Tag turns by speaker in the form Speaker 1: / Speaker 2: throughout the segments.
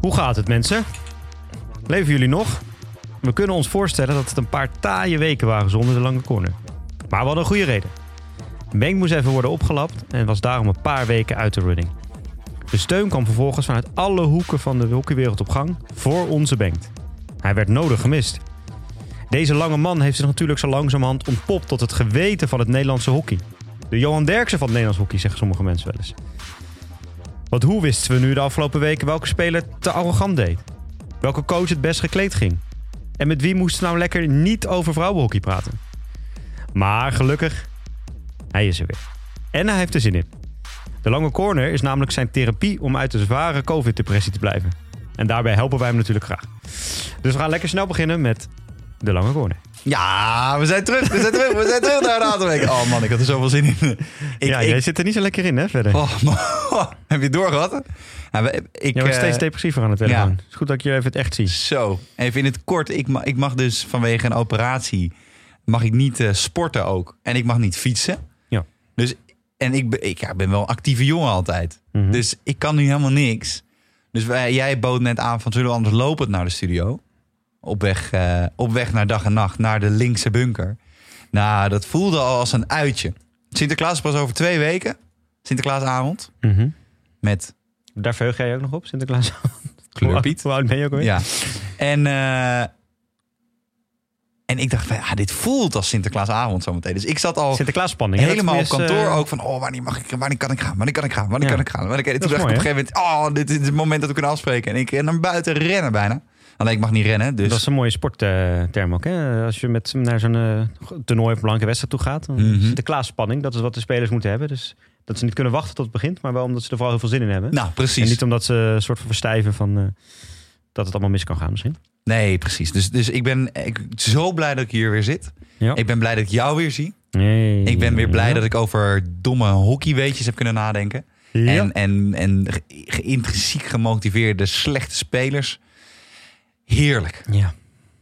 Speaker 1: Hoe gaat het, mensen? Leven jullie nog? We kunnen ons voorstellen dat het een paar taaie weken waren zonder de lange corner. Maar we hadden een goede reden. Menk moest even worden opgelapt en was daarom een paar weken uit de running. De steun kwam vervolgens vanuit alle hoeken van de hockeywereld op gang voor onze Bengt. Hij werd nodig gemist. Deze lange man heeft zich natuurlijk zo langzamerhand ontpopt tot het geweten van het Nederlandse hockey. De Johan Derksen van het Nederlands hockey, zeggen sommige mensen wel eens. Want hoe wisten we nu de afgelopen weken welke speler te arrogant deed? Welke coach het best gekleed ging? En met wie moesten we nou lekker niet over vrouwenhockey praten? Maar gelukkig, hij is er weer. En hij heeft er zin in. De lange corner is namelijk zijn therapie om uit de zware COVID-depressie te blijven. En daarbij helpen wij hem natuurlijk graag. Dus we gaan lekker snel beginnen met de lange corner.
Speaker 2: Ja, we zijn terug. We zijn terug. We zijn terug naar een aantal weken. Oh man, ik had er zoveel zin in. Ik,
Speaker 1: ja,
Speaker 2: ik-
Speaker 1: jij zit er niet zo lekker in, hè, verder.
Speaker 2: oh, man. Heb je het doorgehad? Ja, we- ik,
Speaker 1: jij wordt
Speaker 2: eh,
Speaker 1: steeds depressiever aan de telefoon.
Speaker 2: ja.
Speaker 1: Het is goed dat ik je even het echt zie.
Speaker 2: Zo, even in het kort. Ik, ma- ik mag dus vanwege een operatie mag ik niet eh, sporten ook. En ik mag niet fietsen.
Speaker 1: Ja.
Speaker 2: Dus, en ik, be- ik ja, ben wel een actieve jongen altijd.
Speaker 1: Mhm.
Speaker 2: Dus ik kan nu helemaal niks. Dus wij, jij bood net aan van zullen we anders lopend naar de studio? Op weg, eh, op weg naar dag en nacht, naar de linkse bunker. Nou, dat voelde al als een uitje. Sinterklaas is pas over twee weken. Sinterklaasavond.
Speaker 1: Mhm.
Speaker 2: Met
Speaker 1: Daar verheug jij je ook nog op, Sinterklaas.
Speaker 2: kleurpiet.
Speaker 1: Hoe oud ben je ook alweer?
Speaker 2: Ja. En, eh, en ik dacht, van, ja, dit voelt als Sinterklaasavond zometeen. Dus ik zat al
Speaker 1: Sinterklaas spanning.
Speaker 2: helemaal op kantoor
Speaker 1: eh,
Speaker 2: ook van, oh, wanneer, mag ik, wanneer kan ik gaan? Wanneer kan ik gaan? Wanneer
Speaker 1: Ja.
Speaker 2: kan ik gaan? Wanneer kan ik... Toen
Speaker 1: Dat
Speaker 2: dacht
Speaker 1: is
Speaker 2: ik op een gegeven moment, oh, dit is het moment dat we kunnen afspreken. En ik eh, naar buiten rennen bijna. Alleen ik mag niet rennen, dus...
Speaker 1: Dat is een mooie sportterm ook. Hè? Als je met, naar zo'n eh, toernooi of belangrijke wedstrijd toe gaat. Dan
Speaker 2: Mhm.
Speaker 1: Sinterklaas spanning, dat is wat de spelers moeten hebben. Dus dat ze niet kunnen wachten tot het begint. Maar wel omdat ze er vooral heel veel zin in hebben.
Speaker 2: Nou, precies.
Speaker 1: En niet omdat ze een soort van verstijven van... eh, dat het allemaal mis kan gaan misschien.
Speaker 2: Nee, precies. Dus, dus ik ben ik, zo blij dat ik hier weer zit.
Speaker 1: Ja.
Speaker 2: Ik ben blij dat ik jou weer zie.
Speaker 1: Nee.
Speaker 2: Ik ben weer blij dat ik over domme hockeyweetjes heb kunnen nadenken.
Speaker 1: Ja.
Speaker 2: En, en, en ge- ge- intrinsiek gemotiveerde slechte spelers. Heerlijk.
Speaker 1: Ja.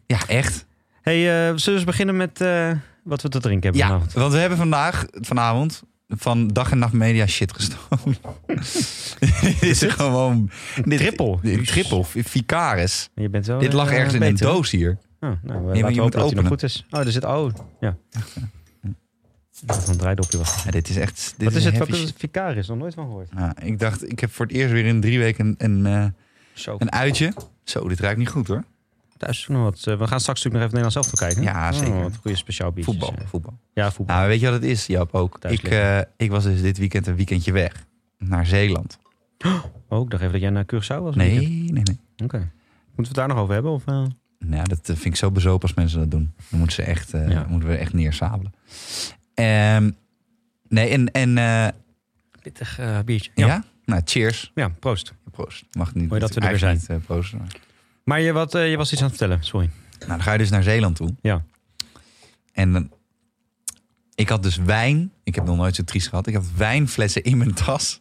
Speaker 2: Ja, echt.
Speaker 1: Hey, eh, zullen we eens beginnen met eh, wat we te drinken hebben
Speaker 2: Ja,
Speaker 1: vanavond?
Speaker 2: want we hebben vandaag, vanavond, van dag en nacht media shit gestolen. dit is gewoon... Dit,
Speaker 1: Trippel.
Speaker 2: Dit, trippel. Vicaris.
Speaker 1: Je bent wel,
Speaker 2: dit lag
Speaker 1: eh,
Speaker 2: ergens in een
Speaker 1: beter, hè?
Speaker 2: doos hier.
Speaker 1: Oh, nou, we laten
Speaker 2: je
Speaker 1: we
Speaker 2: moet
Speaker 1: hopen dat hij nog
Speaker 2: openen.
Speaker 1: goed is. Oh, er zit... Oh, ja. Dat een draaidopje was.
Speaker 2: Ja, dit is echt... Dit
Speaker 1: Wat is het?
Speaker 2: heavy
Speaker 1: Wat is
Speaker 2: shit.
Speaker 1: het? Vicaris? Nog nooit van gehoord.
Speaker 2: Ja, ik dacht, ik heb voor het eerst weer in drie weken een, een, eh,
Speaker 1: Zo.
Speaker 2: een uitje. Zo, dit ruikt niet goed hoor.
Speaker 1: Thuis is ook nog wat. eh, We gaan straks natuurlijk nog even Nederland zelf toe kijken.
Speaker 2: Ja, zeker.
Speaker 1: wat goede speciaal biertjes.
Speaker 2: Voetbal,
Speaker 1: eh.
Speaker 2: voetbal.
Speaker 1: Ja, voetbal.
Speaker 2: Nou, weet je wat het is, Jap, ook?
Speaker 1: Thuis
Speaker 2: Ik, eh, ik was dus dit weekend een weekendje weg. Naar Zeeland.
Speaker 1: Oh, ik dacht even dat jij naar Curaçao was.
Speaker 2: Nee,
Speaker 1: Oké.
Speaker 2: nee, nee.
Speaker 1: Moeten we het daar nog over hebben? Of, eh?
Speaker 2: Nou, dat eh, vind ik zo bezopen als mensen dat doen. Dan moeten, ze echt, eh,
Speaker 1: Ja.
Speaker 2: moeten we echt neersabelen. Ehm, nee, en... en eh,
Speaker 1: Pittig eh, biertje.
Speaker 2: ja.
Speaker 1: Ja. ja.
Speaker 2: Nou, cheers.
Speaker 1: proost.
Speaker 2: Proost. Mag niet.
Speaker 1: Mooi dat we er weer
Speaker 2: eigenlijk Niet, eh, proosten, maar-
Speaker 1: Maar je, wat, eh, je was iets aan het vertellen, sorry.
Speaker 2: Nou, dan ga je dus naar Zeeland toe.
Speaker 1: Ja.
Speaker 2: En dan- ik had dus wijn. Ik heb nog nooit zo triest gehad. Ik had wijnflessen in mijn tas.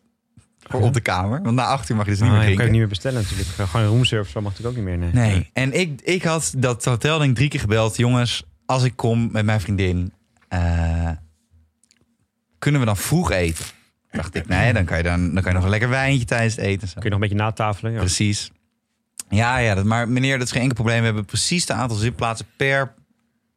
Speaker 2: Voor op de kamer. Want na acht uur mag je dus niet
Speaker 1: Ah,
Speaker 2: meer
Speaker 1: je kan
Speaker 2: drinken.
Speaker 1: het niet meer bestellen natuurlijk. Gewoon een roomservice, dat mag natuurlijk ook niet meer. Nee.
Speaker 2: Nee. En ik, ik had dat hotel denk ik drie keer gebeld. Jongens, als ik kom met mijn vriendin, eh, kunnen we dan vroeg eten? Dacht ik, nee, dan kan je, dan, dan kan je nog een lekker wijntje tijdens het eten. en zo.
Speaker 1: Kun je nog een beetje natafelen? Ja.
Speaker 2: Precies. Ja, ja, dat, maar meneer, dat is geen enkel probleem. We hebben precies de aantal zitplaatsen per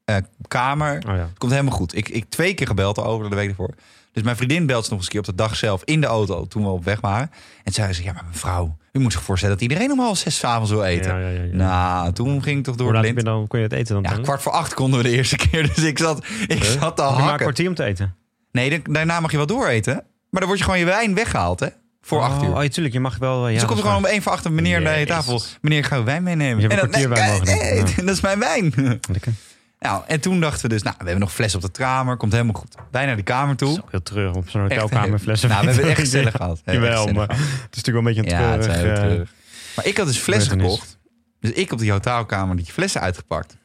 Speaker 2: eh, kamer.
Speaker 1: Oh ja.
Speaker 2: Het komt helemaal goed. Ik, ik twee keer gebeld al over de week ervoor. Dus mijn vriendin belt ze nog eens een keer op de dag zelf in de auto toen we op weg waren. En zei ze, ja, maar mevrouw, u moet zich voorstellen dat iedereen om half zes 's avonds wil eten.
Speaker 1: Ja, ja, ja, ja.
Speaker 2: Nou, toen ging ik toch door
Speaker 1: Hoe
Speaker 2: de
Speaker 1: laat heb je
Speaker 2: lint.
Speaker 1: dan, kon je het eten dan?
Speaker 2: Ja,
Speaker 1: tellen?
Speaker 2: kwart voor acht konden we de eerste keer. Dus ik zat, ik
Speaker 1: Huh?
Speaker 2: zat te
Speaker 1: Heb je maar een
Speaker 2: hakken.
Speaker 1: kwartier om te eten?
Speaker 2: Nee, dan- daarna mag je wel dooreten. Maar dan word je gewoon je wijn weggehaald, hè? Voor
Speaker 1: oh,
Speaker 2: acht uur.
Speaker 1: Oh, ja, tuurlijk. Je mag wel... eh, Ja,
Speaker 2: dus dan komt
Speaker 1: dat
Speaker 2: er
Speaker 1: is
Speaker 2: gewoon om
Speaker 1: waar.
Speaker 2: één voor acht een meneer naar je
Speaker 1: Jezus.
Speaker 2: tafel. Meneer, gaan we wijn meenemen?
Speaker 1: Je hebt een
Speaker 2: En dan-
Speaker 1: kwartier wijn
Speaker 2: nee,
Speaker 1: mogen nemen.
Speaker 2: nee, dat is mijn wijn.
Speaker 1: Lekker.
Speaker 2: Nou, en toen dachten we dus, nou, we hebben nog fles op de kamer. Komt helemaal goed. Wij naar de kamer toe.
Speaker 1: Dat is ook heel treurig op zo'n
Speaker 2: Echt,
Speaker 1: hotelkamer
Speaker 2: eh,
Speaker 1: flessen.
Speaker 2: Nou, we
Speaker 1: wijn
Speaker 2: hebben het echt
Speaker 1: drinken.
Speaker 2: gezellig gehad. We hebben echt
Speaker 1: Jawel,
Speaker 2: gezellig
Speaker 1: maar het is natuurlijk wel een beetje een
Speaker 2: Ja, het
Speaker 1: treurig...
Speaker 2: zijn heel
Speaker 1: eh,
Speaker 2: treurig. Maar ik had dus flessen
Speaker 1: gebeurtenis.
Speaker 2: gekocht. Dus ik op die hotelkamer die flessen uitgepakt.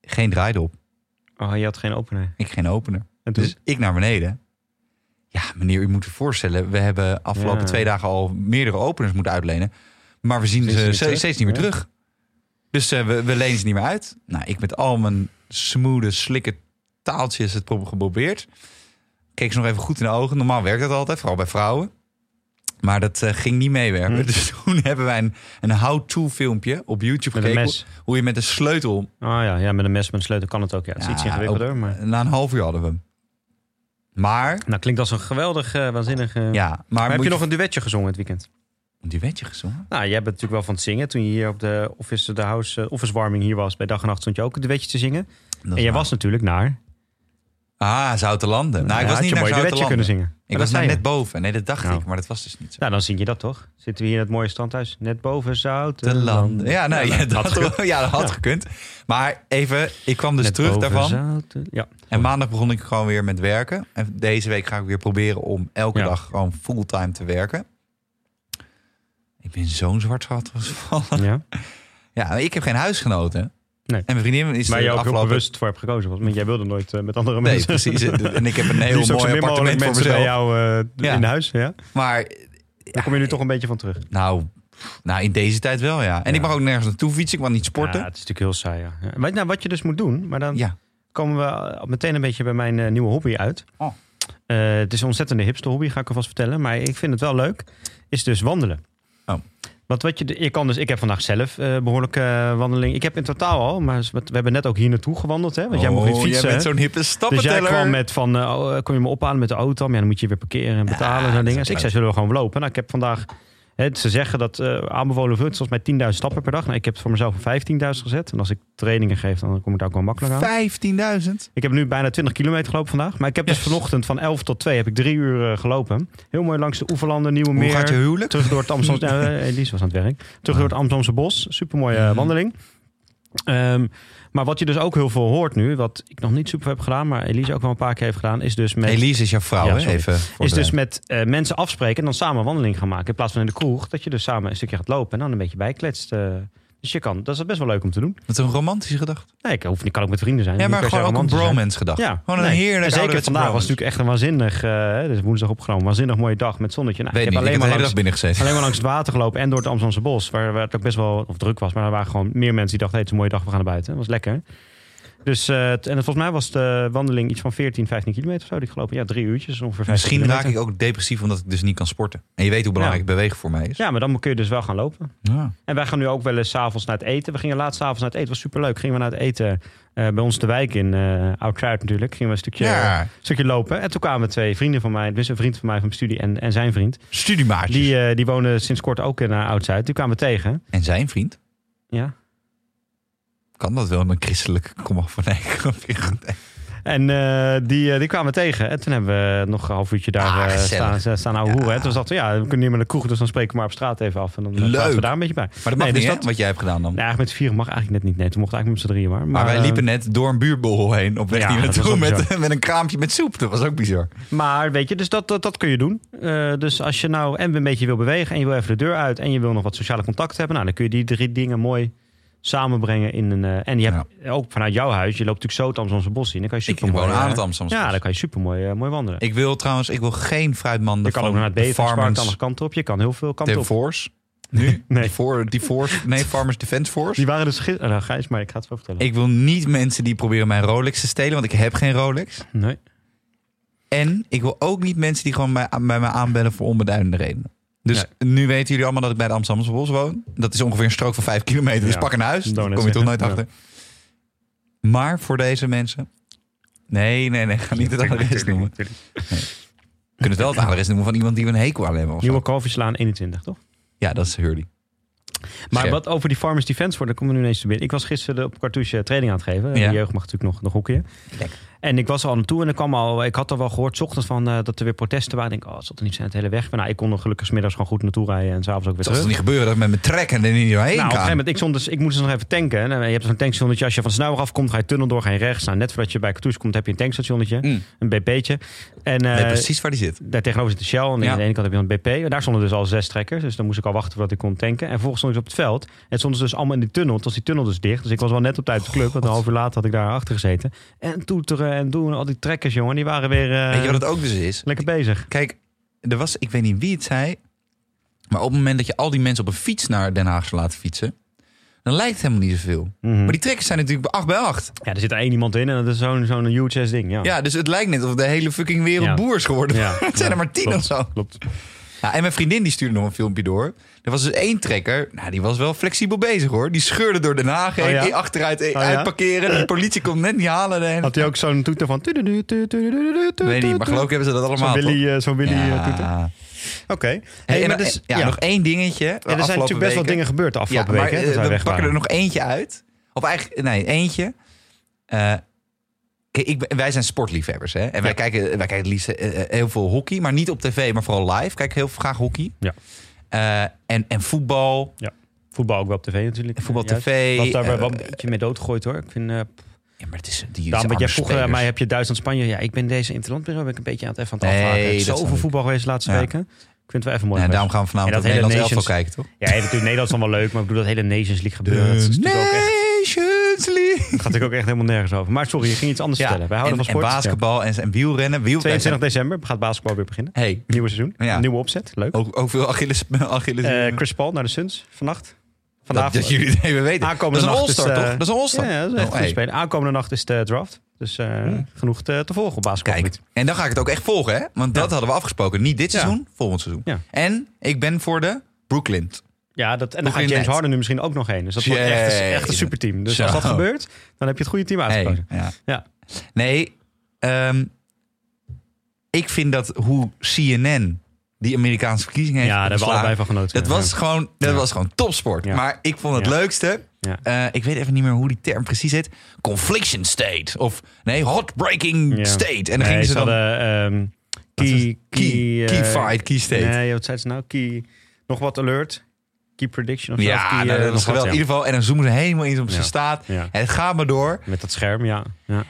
Speaker 2: Geen draaidop.
Speaker 1: Oh, je had geen opener.
Speaker 2: Ik geen opener.
Speaker 1: En toen?
Speaker 2: Dus ik naar beneden. Ja, meneer, u moet u voorstellen. We hebben afgelopen
Speaker 1: Ja.
Speaker 2: twee dagen al meerdere openers moeten uitlenen. Maar we zien
Speaker 1: Zien ze
Speaker 2: ze
Speaker 1: niet
Speaker 2: ste-
Speaker 1: terug?
Speaker 2: steeds niet meer
Speaker 1: Ja.
Speaker 2: terug. Dus eh, we, we lenen ze niet meer uit. Nou, ik met al mijn smoede, slikke taaltjes het pro- geprobeerd. Keek ze nog even goed in de ogen. Normaal werkt dat altijd, vooral bij vrouwen. Maar dat eh, ging niet meewerken.
Speaker 1: Hm.
Speaker 2: Dus toen hebben wij een, een how-to filmpje op YouTube
Speaker 1: Met een
Speaker 2: gekeken.
Speaker 1: mes.
Speaker 2: Hoe je met een sleutel...
Speaker 1: Ah ja, ja, met een mes, met een sleutel kan het ook. Ja, het is
Speaker 2: Ja,
Speaker 1: iets ingewikkelder, maar...
Speaker 2: Na een half uur hadden we hem. Maar...
Speaker 1: Nou, klinkt als een geweldig, eh, waanzinnig... eh,
Speaker 2: Ja, maar,
Speaker 1: Maar heb
Speaker 2: moet
Speaker 1: je nog een duetje gezongen het weekend?
Speaker 2: een duetje gezongen?
Speaker 1: Nou, jij bent natuurlijk wel van het zingen. Toen je hier op de office, de house, eh, office warming hier was, bij dag en nacht stond je ook een duetje te zingen.
Speaker 2: Dat
Speaker 1: en
Speaker 2: is
Speaker 1: jij
Speaker 2: waar.
Speaker 1: was natuurlijk naar.
Speaker 2: Ah, Zoutelanden. Nou, ik was
Speaker 1: had
Speaker 2: niet
Speaker 1: je
Speaker 2: naar
Speaker 1: mooi duetje
Speaker 2: Zoutelanden.
Speaker 1: kunnen zingen.
Speaker 2: Ik
Speaker 1: Maar
Speaker 2: was
Speaker 1: dat
Speaker 2: daar
Speaker 1: zei
Speaker 2: net
Speaker 1: je.
Speaker 2: boven. Nee, dat dacht
Speaker 1: Nou.
Speaker 2: ik, maar dat was dus niet zo.
Speaker 1: Nou, dan zing je dat toch? Zitten we hier in het mooie standhuis, net boven
Speaker 2: De
Speaker 1: Zoutelanden.
Speaker 2: landen. Ja, nou, ja,
Speaker 1: had
Speaker 2: dat had,
Speaker 1: gekund.
Speaker 2: ja, dat had
Speaker 1: Ja.
Speaker 2: gekund. Maar even, ik kwam dus
Speaker 1: Net
Speaker 2: terug
Speaker 1: boven
Speaker 2: daarvan.
Speaker 1: Zouten- Ja.
Speaker 2: En maandag begon ik gewoon weer met werken. En deze week ga ik weer proberen om elke
Speaker 1: Ja.
Speaker 2: dag gewoon fulltime te werken. Ik ben zo'n zwart gat gevallen.
Speaker 1: ja.
Speaker 2: Ja, maar ik heb geen huisgenoten.
Speaker 1: Nee.
Speaker 2: En mijn vriendin is
Speaker 1: Waar
Speaker 2: de
Speaker 1: je ook heel
Speaker 2: afgelopen...
Speaker 1: bewust voor hebt gekozen. Want jij wilde nooit eh, met andere
Speaker 2: Nee,
Speaker 1: mensen.
Speaker 2: precies. En ik heb een
Speaker 1: Liefst
Speaker 2: heel
Speaker 1: ook zo
Speaker 2: mooi
Speaker 1: min mogelijk
Speaker 2: appartement voor
Speaker 1: mensen bij
Speaker 2: mezelf.
Speaker 1: jou eh,
Speaker 2: Ja.
Speaker 1: in huis. Ja?
Speaker 2: Maar
Speaker 1: Daar kom je nu toch een beetje van terug.
Speaker 2: nou, nou, in deze tijd wel, ja. En
Speaker 1: Ja.
Speaker 2: ik mag ook nergens naartoe fietsen. Ik mag niet sporten.
Speaker 1: Ja, het is natuurlijk heel saai. Ja. Ja. Weet je nou, wat je dus moet doen, maar dan
Speaker 2: Ja.
Speaker 1: komen we eh, meteen een beetje bij mijn eh, nieuwe hobby uit.
Speaker 2: Oh.
Speaker 1: Eh, het is een ontzettende hipste hobby, ga ik alvast vertellen. Maar ik vind het wel leuk. Is dus wandelen.
Speaker 2: Oh.
Speaker 1: Want wat je, de- je kan dus, ik heb vandaag zelf eh behoorlijke eh, wandeling. Ik heb in totaal al, maar we we hebben net ook hier naartoe gewandeld. Hè? Want jij mocht niet
Speaker 2: Oh,
Speaker 1: fietsen.
Speaker 2: Jij bent
Speaker 1: hè?
Speaker 2: zo'n hippe
Speaker 1: Dus jij
Speaker 2: stappenteller.
Speaker 1: kwam met van, eh, oh, eh, kom je me ophalen met de auto? Maar ja, dan moet je weer parkeren en betalen en zo'n
Speaker 2: dat is
Speaker 1: dingen. Dus
Speaker 2: ook
Speaker 1: ik zei,
Speaker 2: leuk.
Speaker 1: zullen we gewoon lopen? Nou, ik heb vandaag, hè, ze zeggen dat eh aanbevolen vult, volgens mij 10.000 stappen per dag. Nou, ik heb het voor mezelf op 15.000 gezet. En als ik trainingen geef, dan kom ik daar ook wel makkelijk aan.
Speaker 2: 15.000?
Speaker 1: Ik heb nu bijna 20 kilometer gelopen vandaag. Maar ik heb dus
Speaker 2: Yes.
Speaker 1: vanochtend van 11 tot 2 heb ik drie uur eh, gelopen. Heel mooi langs de oeverlanden, Nieuwe
Speaker 2: Hoe gaat je
Speaker 1: Meer.
Speaker 2: huwelijk?
Speaker 1: Terug door het Amsterdamse... Ja, eh, Elise was aan het werk. Terug door het Amsterdamse bos. Supermooie eh,
Speaker 2: Mhm.
Speaker 1: wandeling. Ehm, maar wat je dus ook heel veel hoort nu, wat ik nog niet super heb gedaan, maar Elise ook wel een paar keer heeft gedaan, is dus met,
Speaker 2: Elise is jouw vrouw,
Speaker 1: Ja,
Speaker 2: hè?
Speaker 1: sorry.
Speaker 2: Even
Speaker 1: is dus
Speaker 2: met...
Speaker 1: met eh, mensen afspreken en dan samen een wandeling gaan maken. In plaats van in de kroeg, dat je dus samen een stukje gaat lopen en dan een beetje bijkletst. eh. dus je kan, dat is best wel leuk om te doen.
Speaker 2: een romantische gedachte.
Speaker 1: Nee, ik hoef niet, kan ook met vrienden zijn.
Speaker 2: Ja,
Speaker 1: Niet
Speaker 2: maar
Speaker 1: per se
Speaker 2: gewoon ook een
Speaker 1: romantisch zijn.
Speaker 2: bromance gedachte.
Speaker 1: Ja,
Speaker 2: Gewoon een
Speaker 1: nee.
Speaker 2: heerlijk
Speaker 1: En Zeker
Speaker 2: ouderwetse
Speaker 1: vandaag was
Speaker 2: bromance.
Speaker 1: natuurlijk echt een waanzinnig, eh dus woensdag opgenomen, waanzinnig mooie dag met zonnetje. Nou,
Speaker 2: Weet
Speaker 1: ik
Speaker 2: niet,
Speaker 1: heb
Speaker 2: ik heb
Speaker 1: alleen,
Speaker 2: de
Speaker 1: maar langs,
Speaker 2: hele dag binnen gezeten.
Speaker 1: alleen maar langs het water gelopen en door het Amsterdamse bos, waar, waar het ook best wel of druk was. Maar er waren gewoon meer mensen die dachten, hey, het is een mooie dag, we gaan naar buiten. Dat was lekker. Dus, eh, het- en het- volgens mij was de wandeling iets van 14, 15 kilometer of zo die ik gelopen. Ja, drie uurtjes, ongeveer 15
Speaker 2: Misschien raak
Speaker 1: kilometer.
Speaker 2: ik ook depressief omdat ik dus niet kan sporten. En je weet hoe belangrijk bewegen voor mij is.
Speaker 1: Ja, maar dan kun je dus wel gaan lopen.
Speaker 2: Ja.
Speaker 1: En wij gaan nu ook wel eens 's avonds naar het eten. We gingen laatst 's avonds naar het eten. was superleuk. Gingen we naar het eten eh, bij ons de wijk in eh Oud-Zuid natuurlijk. Gingen we een stukje,
Speaker 2: Ja.
Speaker 1: een stukje lopen. En toen kwamen twee vrienden van mij. Dus een vriend van mij van mijn studie en, en zijn vriend.
Speaker 2: Studiemaatjes.
Speaker 1: Die, eh, die wonen sinds kort ook in eh, Oud-Zuid. Die kwamen we tegen.
Speaker 2: En zijn vriend?
Speaker 1: Ja.
Speaker 2: Kan dat wel mijn christelijke komaf van nee, ik kan weer goed.
Speaker 1: En eh, die, eh, die kwamen we tegen. En toen hebben we nog een half uurtje daar
Speaker 2: Ah,
Speaker 1: eh,
Speaker 2: gezellig.
Speaker 1: staan, staan, staan ouwe
Speaker 2: Ja.
Speaker 1: hoeren. En toen dachten we, ja, we kunnen niet meer naar de kroeg. Dus dan spreken we maar op straat even af. En dan eh,
Speaker 2: Leuk.
Speaker 1: praten we daar een beetje bij.
Speaker 2: Maar dat mag
Speaker 1: Nee, dus
Speaker 2: niet, hè,
Speaker 1: dat-
Speaker 2: wat jij hebt gedaan dan.
Speaker 1: Nee, eigenlijk met vier mag eigenlijk net niet. Nee, toen mocht eigenlijk met z'n drieën maar.
Speaker 2: Maar, wij
Speaker 1: eh,
Speaker 2: liepen net door een buurtbol heen op weg
Speaker 1: Ja,
Speaker 2: hier
Speaker 1: dat was
Speaker 2: naartoe
Speaker 1: ook
Speaker 2: met, met een kraampje met soep. Dat was ook bizar.
Speaker 1: Maar weet je, dus dat, dat, dat kun je doen. Eh, dus als je nou en een beetje wil bewegen en je wil even de deur uit en je wil nog wat sociale contacten hebben, nou, dan kun je die drie dingen mooi samenbrengen in een. eh, en je hebt ook vanuit jouw huis, je loopt natuurlijk zo het Amsterdamse bos in, dan kan je
Speaker 2: Ik
Speaker 1: super
Speaker 2: woon
Speaker 1: mooi.
Speaker 2: aan het Amsterdamse
Speaker 1: ja,
Speaker 2: bos.
Speaker 1: dan kan je super mooi, mooi wandelen.
Speaker 2: Ik wil trouwens, ik wil geen fruitman
Speaker 1: je
Speaker 2: van
Speaker 1: kan ook naar het
Speaker 2: de
Speaker 1: Bevenspark, de
Speaker 2: Farmers
Speaker 1: andere kant op. Je kan heel veel kanten
Speaker 2: Defense
Speaker 1: op.
Speaker 2: Force. Nu?
Speaker 1: Nee.
Speaker 2: Voor, die force, nee, Farmers Defense Force.
Speaker 1: Die waren dus gisteren. Nou, Gijs, maar ik ga het wel vertellen.
Speaker 2: Ik wil niet mensen die proberen mijn Rolex te stelen, want ik heb geen Rolex.
Speaker 1: Nee.
Speaker 2: En ik wil ook niet mensen die gewoon bij, bij mij aanbellen voor onbeduidende redenen. Dus nu weten jullie allemaal dat ik bij de Amsterdamse Bos woon. Dat is ongeveer een strook van vijf kilometer. Dus
Speaker 1: Ja,
Speaker 2: pak een huis,
Speaker 1: wou
Speaker 2: daar
Speaker 1: net
Speaker 2: kom je toch nooit
Speaker 1: zeggen,
Speaker 2: achter. Maar voor deze mensen... Nee, nee, nee, ga niet het adres noemen. We kunnen het wel het adres noemen van iemand die we een hekel aan hebben. of zo.
Speaker 1: Nieuwe Koverslaan 21, toch?
Speaker 2: Ja, dat is Hurley.
Speaker 1: Maar
Speaker 2: Scherp.
Speaker 1: wat over die Farmers Defense wordt, daar komen we nu ineens te binnen. Ik was gisteren op Cartouche training aan het geven.
Speaker 2: Ja.
Speaker 1: De jeugd mag natuurlijk nog, nog hoekje.
Speaker 2: Lekker.
Speaker 1: En ik was er al naartoe en ik, kwam al, ik had al wel gehoord 's ochtends van, eh, dat er weer protesten waren. Ik denk, oh, het zal er niet zijn, het hele weg. Maar nou, ik kon er gelukkig 's middags gewoon goed naartoe rijden en s'avonds ook weer
Speaker 2: Dus Het zal
Speaker 1: terug.
Speaker 2: toch niet gebeuren dat ik met mijn trek en er niet doorheen
Speaker 1: Nou, op een
Speaker 2: kan.
Speaker 1: gegeven moment, ik, stond dus, ik moest dus nog even tanken. En, eh, je hebt zo'n tankstationnetje. Als je van Snauwig afkomt, ga je tunnel door, ga je rechts. Nou, net voordat je bij Cartouche komt, heb je een tankstationnetje.
Speaker 2: Mm.
Speaker 1: Een BP'tje. En, eh,
Speaker 2: Weet precies waar die zit.
Speaker 1: daar tegenover zit de Shell. En
Speaker 2: Ja.
Speaker 1: aan de ene kant heb je dan het BP. Daar stonden dus al zes trekkers. Dus dan moest ik al wachten voordat ik kon tanken. En vervolgens stond ik op het veld. En het stonden ze dus allemaal in die tunnel. Toen was die tunnel dus dicht. Dus ik was wel net op tijd op de club. Want een half uur later had ik daar achter gezeten. En toeteren en doen. Al die trekkers, jongen. Die waren weer eh,
Speaker 2: Weet je wat het ook dus is?
Speaker 1: lekker bezig.
Speaker 2: Kijk, er was, ik weet niet wie het zei, maar op het moment dat je al die mensen op een fiets naar Den Haag zou laten fietsen, dan lijkt het helemaal niet zoveel.
Speaker 1: Mhm.
Speaker 2: Maar die trekkers zijn natuurlijk 8 bij 8.
Speaker 1: Ja, er zit er één iemand in en dat is zo'n zo'n huge ass ding. Ja.
Speaker 2: Ja, dus het lijkt net of de hele fucking wereld
Speaker 1: Ja.
Speaker 2: boer is geworden.
Speaker 1: Ja.
Speaker 2: het zijn er
Speaker 1: Ja,
Speaker 2: maar 10
Speaker 1: klopt.
Speaker 2: of zo.
Speaker 1: Klopt.
Speaker 2: Ja, en mijn vriendin die stuurde nog een filmpje door. Er was dus één trekker. Nou, die was wel flexibel bezig hoor. Die scheurde door Den Haag heen,
Speaker 1: Oh ja?
Speaker 2: achteruit eh,
Speaker 1: ja?
Speaker 2: uitparkeren. De politie kon hem net niet halen. De hele-
Speaker 1: Had hij ook zo'n toeter van...
Speaker 2: Weet niet, maar geloof ik hebben ze dat
Speaker 1: Zo'n
Speaker 2: allemaal. toch?
Speaker 1: Willy, eh, zo'n Willy eh, toeter.
Speaker 2: Ja.
Speaker 1: Oké.
Speaker 2: Hey,
Speaker 1: Hey,
Speaker 2: en
Speaker 1: maar
Speaker 2: dan-
Speaker 1: dus-
Speaker 2: ja,
Speaker 1: ja.
Speaker 2: nog één dingetje.
Speaker 1: Ja, er zijn natuurlijk best wel dingen gebeurd de
Speaker 2: Ja,
Speaker 1: afgelopen
Speaker 2: maar
Speaker 1: weken. hè, dat
Speaker 2: eh,
Speaker 1: wij
Speaker 2: we
Speaker 1: weg
Speaker 2: pakken
Speaker 1: waren.
Speaker 2: er nog eentje uit. Of eigenlijk, nee, eentje. Eh, kijk, ik, ben- wij zijn sportliefhebbers, hè? En wij,
Speaker 1: Ja.
Speaker 2: kijken, wij kijken het liefst eh, eh, heel veel hockey, maar niet op tv, maar vooral live. Kijk heel graag hockey.
Speaker 1: Ja.
Speaker 2: Eh, en, en voetbal.
Speaker 1: Voetbal ook wel op tv natuurlijk.
Speaker 2: Voetbal
Speaker 1: Ja, juist.
Speaker 2: tv,
Speaker 1: Was daar
Speaker 2: eh,
Speaker 1: wel een beetje mee doodgegooid hoor. Ik vind... eh,
Speaker 2: Ja, maar het is die
Speaker 1: Daarom, want
Speaker 2: arme
Speaker 1: jij vroeg eh,
Speaker 2: spelers.
Speaker 1: mij, heb je Duitsland-Spanje? Ja, ik ben deze interlandperiode ben ik een beetje aan het even aan het
Speaker 2: Nee,
Speaker 1: afhaken. Er is
Speaker 2: dat snap
Speaker 1: zoveel
Speaker 2: ik.
Speaker 1: voetbal geweest de laatste
Speaker 2: Ja.
Speaker 1: weken. Ik vind het wel even mooi.
Speaker 2: Ja,
Speaker 1: geweest.
Speaker 2: Nou, daarom gaan we vanavond
Speaker 1: En
Speaker 2: op
Speaker 1: dat hele
Speaker 2: Nederlands elftal
Speaker 1: Nations-
Speaker 2: kijken, toch?
Speaker 1: Ja, natuurlijk Nederland is dan wel leuk, maar ik bedoel dat hele Nations League gebeuren. Dat is natuurlijk ook echt,
Speaker 2: Nations League.
Speaker 1: gaat natuurlijk ook echt helemaal nergens over. Maar sorry, je ging iets anders
Speaker 2: Ja,
Speaker 1: vertellen. Wij houden
Speaker 2: en,
Speaker 1: van sport.
Speaker 2: en basketbal en, en wielrennen. Wiel,
Speaker 1: Ja. 22 december gaat basketbal weer beginnen.
Speaker 2: Hey,
Speaker 1: Nieuwe seizoen,
Speaker 2: Ja. Oh,
Speaker 1: nieuwe opzet, leuk.
Speaker 2: ook, ook veel Achilles... Achilles
Speaker 1: Eh, Chris Paul naar de Suns vannacht.
Speaker 2: dat,
Speaker 1: Vanavond.
Speaker 2: dat jullie het even weten.
Speaker 1: Aankomende
Speaker 2: dat is een
Speaker 1: nacht is,
Speaker 2: all-star,
Speaker 1: eh,
Speaker 2: toch? Dat is een all-star.
Speaker 1: Ja, dat is echt
Speaker 2: Oh,
Speaker 1: goed
Speaker 2: hey.
Speaker 1: spelen. Aankomende nacht is de draft. Dus eh, genoeg te, te volgen op basketbal.
Speaker 2: Kijk, en dan ga ik het ook echt volgen, hè? Want dat hadden we afgesproken. Niet dit
Speaker 1: Ja.
Speaker 2: seizoen, volgend seizoen.
Speaker 1: Ja.
Speaker 2: En ik ben voor de Brooklyn.
Speaker 1: Ja, dat, en dan
Speaker 2: Nog
Speaker 1: gaat
Speaker 2: in
Speaker 1: James
Speaker 2: net.
Speaker 1: Harden nu misschien ook nog heen. Dus dat wordt
Speaker 2: Jee.
Speaker 1: echt, echt een superteam. Dus
Speaker 2: Zo.
Speaker 1: als dat gebeurt, dan heb je het goede team
Speaker 2: Hey,
Speaker 1: uitgekozen.
Speaker 2: ja.
Speaker 1: Ja.
Speaker 2: Nee, ehm, ik vind dat hoe CNN die Amerikaanse verkiezingen heeft
Speaker 1: Ja, daar hebben we
Speaker 2: opgeslagen,
Speaker 1: allebei van genoten.
Speaker 2: Dat, was,
Speaker 1: Ja.
Speaker 2: gewoon, dat
Speaker 1: Ja.
Speaker 2: was gewoon topsport.
Speaker 1: Ja.
Speaker 2: Maar ik vond het
Speaker 1: Ja.
Speaker 2: leukste...
Speaker 1: Ja.
Speaker 2: eh, ik weet even niet meer hoe die term precies heet. Confliction state. Of nee, hotbreaking
Speaker 1: Ja.
Speaker 2: state. En dan
Speaker 1: Nee,
Speaker 2: gingen ze dan...
Speaker 1: hadden, ehm,
Speaker 2: Wat is
Speaker 1: key,
Speaker 2: het? Key-
Speaker 1: eh,
Speaker 2: key fight, key state.
Speaker 1: Nee, wat zei ze nou? Key, nog wat alert. Key prediction of zo. Of
Speaker 2: Ja,
Speaker 1: key,
Speaker 2: nou,
Speaker 1: eh,
Speaker 2: dat
Speaker 1: nog
Speaker 2: was
Speaker 1: wat,
Speaker 2: geweldig.
Speaker 1: ja.
Speaker 2: In ieder geval, en dan zoomen ze helemaal in op zijn
Speaker 1: Ja.
Speaker 2: staat.
Speaker 1: Ja.
Speaker 2: En het gaat maar door.
Speaker 1: Met dat scherm, ja. ja.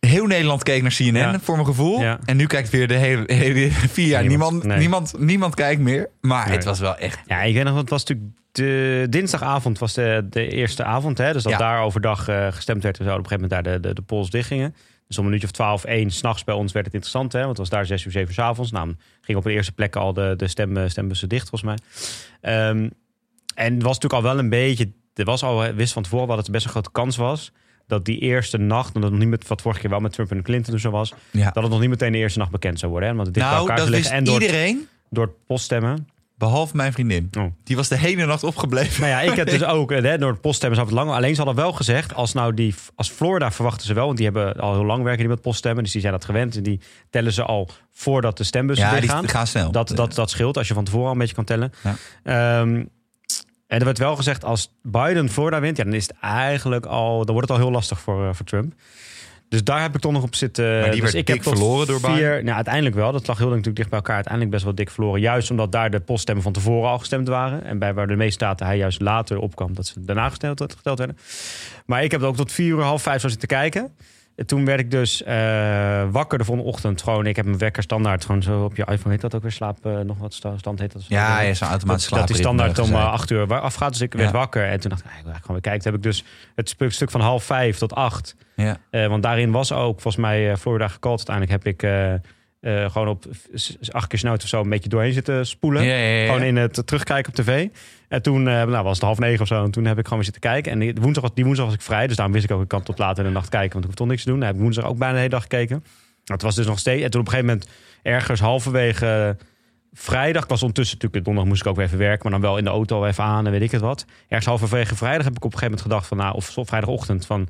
Speaker 2: Heel Nederland keek naar CNN,
Speaker 1: Ja.
Speaker 2: voor mijn gevoel.
Speaker 1: Ja.
Speaker 2: En nu kijkt weer de hele, hele vier jaar niemand.
Speaker 1: Niemand.
Speaker 2: Niemand,
Speaker 1: Nee.
Speaker 2: niemand, kijkt meer. Maar
Speaker 1: Nee.
Speaker 2: het was wel echt...
Speaker 1: Ja, ik weet nog, want het was natuurlijk de, dinsdagavond was de, de eerste avond. Hè? Dus dat
Speaker 2: Ja.
Speaker 1: daar overdag eh, gestemd werd en zo. Op een gegeven moment daar de, de, de polls dichtgingen. Dus om een uurtje of twaalf, één, s'nachts bij ons werd het interessant. Hè? Want het was daar zes uur, zeven uur 's avonds. Nou, dan ging op de eerste plekken al de, de stemmen, stembussen dicht, volgens mij. Ehm, en het was natuurlijk al wel een beetje... Er was al, eh, wist van tevoren wel dat het best een grote kans was... dat die eerste nacht, omdat het nog niet met, wat vorige keer wel met Trump en Clinton en zo was...
Speaker 2: Ja.
Speaker 1: dat het nog niet meteen de eerste nacht bekend zou worden. Hè? Want het dicht bij
Speaker 2: nou,
Speaker 1: elkaar
Speaker 2: dat
Speaker 1: zou
Speaker 2: wist
Speaker 1: liggen en door, het-
Speaker 2: iedereen,
Speaker 1: door het poststemmen.
Speaker 2: behalve mijn vriendin.
Speaker 1: Oh.
Speaker 2: Die was de hele nacht opgebleven.
Speaker 1: Nou ja, ik heb dus ook, eh, hè, door het poststemmen is het lang. Alleen ze hadden wel gezegd, als nou die, als Florida verwachten ze wel, want die hebben al heel lang werken die met poststemmen, dus die zijn dat gewend en die tellen ze al voordat de stembussen
Speaker 2: Ja, die
Speaker 1: dichtgaan.
Speaker 2: gaan snel.
Speaker 1: Dat, dat, dat scheelt als je van tevoren al een beetje kan tellen.
Speaker 2: Eh. Ja.
Speaker 1: Ehm, en er werd wel gezegd, als Biden Florida wint, ja, dan is het eigenlijk al, dan wordt het al heel lastig voor, eh, voor Trump. Dus daar heb ik toch nog op zitten.
Speaker 2: die
Speaker 1: dus
Speaker 2: werd
Speaker 1: ik heb
Speaker 2: dik
Speaker 1: tot
Speaker 2: verloren door
Speaker 1: vier,
Speaker 2: Biden?
Speaker 1: Nou, uiteindelijk wel. Dat lag heel natuurlijk dicht bij elkaar. Uiteindelijk best wel dik verloren. Juist omdat daar de poststemmen van tevoren al gestemd waren. En bij waar de meeste staten hij juist later opkwam dat ze daarna gesteld, geteld werden. Maar ik heb er ook tot vier uur, half vijf zo zitten kijken. En Toen werd ik dus eh, wakker de volgende ochtend. Gewoon, ik heb mijn wekker standaard. Gewoon zo op je iPhone heet dat ook weer. Slaap, eh, nog wat sta- stand heet dat.
Speaker 2: Ja, ja, zo'n
Speaker 1: Dat,
Speaker 2: automatisch
Speaker 1: dat die standaard om eh,
Speaker 2: slaapritme,
Speaker 1: acht uur wa- afgaat. Dus ik werd
Speaker 2: Ja.
Speaker 1: wakker. En toen dacht ik, nou, ik wil eigenlijk gewoon weer kijken. Toen heb ik dus het stuk, stuk van half vijf tot acht.
Speaker 2: gezegd.
Speaker 1: eh, want daarin was ook volgens mij eh, Florida gecalled. Uiteindelijk heb ik eh, eh, gewoon op s- s- acht keer snout of zo een beetje doorheen zitten
Speaker 2: Ja.
Speaker 1: spoelen.
Speaker 2: Ja, ja, ja.
Speaker 1: Gewoon in het terugkijken op tv. En toen eh, nou, was het half negen of zo. En toen heb ik gewoon weer zitten kijken. En die woensdag, was- die woensdag was ik vrij. Dus daarom wist ik ook, ik kan tot later in de nacht kijken. Want ik hoef toch niks te doen. Nou, heb ik woensdag ook bijna de hele dag gekeken. Nou, het was dus nog steeds. En toen op een gegeven moment ergens halverwege eh, vrijdag. Ik was ondertussen natuurlijk, eh, donderdag moest ik ook weer even werken. Maar dan wel in de auto even aan en weet ik het wat. Ergens halverwege vrijdag heb ik op een gegeven moment gedacht van... Nou, of zo- vrijdagochtend van...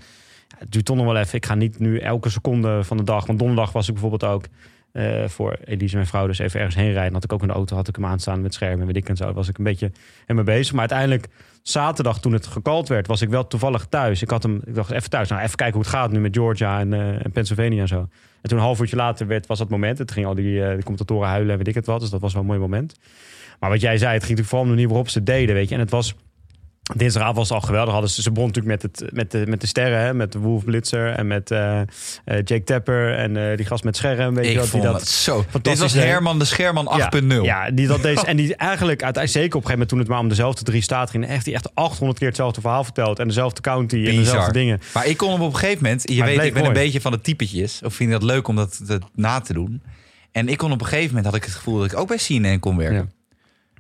Speaker 1: ja, Het duurt toch nog wel even. Ik ga niet nu elke seconde van de dag. Want donderdag was ik bijvoorbeeld ook eh, voor Elise, mijn vrouw, dus even ergens heen rijden. Had ik ook in de auto, had ik hem aanstaan met schermen en weet ik en zo. Was ik een beetje mee bezig. Maar uiteindelijk, zaterdag toen het gekald werd, was ik wel toevallig thuis. Ik had hem, ik dacht even thuis, nou even kijken hoe het gaat nu met Georgia en, eh, en Pennsylvania en zo. En toen een half uurtje later werd, was dat moment. Het ging al die, eh, de commentatoren huilen en weet ik het wat. Dus dat was wel een mooi moment. Maar wat jij zei, het ging natuurlijk vooral om de manier waarop ze het deden, weet je. En het was... Dinsdagavond was het al geweldig. Hadden ze, ze bond natuurlijk met, het, met, de, met de sterren. Hè? Met Wolf Blitzer en met eh, eh, Jake Tapper. En eh, die gast met scherm. Weet je
Speaker 2: Ik
Speaker 1: wel,
Speaker 2: vond
Speaker 1: die dat,
Speaker 2: het zo... Dit
Speaker 1: fantastisch
Speaker 2: was
Speaker 1: deed.
Speaker 2: Herman de Scherman 8.0.
Speaker 1: ja, die dat deze en die eigenlijk uiteindelijk zeker op een gegeven moment toen het maar om dezelfde drie staat ging, echt die echt 800 keer hetzelfde verhaal vertelt en dezelfde county en dezelfde dingen.
Speaker 2: Maar ik kon hem op een gegeven moment... Je
Speaker 1: Maar het
Speaker 2: weet,
Speaker 1: bleef
Speaker 2: ik ben een
Speaker 1: mooi.
Speaker 2: beetje van de typetjes. Of vind je dat leuk om dat, dat na te doen. En ik kon op een gegeven moment... had ik het gevoel dat ik ook bij CNN kon werken.
Speaker 1: Ja.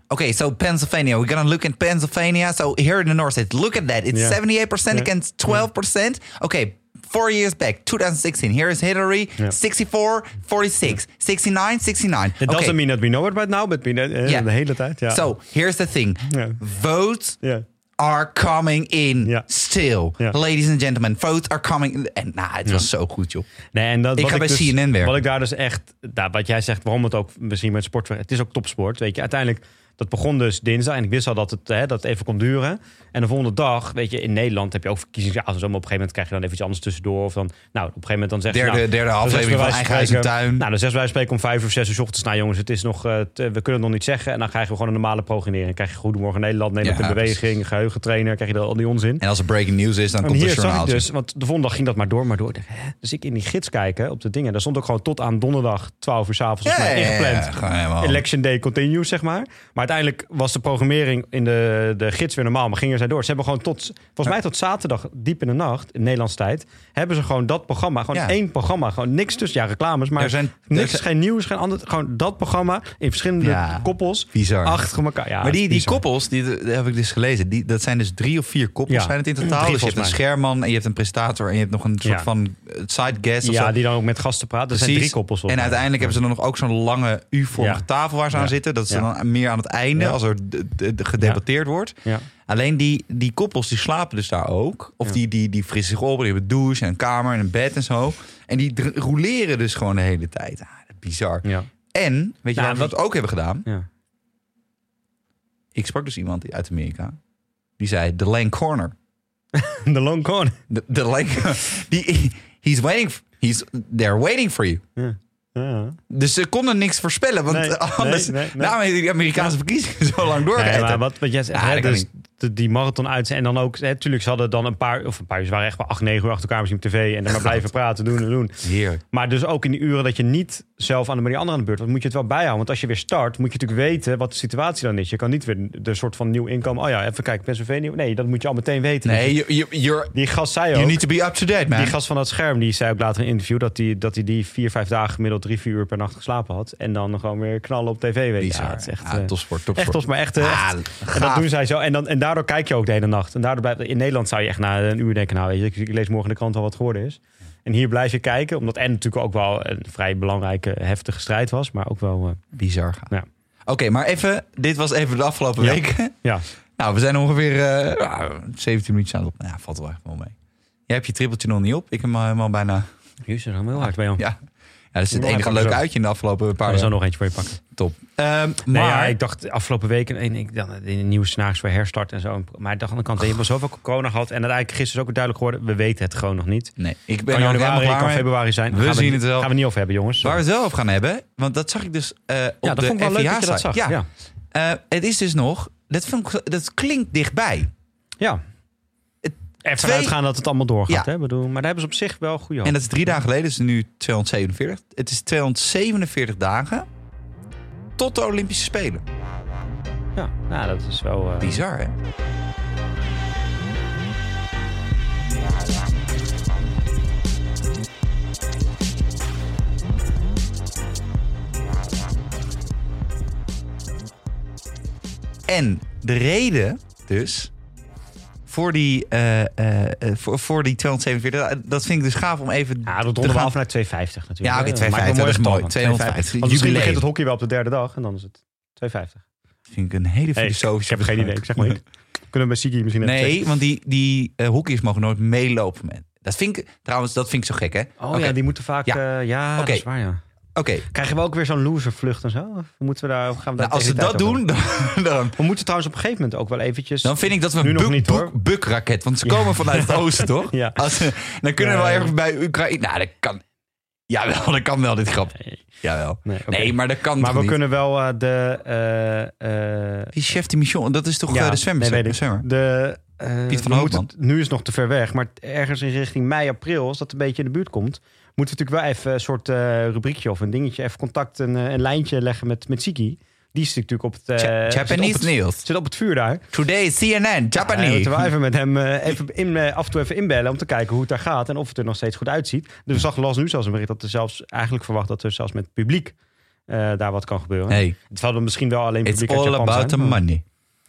Speaker 2: Okay, so Pennsylvania, we're gonna look at Pennsylvania. So here in the north, it look at that. It's
Speaker 1: Yeah.
Speaker 2: 78%
Speaker 1: Yeah.
Speaker 2: against 12%. Okay, four years back, 2016. Here is Hillary,
Speaker 1: Yeah.
Speaker 2: 64, 46, 69, 69.
Speaker 1: It
Speaker 2: okay.
Speaker 1: doesn't mean that we know it right now, but we know, eh,
Speaker 2: Yeah.
Speaker 1: de hele tijd. Ja.
Speaker 2: So here's the thing.
Speaker 1: Yeah.
Speaker 2: Votes
Speaker 1: Yeah.
Speaker 2: are coming in
Speaker 1: Yeah.
Speaker 2: still.
Speaker 1: Yeah.
Speaker 2: Ladies and gentlemen, votes are coming in. En nou, het was zo goed, joh.
Speaker 1: Nee, en dat,
Speaker 2: Ik
Speaker 1: wat
Speaker 2: ga bij
Speaker 1: dus-
Speaker 2: CNN werken.
Speaker 1: Wat ik daar dus echt, nou, wat jij zegt, waarom het ook misschien met sport. Het is ook topsport. Weet je, uiteindelijk, dat begon dus dinsdag. En ik wist al dat het, hè, dat het even kon duren. En de volgende dag, weet je, in Nederland heb je ook verkiezingsavond. Maar op een gegeven moment krijg je dan even iets anders tussendoor. Of dan, nou, op een gegeven moment dan zeg je.
Speaker 2: Derde-
Speaker 1: nou,
Speaker 2: derde
Speaker 1: dan
Speaker 2: aflevering
Speaker 1: zeggen we
Speaker 2: van
Speaker 1: bij
Speaker 2: Eigen
Speaker 1: wijze
Speaker 2: Huis en
Speaker 1: spreken,
Speaker 2: Tuin.
Speaker 1: Nou, dan zes wij spreken om vijf of zes uur 's ochtends. Nou, jongens, het is nog, eh, te- we kunnen het nog niet zeggen. En dan krijgen we gewoon een normale programmering. Dan krijg je Goedemorgen Nederland, Nederland
Speaker 2: Ja,
Speaker 1: in beweging, geheugentrainer. Krijg je er al die onzin.
Speaker 2: En als er breaking news is, dan
Speaker 1: En
Speaker 2: komt er
Speaker 1: hier zag ik
Speaker 2: een journaaltje.
Speaker 1: dus, want de volgende dag ging dat maar door, maar door. Ik dacht, hè? Dus ik in die gids kijken op de dingen. Daar stond ook gewoon tot aan donderdag 12 uur s'avonds
Speaker 2: Ja, ja, ja,
Speaker 1: ingepland.
Speaker 2: ja, gewoon helemaal.
Speaker 1: Election day continues, zeg maar. Maar uiteindelijk was de programmering in de, de gids weer normaal, maar gingen zij door. Ze hebben gewoon tot, volgens mij tot zaterdag, diep in de nacht, in Nederlands tijd, hebben ze gewoon dat programma, gewoon
Speaker 2: Ja.
Speaker 1: één programma, gewoon niks tussen, ja, reclames, maar
Speaker 2: Er zijn- er
Speaker 1: niks,
Speaker 2: zijn-
Speaker 1: geen nieuws, geen ander, gewoon dat programma in verschillende
Speaker 2: Ja,
Speaker 1: koppels,
Speaker 2: bizar.
Speaker 1: achter elkaar. Ja,
Speaker 2: maar die, die
Speaker 1: bizar.
Speaker 2: koppels, die, die heb ik dus gelezen. Die, dat zijn dus drie of vier koppels
Speaker 1: Ja,
Speaker 2: zijn het in
Speaker 1: drie
Speaker 2: totaal. Dus je
Speaker 1: volgens
Speaker 2: hebt een
Speaker 1: mij.
Speaker 2: scherman en je hebt een presentator... en je hebt nog een soort
Speaker 1: Ja.
Speaker 2: van eh, side guest of zo.
Speaker 1: Ja, die dan ook met gasten praten. Er zijn
Speaker 2: Precies.
Speaker 1: drie koppels.
Speaker 2: En
Speaker 1: volgens mij.
Speaker 2: uiteindelijk hebben ze dan nog ook zo'n lange U-vormige
Speaker 1: Ja.
Speaker 2: tafel waar ze aan
Speaker 1: Ja.
Speaker 2: zitten. Dat ze
Speaker 1: Ja.
Speaker 2: dan meer aan het einde,
Speaker 1: Ja.
Speaker 2: als er d- d- d- gedebatteerd wordt.
Speaker 1: Ja.
Speaker 2: Alleen die, die koppels die slapen dus daar ook. Of
Speaker 1: Ja.
Speaker 2: die, die, die frissen zich op, die hebben een douche en een kamer en een bed en zo. En die dr- roleren dus gewoon de hele tijd. Ah, dat is bizar.
Speaker 1: Ja.
Speaker 2: En, weet je
Speaker 1: Nou,
Speaker 2: waar we
Speaker 1: wat-
Speaker 2: dat ook hebben gedaan?
Speaker 1: Ja.
Speaker 2: Ik sprak dus iemand uit Amerika. Die zei, the lane corner.
Speaker 1: De long corner.
Speaker 2: The, the lane die, he's waiting, f- he's, they're waiting for you.
Speaker 1: Ja. Ja.
Speaker 2: Dus ze konden niks voorspellen. Want
Speaker 1: Nee, nee,
Speaker 2: anders,
Speaker 1: nee, nee.
Speaker 2: daarmee die Amerikaanse verkiezingen zo lang doorrijden.
Speaker 1: Nee, maar wat, wat jij zegt,
Speaker 2: Ja,
Speaker 1: hè,
Speaker 2: dat kan
Speaker 1: dus de- die marathon uit en dan ook, natuurlijk, ze hadden dan een paar, of een paar uur, ze waren echt wel acht, negen uur achter elkaar misschien op tv en dan maar blijven praten, doen en doen.
Speaker 2: Heerlijk.
Speaker 1: Maar dus ook in die uren dat je niet zelf aan de manier anderen aan de beurt, want moet je het wel bijhouden. Want als je weer start, moet je natuurlijk weten wat de situatie dan is. Je kan niet weer de soort van nieuw inkomen. Oh ja, even kijken, Pennsylvania. Nee, dat moet je al meteen weten.
Speaker 2: Nee, you, you, you're,
Speaker 1: Die gast zei ook.
Speaker 2: you need to be up to date, man.
Speaker 1: Die gast van dat scherm, die zei ook later in een interview... dat hij die, dat die, die vier, vijf dagen gemiddeld drie, vier uur per nacht geslapen had. En dan gewoon weer knallen op tv. Weet je.
Speaker 2: Bizar.
Speaker 1: Ja, het is echt,
Speaker 2: Ja,
Speaker 1: eh,
Speaker 2: topsport, topsport.
Speaker 1: Echt topsport, maar echt... eh,
Speaker 2: Ah,
Speaker 1: echt-
Speaker 2: gaaf.
Speaker 1: en dat doen zij zo. En, dan, en daardoor kijk je ook de hele nacht. En daardoor blijft, in Nederland zou je echt na een uur denken... nou, weet je, ik, ik lees morgen in de krant al wat geworden is. En hier blijf je kijken, omdat en natuurlijk ook wel een vrij belangrijke, heftige strijd was. Maar ook wel, eh,
Speaker 2: Bizar gaaf.
Speaker 1: Ja.
Speaker 2: Oké, maar even, dit was even de afgelopen
Speaker 1: Ja.
Speaker 2: weken.
Speaker 1: ja.
Speaker 2: Nou, we zijn ongeveer eh, nou, 17 minuutjes aan het op. Nou, ja, valt wel echt wel mee. Jij hebt je trippeltje nog niet op. Ik heb hem al helemaal bijna.
Speaker 1: Jezus, dat is heel hard bij jou.
Speaker 2: Ja, ja dat is het
Speaker 1: Nou,
Speaker 2: enige
Speaker 1: pak
Speaker 2: leuke
Speaker 1: zo.
Speaker 2: uitje in de afgelopen paar
Speaker 1: We
Speaker 2: jaar.
Speaker 1: zullen nog eentje voor je pakken.
Speaker 2: Top. Ehm,
Speaker 1: Nee,
Speaker 2: maar
Speaker 1: ja, ik dacht afgelopen weken en ik dan eh, in een nieuw scenario voor herstart en zo. Maar ik dacht aan de kant, je hebt al zoveel corona gehad en dat eigenlijk gisteren is ook duidelijk geworden. We weten het gewoon nog niet.
Speaker 2: nee, ik ben
Speaker 1: Kan
Speaker 2: er ook
Speaker 1: januari,
Speaker 2: helemaal
Speaker 1: kan
Speaker 2: klaar mee.
Speaker 1: februari zijn.
Speaker 2: We
Speaker 1: Gaan
Speaker 2: zien
Speaker 1: niet-
Speaker 2: het wel.
Speaker 1: Gaan we niet over hebben, jongens.
Speaker 2: Waar we het wel over gaan hebben, want dat zag ik dus eh, op
Speaker 1: ja, dat
Speaker 2: de
Speaker 1: vond ik wel leuk dat je
Speaker 2: FVA
Speaker 1: dat
Speaker 2: site.
Speaker 1: zag.
Speaker 2: Ja,
Speaker 1: Ja, ja.
Speaker 2: Eh, het is dus nog, dat, vind ik, dat klinkt dichtbij. Het-
Speaker 1: Even
Speaker 2: twee-
Speaker 1: uitgaan dat het allemaal doorgaat.
Speaker 2: Ja.
Speaker 1: Hè? Bedoel, maar daar hebben ze op zich wel goede
Speaker 2: En
Speaker 1: hoop.
Speaker 2: dat is drie dagen geleden, dus nu 247. Het is 247 dagen tot de Olympische Spelen.
Speaker 1: Ja, nou, dat is wel... eh,
Speaker 2: Bizar, hè? En de reden dus voor die, eh, eh, eh, voor, voor die 247, dat vind ik dus gaaf om even
Speaker 1: ja, dat
Speaker 2: te
Speaker 1: ronden we
Speaker 2: gaan
Speaker 1: af naar 250 natuurlijk.
Speaker 2: Ja, oké,
Speaker 1: hè. maakt wel
Speaker 2: 250, dat is
Speaker 1: mooie
Speaker 2: mooi.
Speaker 1: getallen.
Speaker 2: 250,
Speaker 1: Want misschien begint
Speaker 2: jubileum.
Speaker 1: het hockey wel op de derde dag en dan is het 250.
Speaker 2: Vind ik een hele
Speaker 1: Hey,
Speaker 2: filosofische.
Speaker 1: ik heb geen idee, ik zeg maar niet. Kunnen we bij Sigi misschien even
Speaker 2: Nee,
Speaker 1: checken?
Speaker 2: want die, die eh, hoekjes mogen nooit meelopen. Met. Dat vind ik trouwens, dat vind ik zo gek, hè?
Speaker 1: Oh
Speaker 2: Oké,
Speaker 1: ja, die moeten vaak...
Speaker 2: Ja.
Speaker 1: Ja, ja
Speaker 2: Oké.
Speaker 1: dat is waar, ja.
Speaker 2: Oké,
Speaker 1: Krijgen we ook weer zo'n loservlucht en zo? Of moeten we daar, of gaan we daar
Speaker 2: nou, als ze
Speaker 1: tegen die
Speaker 2: dat
Speaker 1: tijd over?
Speaker 2: doen, dan, dan,
Speaker 1: We moeten trouwens op een gegeven moment ook wel eventjes...
Speaker 2: dan vind ik dat we
Speaker 1: Nu
Speaker 2: een
Speaker 1: nog
Speaker 2: buk,
Speaker 1: niet, hoor.
Speaker 2: buk- bukraket, want ze komen vanuit het oosten, toch?
Speaker 1: Ja.
Speaker 2: Als, ze- dan kunnen we wel
Speaker 1: Ja.
Speaker 2: ergens bij Oekraïne. Nou, dat kan. Jawel, dat kan wel, dit grap.
Speaker 1: Nee,
Speaker 2: Jawel.
Speaker 1: nee, oké.
Speaker 2: Nee, maar dat kan
Speaker 1: Maar
Speaker 2: toch
Speaker 1: we
Speaker 2: niet?
Speaker 1: kunnen wel eh, de... eh, eh,
Speaker 2: Die chef de mission, dat is toch eh, de zwemmer?
Speaker 1: nee, weet
Speaker 2: de
Speaker 1: ik.
Speaker 2: zwemmer?
Speaker 1: De, eh,
Speaker 2: Piet van
Speaker 1: we
Speaker 2: Hoogman.
Speaker 1: moeten- Nu is het nog te ver weg, maar ergens in richting mei, april, als dat een beetje in de buurt komt, moeten we natuurlijk wel even een soort eh, rubriekje of een dingetje, even contact, een, eh, een lijntje leggen met, met Siki. Die zit natuurlijk op het, eh,
Speaker 2: Ja-
Speaker 1: zit op
Speaker 2: Japanese
Speaker 1: het-
Speaker 2: News.
Speaker 1: Zit op het vuur daar.
Speaker 2: Today CNN,
Speaker 1: Ja, we
Speaker 2: Japanese.
Speaker 1: moeten wel even met hem eh, even in, eh, af en toe even inbellen om te kijken hoe het daar gaat en of het er nog steeds goed uitziet. Dus ik zag las nu zelfs een bericht dat er zelfs eigenlijk verwacht dat er zelfs met publiek eh, eh, daar wat kan gebeuren.
Speaker 2: Hey,
Speaker 1: Het zal dan misschien wel alleen
Speaker 2: it's
Speaker 1: publiek uit
Speaker 2: all
Speaker 1: Japan
Speaker 2: about
Speaker 1: zijn,
Speaker 2: the
Speaker 1: maar-
Speaker 2: money.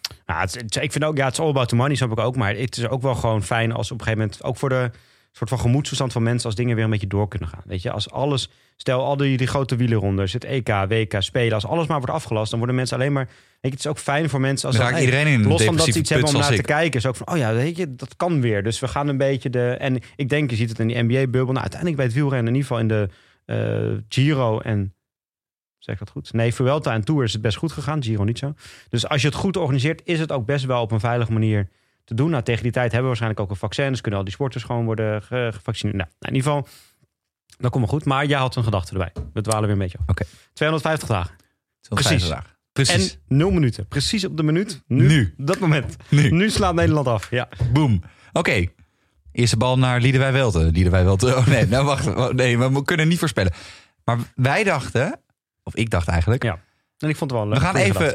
Speaker 1: Ja, Nou, het, het- ik vind ook, ja, het is all about the money, snap ik ook. Maar het is ook wel gewoon fijn als op een gegeven moment... ook voor de soort van gemoedstoestand van mensen... als dingen weer een beetje door kunnen gaan. Weet je, als alles... Stel, al die, die grote wielerrondes, het EK, WK, Spelen... als alles maar wordt afgelast, dan worden mensen alleen maar... Weet je, het is ook fijn voor mensen als...
Speaker 2: Dan
Speaker 1: dat,
Speaker 2: raakt
Speaker 1: hey,
Speaker 2: iedereen in een
Speaker 1: Los van dat ze
Speaker 2: depressieve
Speaker 1: iets hebben
Speaker 2: put
Speaker 1: om
Speaker 2: zoals
Speaker 1: naar te
Speaker 2: ik.
Speaker 1: kijken. Is ook van, oh ja, weet je, dat kan weer. Dus we gaan een beetje de... En ik denk, je ziet het in die NBA-bubbel. Nou, uiteindelijk bij het wielrennen, in ieder geval in de eh, Giro en... Zeg ik dat goed? Nee, Vuelta en Tour is het best goed gegaan. Giro niet zo. Dus als je het goed organiseert, is het ook best wel op een veilige manier te doen. Nou, tegen die tijd hebben we waarschijnlijk ook een vaccin. Dus kunnen al die sporters gewoon worden ge- gevaccineerd. Nou, in ieder geval, dat komt wel goed. Maar jij had een gedachte erbij. We dwalen weer een beetje af.
Speaker 2: Oké.
Speaker 1: 250 dagen.
Speaker 2: Tot
Speaker 1: Precies.
Speaker 2: vrijdag. Precies.
Speaker 1: En 0 minuten. Precies op de minuut. Nu.
Speaker 2: Nu.
Speaker 1: Dat moment.
Speaker 2: Nu.
Speaker 1: Nu slaat Nederland af. Ja.
Speaker 2: Boom. Oké. Eerste bal naar Liederwij Welte. Liederwij Welte. Oh nee, nou wacht. Oh, Nee, we mo- kunnen niet voorspellen. Maar wij dachten, of ik dacht eigenlijk,
Speaker 1: Ja, En ik vond het wel leuk.
Speaker 2: we gaan even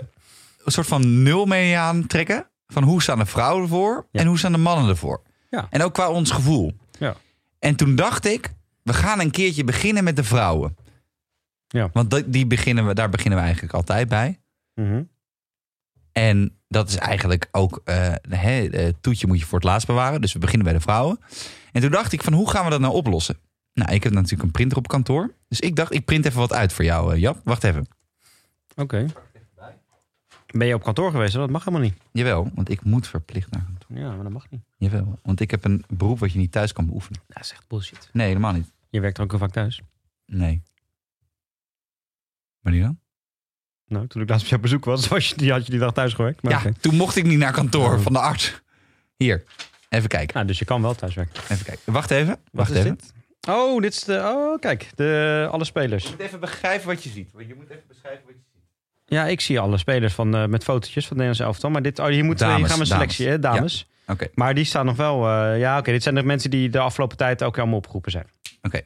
Speaker 2: een soort van nul mee aantrekken. Van hoe staan de vrouwen ervoor
Speaker 1: Ja.
Speaker 2: en hoe staan de mannen ervoor.
Speaker 1: Ja.
Speaker 2: En ook qua ons gevoel.
Speaker 1: Ja.
Speaker 2: En toen dacht ik, we gaan een keertje beginnen met de vrouwen.
Speaker 1: Ja.
Speaker 2: Want dat- die beginnen we, daar beginnen we eigenlijk altijd bij.
Speaker 1: Mhm.
Speaker 2: En dat is eigenlijk ook, eh hè, eh, toetje moet je voor het laatst bewaren. Dus we beginnen bij de vrouwen. En toen dacht ik van, hoe gaan we dat nou oplossen? Nou, ik heb natuurlijk een printer op kantoor. Dus ik dacht, ik print even wat uit voor jou, eh, Jap. Wacht even.
Speaker 1: Oké. Ben je op kantoor geweest? hoor? Dat mag helemaal niet.
Speaker 2: Jawel, want ik moet verplicht naar kantoor.
Speaker 1: Ja, maar dat mag niet.
Speaker 2: Jawel, want ik heb een beroep wat je niet thuis kan beoefenen.
Speaker 1: Dat is echt bullshit.
Speaker 2: Nee, helemaal niet.
Speaker 1: Je werkt er ook heel vaak thuis.
Speaker 2: Nee. Wanneer dan?
Speaker 1: Nou, toen ik laatst op jouw bezoek was, was je, die, had je die dag thuis gewerkt. Maar
Speaker 2: ja,
Speaker 1: oké.
Speaker 2: toen mocht ik niet naar kantoor
Speaker 1: Oh.
Speaker 2: van de arts. Hier, even kijken,
Speaker 1: Nou, dus je kan wel thuis werken.
Speaker 2: even kijken. Wacht even, wacht
Speaker 1: is
Speaker 2: even.
Speaker 1: dit? Oh, dit is de... Oh, kijk. De, alle spelers.
Speaker 2: moet even begrijpen wat je ziet. Je moet even beschrijven wat je ziet.
Speaker 1: Ja, ik zie alle spelers van, eh, met fotootjes van het Nederlands elftal. Maar dit, oh, hier, moet, hier
Speaker 2: Dames,
Speaker 1: gaan we een selectie, hè,
Speaker 2: dames.
Speaker 1: dames.
Speaker 2: Oké.
Speaker 1: Maar die staan nog wel... eh, ja, oké, dit zijn de mensen die de afgelopen tijd ook allemaal opgeroepen zijn.
Speaker 2: Oké.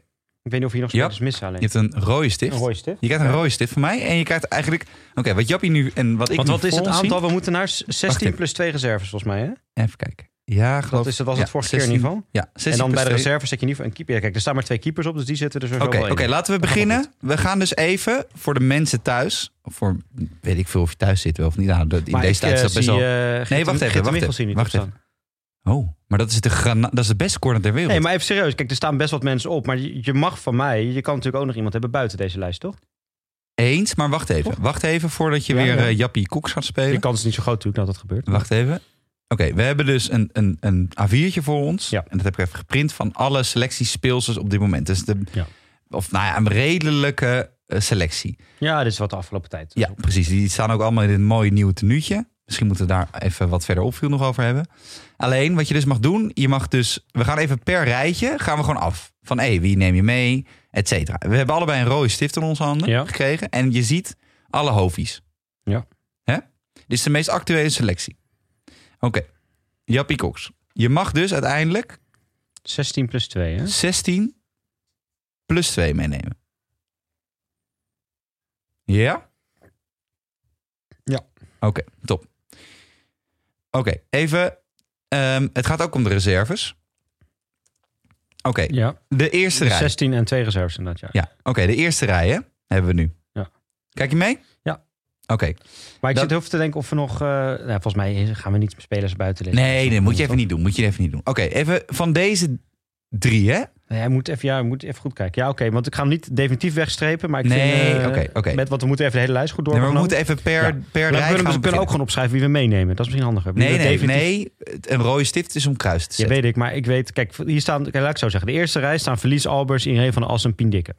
Speaker 1: Ik weet niet of hier nog
Speaker 2: Ja.
Speaker 1: spelers missen alleen.
Speaker 2: Je hebt een rode stift.
Speaker 1: Een rode stift.
Speaker 2: Je krijgt een rode stift van mij. En je krijgt eigenlijk... Oké, wat Jappie nu en wat ik
Speaker 1: Want
Speaker 2: nu
Speaker 1: wat is het
Speaker 2: voor ons
Speaker 1: aantal? We moeten naar s-
Speaker 2: Wacht
Speaker 1: 16
Speaker 2: even.
Speaker 1: plus 2 reserves, volgens mij. Hè? Dus
Speaker 2: Zie, even kijken. Ja, geloof
Speaker 1: Dat is, dat was het
Speaker 2: ja,
Speaker 1: vorige keer in
Speaker 2: 16
Speaker 1: ieder geval.
Speaker 2: Ja, 16
Speaker 1: En dan bij de
Speaker 2: plus twee.
Speaker 1: reserves zet je in ieder geval een keeper. Ja, kijk, er staan maar twee keepers op, dus die zitten er sowieso
Speaker 2: Oké,
Speaker 1: wel
Speaker 2: oké,
Speaker 1: in.
Speaker 2: laten we
Speaker 1: Dat gaat wel
Speaker 2: beginnen. We gaan dus even voor de mensen thuis. of Voor weet ik veel of je thuis zit wel of niet. Nou, dat, in
Speaker 1: Maar
Speaker 2: deze
Speaker 1: ik,
Speaker 2: tijd is
Speaker 1: eh,
Speaker 2: dat best
Speaker 1: zie,
Speaker 2: wel...
Speaker 1: eh, Gert-
Speaker 2: wacht even,
Speaker 1: Gert de
Speaker 2: wacht
Speaker 1: Wichels hier
Speaker 2: even,
Speaker 1: niet
Speaker 2: wacht
Speaker 1: op staan.
Speaker 2: Oh, maar dat is de, grana- dat is de beste corner ter wereld.
Speaker 1: Nee, maar even serieus. Kijk, er staan best wat mensen op. Maar je, je mag van mij... Je kan natuurlijk ook nog iemand hebben buiten deze lijst, toch?
Speaker 2: Eens, maar wacht even. Wacht even voordat je
Speaker 1: Ja,
Speaker 2: weer
Speaker 1: ja.
Speaker 2: eh, Jappie Koeks gaat spelen.
Speaker 1: Die kans is niet zo groot natuurlijk dat dat gebeurt.
Speaker 2: Wacht even. Oké, we hebben dus een, een, een A4'tje voor ons.
Speaker 1: Ja.
Speaker 2: En dat heb ik even geprint van alle selecties speelsels op dit moment. Dus de,
Speaker 1: Ja.
Speaker 2: Of nou ja, een redelijke eh, selectie.
Speaker 1: Ja, dit is wat de afgelopen tijd.
Speaker 2: Ja, precies. Die staan ook allemaal in dit mooie nieuwe tenuutje. Misschien moeten we daar even wat verder opviel nog over hebben. Alleen, wat je dus mag doen, je mag dus... We gaan even per rijtje, gaan we gewoon af. Van, hé, wie neem je mee, et cetera. We hebben allebei een rode stift in onze handen
Speaker 1: Ja.
Speaker 2: gekregen. En je ziet alle hovies.
Speaker 1: Ja.
Speaker 2: Hè? Dit is de meest actuele selectie. Oké, Jappie Cox. Je mag dus uiteindelijk
Speaker 1: 16 plus 2, hè?
Speaker 2: 16 plus 2 meenemen. Ja?
Speaker 1: Ja.
Speaker 2: Oké, top. Oké, even. ehm, het gaat ook om de reserves. Oké,
Speaker 1: Ja,
Speaker 2: de eerste rij.
Speaker 1: 16 en 2 reserves inderdaad, ja.
Speaker 2: Ja, oké, de eerste rij hè, hebben we nu.
Speaker 1: Ja.
Speaker 2: Kijk je mee?
Speaker 1: Ja.
Speaker 2: Oké,
Speaker 1: Maar ik
Speaker 2: Dat-
Speaker 1: zit heel even te denken of we nog... eh, nou, volgens mij gaan we niet spelers buiten liggen. Dus
Speaker 2: nee, nee, moet je even niet doen. Moet je even niet doen. Oké, even van deze drie, hè?
Speaker 1: Nee, hij moet even, ja, hij moet even goed kijken. Ja, oké, want ik ga hem niet definitief wegstrepen. Maar ik
Speaker 2: Nee,
Speaker 1: vind... eh,
Speaker 2: oké, oké.
Speaker 1: Met, want we moeten even de hele lijst goed
Speaker 2: Nee,
Speaker 1: doorgaan.
Speaker 2: maar we moeten even per,
Speaker 1: Ja.
Speaker 2: per
Speaker 1: we
Speaker 2: rij.
Speaker 1: kunnen,
Speaker 2: gaan
Speaker 1: we kunnen ook gewoon opschrijven wie we meenemen. Dat is misschien handiger. Wie
Speaker 2: Nee,
Speaker 1: we
Speaker 2: nee,
Speaker 1: definitief-
Speaker 2: nee. Het- Een rode stift is om kruis te
Speaker 1: Ja,
Speaker 2: zetten.
Speaker 1: weet ik. Maar ik weet... Kijk, hier staan... Kijk, laat ik het zo zeggen. De eerste rij staan Verlies, Albers, Irene van Assem, Pien Dikke.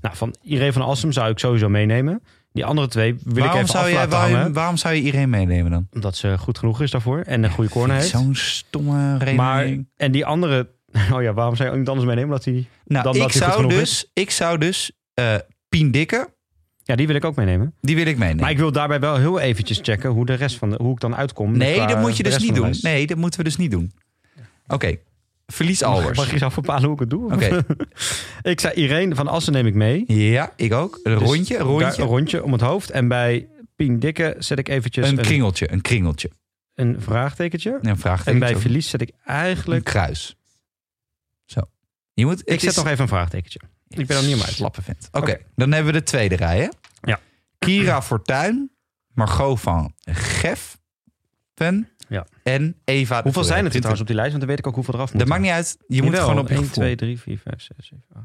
Speaker 1: Nou, van Irene van Assem zou ik sowieso meenemen. Die andere twee wil ik
Speaker 2: waarom,
Speaker 1: even
Speaker 2: zou
Speaker 1: af
Speaker 2: je,
Speaker 1: laten
Speaker 2: waarom,
Speaker 1: hangen.
Speaker 2: waarom zou je iedereen meenemen dan?
Speaker 1: Omdat ze goed genoeg is daarvoor. En een goede corner heeft.
Speaker 2: Zo'n stomme
Speaker 1: Maar...
Speaker 2: redenering.
Speaker 1: En die andere... Oh ja, waarom zou je niet anders meenemen? Omdat die... dan
Speaker 2: nou,
Speaker 1: dat
Speaker 2: ik,
Speaker 1: hij goed
Speaker 2: zou
Speaker 1: genoeg
Speaker 2: dus, ik zou dus eh, Pien Dikke,
Speaker 1: Ja, die wil ik ook meenemen.
Speaker 2: die wil ik meenemen.
Speaker 1: Maar ik wil daarbij wel heel eventjes checken hoe de rest van de, hoe ik dan uitkom.
Speaker 2: nee,
Speaker 1: qua
Speaker 2: dat moet
Speaker 1: de
Speaker 2: je dus
Speaker 1: rest
Speaker 2: niet
Speaker 1: van de
Speaker 2: doen.
Speaker 1: lijst.
Speaker 2: Nee, dat moeten we dus niet doen. Oké, verlies
Speaker 1: Mag,
Speaker 2: Albers.
Speaker 1: mag je zelf bepalen hoe ik het doe?
Speaker 2: Oké,
Speaker 1: Ik zei Irene van Assen neem ik mee.
Speaker 2: ja, ik ook. Een
Speaker 1: Dus
Speaker 2: rondje, een rondje.
Speaker 1: daar Een rondje om het hoofd. En bij Pien Dikke zet ik eventjes
Speaker 2: een
Speaker 1: een, een,
Speaker 2: kringeltje, een kringeltje.
Speaker 1: vraagtekentje.
Speaker 2: Een
Speaker 1: En
Speaker 2: vraagteken.
Speaker 1: bij
Speaker 2: Zo.
Speaker 1: Verlies zet ik
Speaker 2: Een
Speaker 1: eigenlijk...
Speaker 2: kruis. Zo. Je moet,
Speaker 1: Ik zet nog even een vraagtekentje. Ik ben er niet om uit.
Speaker 2: Slappe vent. Oké,
Speaker 1: Oké.
Speaker 2: dan hebben we de tweede rij, hè?
Speaker 1: Ja.
Speaker 2: Kira Fortuyn, Margot van Geffen
Speaker 1: Ja.
Speaker 2: en Eva de
Speaker 1: Hoeveel zijn het
Speaker 2: Vrij.
Speaker 1: er trouwens op die lijst? Want dan weet ik ook hoeveel eraf moet.
Speaker 2: Dat maakt niet uit. Je moet gewoon op je
Speaker 1: 1,
Speaker 2: gevoel.
Speaker 1: 2, 3, 4, 5, 6, 7, 8,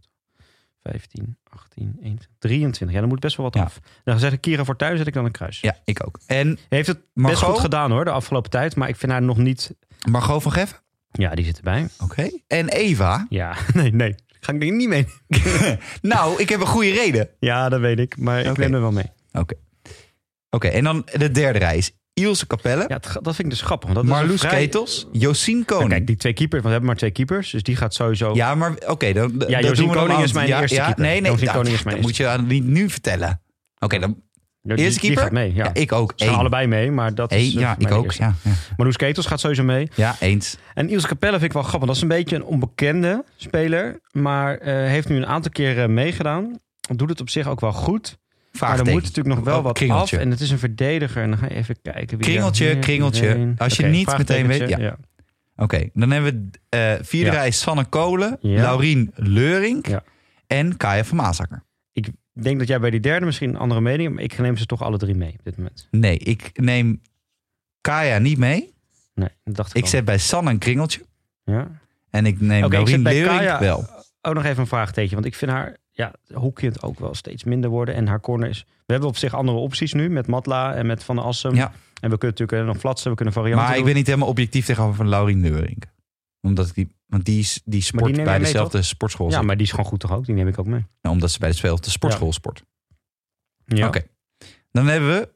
Speaker 1: 9, 10, 11, 12, 15, 18, 21, 23. Ja, dan moet best wel wat
Speaker 2: Ja.
Speaker 1: af. Dan zeg ik Kira Fortuyn, zet ik dan een kruis.
Speaker 2: Ja, ik ook. En
Speaker 1: Heeft het best
Speaker 2: Margot?
Speaker 1: goed gedaan hoor, de afgelopen tijd. Maar ik vind haar nog niet...
Speaker 2: Margot van Geffen.
Speaker 1: Ja, die zit erbij.
Speaker 2: Oké. En Eva.
Speaker 1: Ja, nee, nee. Ga ik denk ik niet mee.
Speaker 2: Nou, ik heb een goede reden. Oké.
Speaker 1: Ja, dat weet ik. Maar ik
Speaker 2: Oké.
Speaker 1: ben er wel mee.
Speaker 2: Oké, en dan de derde rij is Ilse Capelle,
Speaker 1: Ja, het- dat vind ik dus grappig. want Dat is een
Speaker 2: Marloes
Speaker 1: vrij-
Speaker 2: Ketels, Josien Koning.
Speaker 1: Nou, kijk, die twee keepers, want we hebben maar twee keepers. Dus die gaat sowieso...
Speaker 2: Ja, maar oké, dan, dan
Speaker 1: Josien
Speaker 2: doen we dan
Speaker 1: Koning
Speaker 2: aan-
Speaker 1: is mijn
Speaker 2: ja,
Speaker 1: eerste
Speaker 2: ja,
Speaker 1: keeper.
Speaker 2: Nee, nee,
Speaker 1: Josien
Speaker 2: ja,
Speaker 1: Koning is
Speaker 2: dat
Speaker 1: mijn
Speaker 2: moet je aan- niet nu vertellen. Oké, dan
Speaker 1: die,
Speaker 2: eerste
Speaker 1: die
Speaker 2: keeper?
Speaker 1: gaat mee, ja.
Speaker 2: ja. ik ook.
Speaker 1: Ze gaan
Speaker 2: Eén.
Speaker 1: allebei mee, maar dat
Speaker 2: Eén,
Speaker 1: is... eh,
Speaker 2: ja,
Speaker 1: mijn
Speaker 2: ik ook.
Speaker 1: eerste.
Speaker 2: Ja, ja.
Speaker 1: Marloes Ketels gaat sowieso mee.
Speaker 2: ja, eens.
Speaker 1: En Ilse Capelle vind ik wel grappig. Dat is een beetje een onbekende speler. Maar eh, heeft nu een aantal keer eh, meegedaan. Doet het op zich ook wel goed. Maar er
Speaker 2: Vraagteken.
Speaker 1: moet natuurlijk nog wel
Speaker 2: Oh,
Speaker 1: wat
Speaker 2: kringeltje.
Speaker 1: af. En het is een verdediger. En dan ga je even kijken. Wie
Speaker 2: Kringeltje,
Speaker 1: daar-
Speaker 2: kringeltje.
Speaker 1: iedereen-
Speaker 2: Als je
Speaker 1: Oké,
Speaker 2: niet meteen weet-
Speaker 1: vraagtekentje,
Speaker 2: Oké, dan hebben we eh vierde
Speaker 1: Ja.
Speaker 2: rij is Sanne Kolen,
Speaker 1: Ja.
Speaker 2: Laurien Leuring
Speaker 1: Ja.
Speaker 2: en Kaya van Maasakker.
Speaker 1: Ik denk dat jij bij die derde misschien een andere mening hebt. Maar ik neem ze toch alle drie mee op dit moment.
Speaker 2: Nee, ik neem Kaya niet mee.
Speaker 1: Nee, dat dacht ik
Speaker 2: Ik
Speaker 1: al.
Speaker 2: zet bij Sanne een kringeltje.
Speaker 1: Ja?
Speaker 2: En ik neem
Speaker 1: Oh. Oké, ik
Speaker 2: Laurien
Speaker 1: zet bij
Speaker 2: Leuring
Speaker 1: Kaya-
Speaker 2: wel.
Speaker 1: Ook nog even een vraagteken. Want ik vind haar... Ja, hoekkind ook wel steeds minder worden. En haar corner is... We hebben op zich andere opties nu. Met Matla en met Van der Assem.
Speaker 2: Ja.
Speaker 1: En we kunnen natuurlijk eh, nog flatsen. We kunnen varianten
Speaker 2: Maar ik
Speaker 1: doen.
Speaker 2: ben niet helemaal objectief tegenover van Laurien Leuring. Omdat ik die, want die, is- die sport
Speaker 1: neem jij
Speaker 2: bij
Speaker 1: mee,
Speaker 2: dezelfde sportschool.
Speaker 1: Ja,
Speaker 2: zit.
Speaker 1: maar die is gewoon goed toch ook? Die neem ik ook mee.
Speaker 2: Nou, omdat ze bij dezelfde sportschool sport.
Speaker 1: Ja.
Speaker 2: Oké. Dan hebben we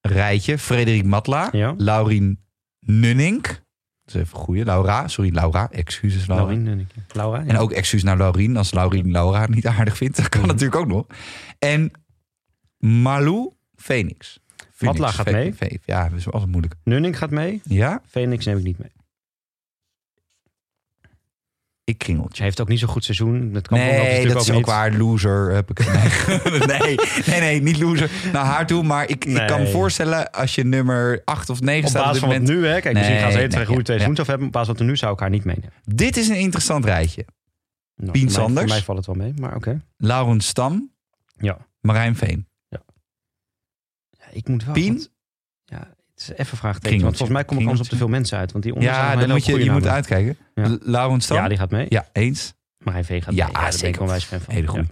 Speaker 2: een rijtje Frederik Matla,
Speaker 1: Ja.
Speaker 2: Laurien Nunnink. Dat is even een goeie. Laura, sorry Laura. Excuses Laura.
Speaker 1: Laurien, denk ik. Laura, ja.
Speaker 2: En ook excuus naar Laurien. Als Laurien Laura niet aardig vindt. Dat kan natuurlijk ook nog. En Malou Phoenix. Phoenix,
Speaker 1: Matla gaat
Speaker 2: Fe-
Speaker 1: mee.
Speaker 2: Fe- ja, dat is wel altijd moeilijk.
Speaker 1: Nunning gaat mee.
Speaker 2: Ja,
Speaker 1: Phoenix neem ik niet mee.
Speaker 2: ik kringeltje.
Speaker 1: Ze heeft ook niet zo'n goed seizoen. Dat kan voorlopig
Speaker 2: Nee,
Speaker 1: natuurlijk
Speaker 2: dat is ook
Speaker 1: niet.
Speaker 2: waar. Loser heb ik. Nee. nee, nee, nee, niet loser. Naar haar toe. Maar ik, ik kan me
Speaker 1: Nee.
Speaker 2: voorstellen als je nummer 8 of 9
Speaker 1: Op
Speaker 2: staat op
Speaker 1: basis
Speaker 2: dit
Speaker 1: van wat
Speaker 2: moment.
Speaker 1: nu, hè. Kijk, misschien
Speaker 2: Nee,
Speaker 1: gaan ze heel
Speaker 2: nee,
Speaker 1: twee goede
Speaker 2: ja,
Speaker 1: twee
Speaker 2: ja.
Speaker 1: seizoens af hebben. maar Op basis van wat er nu zou ik haar niet meenemen.
Speaker 2: Dit is een interessant rijtje.
Speaker 1: Nou, voor
Speaker 2: Pien
Speaker 1: mij-
Speaker 2: Sanders?
Speaker 1: Voor mij valt het wel mee, maar oké.
Speaker 2: Lauren Stam,
Speaker 1: Ja.
Speaker 2: Marijn Veen.
Speaker 1: Ja, Ik moet wel...
Speaker 2: Pien?
Speaker 1: want- ja, het is even een vraagteken.
Speaker 2: Kringeltje.
Speaker 1: Want volgens mij kom ik anders op te veel mensen uit. Want die onderzoek
Speaker 2: ja, dan moet je, je moet uitkijken.
Speaker 1: Ja.
Speaker 2: L- Lauren Stam.
Speaker 1: Ja, die gaat mee.
Speaker 2: Ja, eens.
Speaker 1: Maar hij V gaat
Speaker 2: Ja,
Speaker 1: mee. daar ben ik
Speaker 2: zeker.
Speaker 1: wel wijs fan van.
Speaker 2: Hele goed.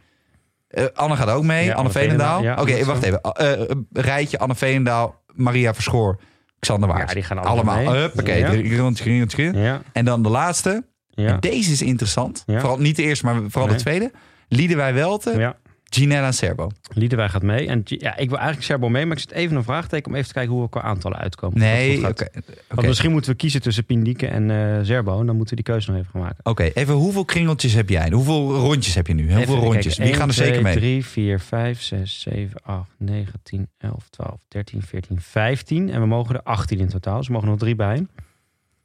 Speaker 1: Ja.
Speaker 2: Eh, Anne gaat ook mee.
Speaker 1: Ja,
Speaker 2: Anne Veenendaal.
Speaker 1: Veenendaal,
Speaker 2: Oké,
Speaker 1: ja.
Speaker 2: wacht even. Eh, eh, rijtje Anne Veenendaal, Maria Verschoor, Xander Waars.
Speaker 1: Ja, die gaan allemaal,
Speaker 2: Allemaal.
Speaker 1: mee.
Speaker 2: Huppakee.
Speaker 1: Ja.
Speaker 2: Kringeltje, kringeltje, kringeltje.
Speaker 1: Ja,
Speaker 2: En dan de laatste.
Speaker 1: ja,
Speaker 2: Deze is interessant.
Speaker 1: Ja.
Speaker 2: Vooral niet de eerste, maar vooral
Speaker 1: Nee.
Speaker 2: de tweede. Liedewij Welte,
Speaker 1: ja.
Speaker 2: Ginella Serbo.
Speaker 1: Liederwij gaat mee. En G- ja, ik wil eigenlijk Serbo mee, maar ik zet even een vraagteken om even te kijken hoe we qua aantallen uitkomen. Of dat
Speaker 2: Nee,
Speaker 1: goed
Speaker 2: oké.
Speaker 1: gaat.
Speaker 2: oké.
Speaker 1: Want misschien moeten we kiezen tussen Pindieke en eh Serbo. En dan moeten we die keuze nog even gaan maken.
Speaker 2: Oké, even hoeveel kringeltjes heb jij? Hoeveel rondjes heb je nu? Heel veel rondjes. Die gaan er zeker mee.
Speaker 1: 3, 4, 5, 6, 7, 8, 9, 10, 11, 12, 13, 14, 15. En we mogen er 18 in totaal. Dus we mogen er nog drie bij.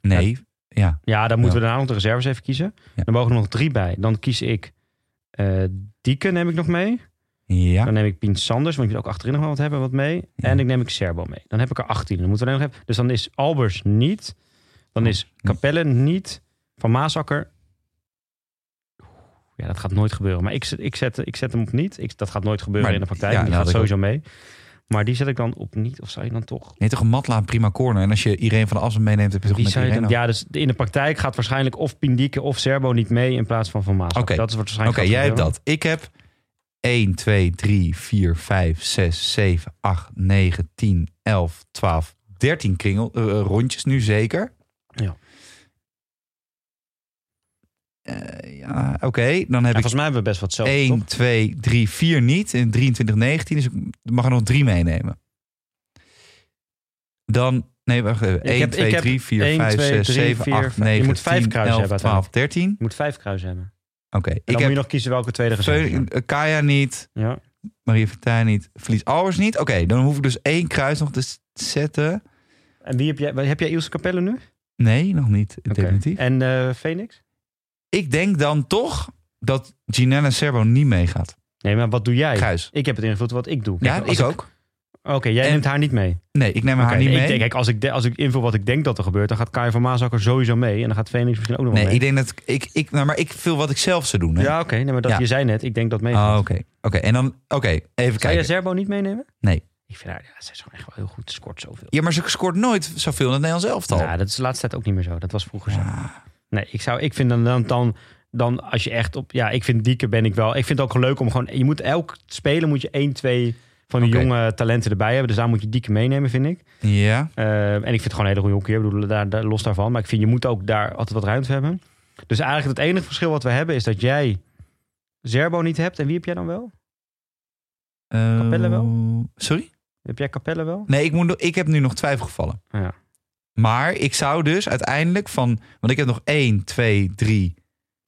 Speaker 2: Nee, ja.
Speaker 1: Ja, dan moeten we daarna nog de reserves even kiezen.
Speaker 2: Ja.
Speaker 1: Dan mogen er nog drie bij. Dan kies ik eh Dieke, neem ik nog mee.
Speaker 2: Ja,
Speaker 1: Dan neem ik Pien Sanders, want je wil ook achterin nog wel wat hebben, wat mee.
Speaker 2: Ja.
Speaker 1: En ik neem ik Serbo mee. Dan heb ik er 18. Dan moeten we alleen nog hebben. Dus dan is Albers niet. Dan
Speaker 2: Oh,
Speaker 1: is Capelle niet. Van Maasakker. Oeh, Ja, dat gaat nooit gebeuren. Maar ik, zet- ik, zet, ik zet hem op niet. Ik, dat gaat nooit gebeuren
Speaker 2: Maar-
Speaker 1: in de praktijk.
Speaker 2: ja,
Speaker 1: die
Speaker 2: nou,
Speaker 1: gaat
Speaker 2: dat
Speaker 1: sowieso mee. Maar die zet ik dan op niet. Of zou je dan toch...
Speaker 2: nee, toch een matla, een prima corner. En als je iedereen van de Assen meeneemt, heb je toch
Speaker 1: Wie
Speaker 2: met
Speaker 1: zou je
Speaker 2: iedereen
Speaker 1: dan,
Speaker 2: af.
Speaker 1: ja, dus in de praktijk gaat waarschijnlijk of Pindieke of Serbo niet mee in plaats van Van Maasakker.
Speaker 2: Oké.
Speaker 1: Dat is wat
Speaker 2: Oké,
Speaker 1: waarschijnlijk gaat
Speaker 2: jij hebt
Speaker 1: gebeuren.
Speaker 2: dat. Ik heb 1, 2, 3, 4, 5, 6, 7, 8, 9, 10, 11, 12, 13 kringel, eh, eh, rondjes nu zeker.
Speaker 1: Ja.
Speaker 2: Eh, ja, oké. Dan heb
Speaker 1: Ja,
Speaker 2: ik
Speaker 1: volgens mij hebben we best wat zelf.
Speaker 2: 1, 2, 3, 4 niet. In 23, 19. Dus ik mag er nog drie meenemen. Dan, nee, wacht even.
Speaker 1: Ik
Speaker 2: 1,
Speaker 1: heb-
Speaker 2: 2,
Speaker 1: ik heb
Speaker 2: 3, 4,
Speaker 1: 1,
Speaker 2: 5,
Speaker 1: 2,
Speaker 2: 6,
Speaker 1: 3,
Speaker 2: 7,
Speaker 1: 4,
Speaker 2: 8,
Speaker 1: je
Speaker 2: 9,
Speaker 1: moet vijf
Speaker 2: 10,
Speaker 1: kruisen
Speaker 2: 11,
Speaker 1: hebben
Speaker 2: 12, 13.
Speaker 1: Je moet vijf kruisen hebben.
Speaker 2: Oké,
Speaker 1: En
Speaker 2: ik
Speaker 1: dan moet
Speaker 2: heb
Speaker 1: je nog kiezen welke tweede reserve.
Speaker 2: Veu- eh, Kaya niet,
Speaker 1: Ja.
Speaker 2: Marie Vertuin niet, Verlies Albers niet. Oké, dan hoef ik dus één kruis nog te s- zetten.
Speaker 1: En wie heb jij? Heb jij Ilse Capelle nu?
Speaker 2: Nee, nog niet, definitief.
Speaker 1: En eh, Phoenix?
Speaker 2: Ik denk dan toch dat Ginella Serbo niet meegaat.
Speaker 1: Nee, maar wat doe jij?
Speaker 2: Kruis.
Speaker 1: Ik heb het ingevuld wat ik doe.
Speaker 2: Ja,
Speaker 1: Kijk,
Speaker 2: ik
Speaker 1: als
Speaker 2: ook.
Speaker 1: Oké, jij
Speaker 2: En-
Speaker 1: neemt haar niet mee.
Speaker 2: Nee, ik neem haar
Speaker 1: Oké,
Speaker 2: niet
Speaker 1: ik
Speaker 2: mee.
Speaker 1: denk, kijk, als ik, de- als ik invul wat ik denk dat er gebeurt, dan gaat Kai van Maas ook er sowieso mee. En dan gaat Phoenix misschien ook nog wel
Speaker 2: nee,
Speaker 1: mee.
Speaker 2: ik denk dat ik, ik nou, maar ik vul wat ik zelf zou doen. Hè?
Speaker 1: Ja, oké. nee, maar dat,
Speaker 2: Ja.
Speaker 1: je zei net, ik denk dat mee.
Speaker 2: Ah,
Speaker 1: gaat.
Speaker 2: oké. Oké, en dan, oké, even
Speaker 1: Zou je
Speaker 2: kijken.
Speaker 1: Zerbo niet meenemen?
Speaker 2: Nee.
Speaker 1: Ik vind haar, ja, ze is gewoon echt wel heel goed. Ze scoort zoveel.
Speaker 2: Ja, maar ze scoort nooit zoveel in het Nederlands elftal.
Speaker 1: Ja, dat is de laatste tijd ook niet meer zo. Dat was vroeger zo. Nee, ik, zou, ik vind dan, dan, dan, dan als je echt op... Ja, ik vind Dieke ben ik wel. Ik vind het ook leuk om gewoon... Je moet elk spelen moet je één, twee van die
Speaker 2: Oké.
Speaker 1: jonge talenten erbij hebben. Dus daar moet je Dieke meenemen, vind ik.
Speaker 2: ja.
Speaker 1: Eh, en ik vind het gewoon een hele goede hockey. Ik bedoel, daar, daar- los daarvan. Maar ik vind, je moet ook daar altijd wat ruimte hebben. Dus eigenlijk het enige verschil wat we hebben... is dat jij Zerbo niet hebt. En wie heb jij dan wel?
Speaker 2: Eh,
Speaker 1: Capelle wel?
Speaker 2: Sorry?
Speaker 1: Heb jij Capelle wel?
Speaker 2: Nee, ik, moet, nog- ik heb nu nog twijfelgevallen.
Speaker 1: Ja.
Speaker 2: Maar ik zou dus uiteindelijk van... Want ik heb nog 1, 2, 3,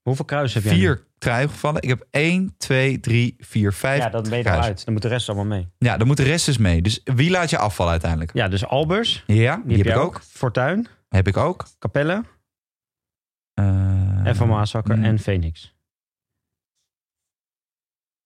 Speaker 1: Hoeveel kruis heb jij? nu?
Speaker 2: 4 twijfelgevallen. Ik heb 1, 2, 3, 4, 5
Speaker 1: Ja, dat ben je
Speaker 2: kruis.
Speaker 1: eruit. Dan moet de rest allemaal mee.
Speaker 2: Ja, dan moet de rest dus mee. Dus wie laat je afvallen uiteindelijk?
Speaker 1: Ja, dus Albers.
Speaker 2: Ja,
Speaker 1: Die, heb,
Speaker 2: ik
Speaker 1: jij
Speaker 2: ook.
Speaker 1: ook. Fortuin,
Speaker 2: Heb ik ook.
Speaker 1: Capelle
Speaker 2: Eh,
Speaker 1: en Van Maasakker
Speaker 2: mm.
Speaker 1: en Phoenix.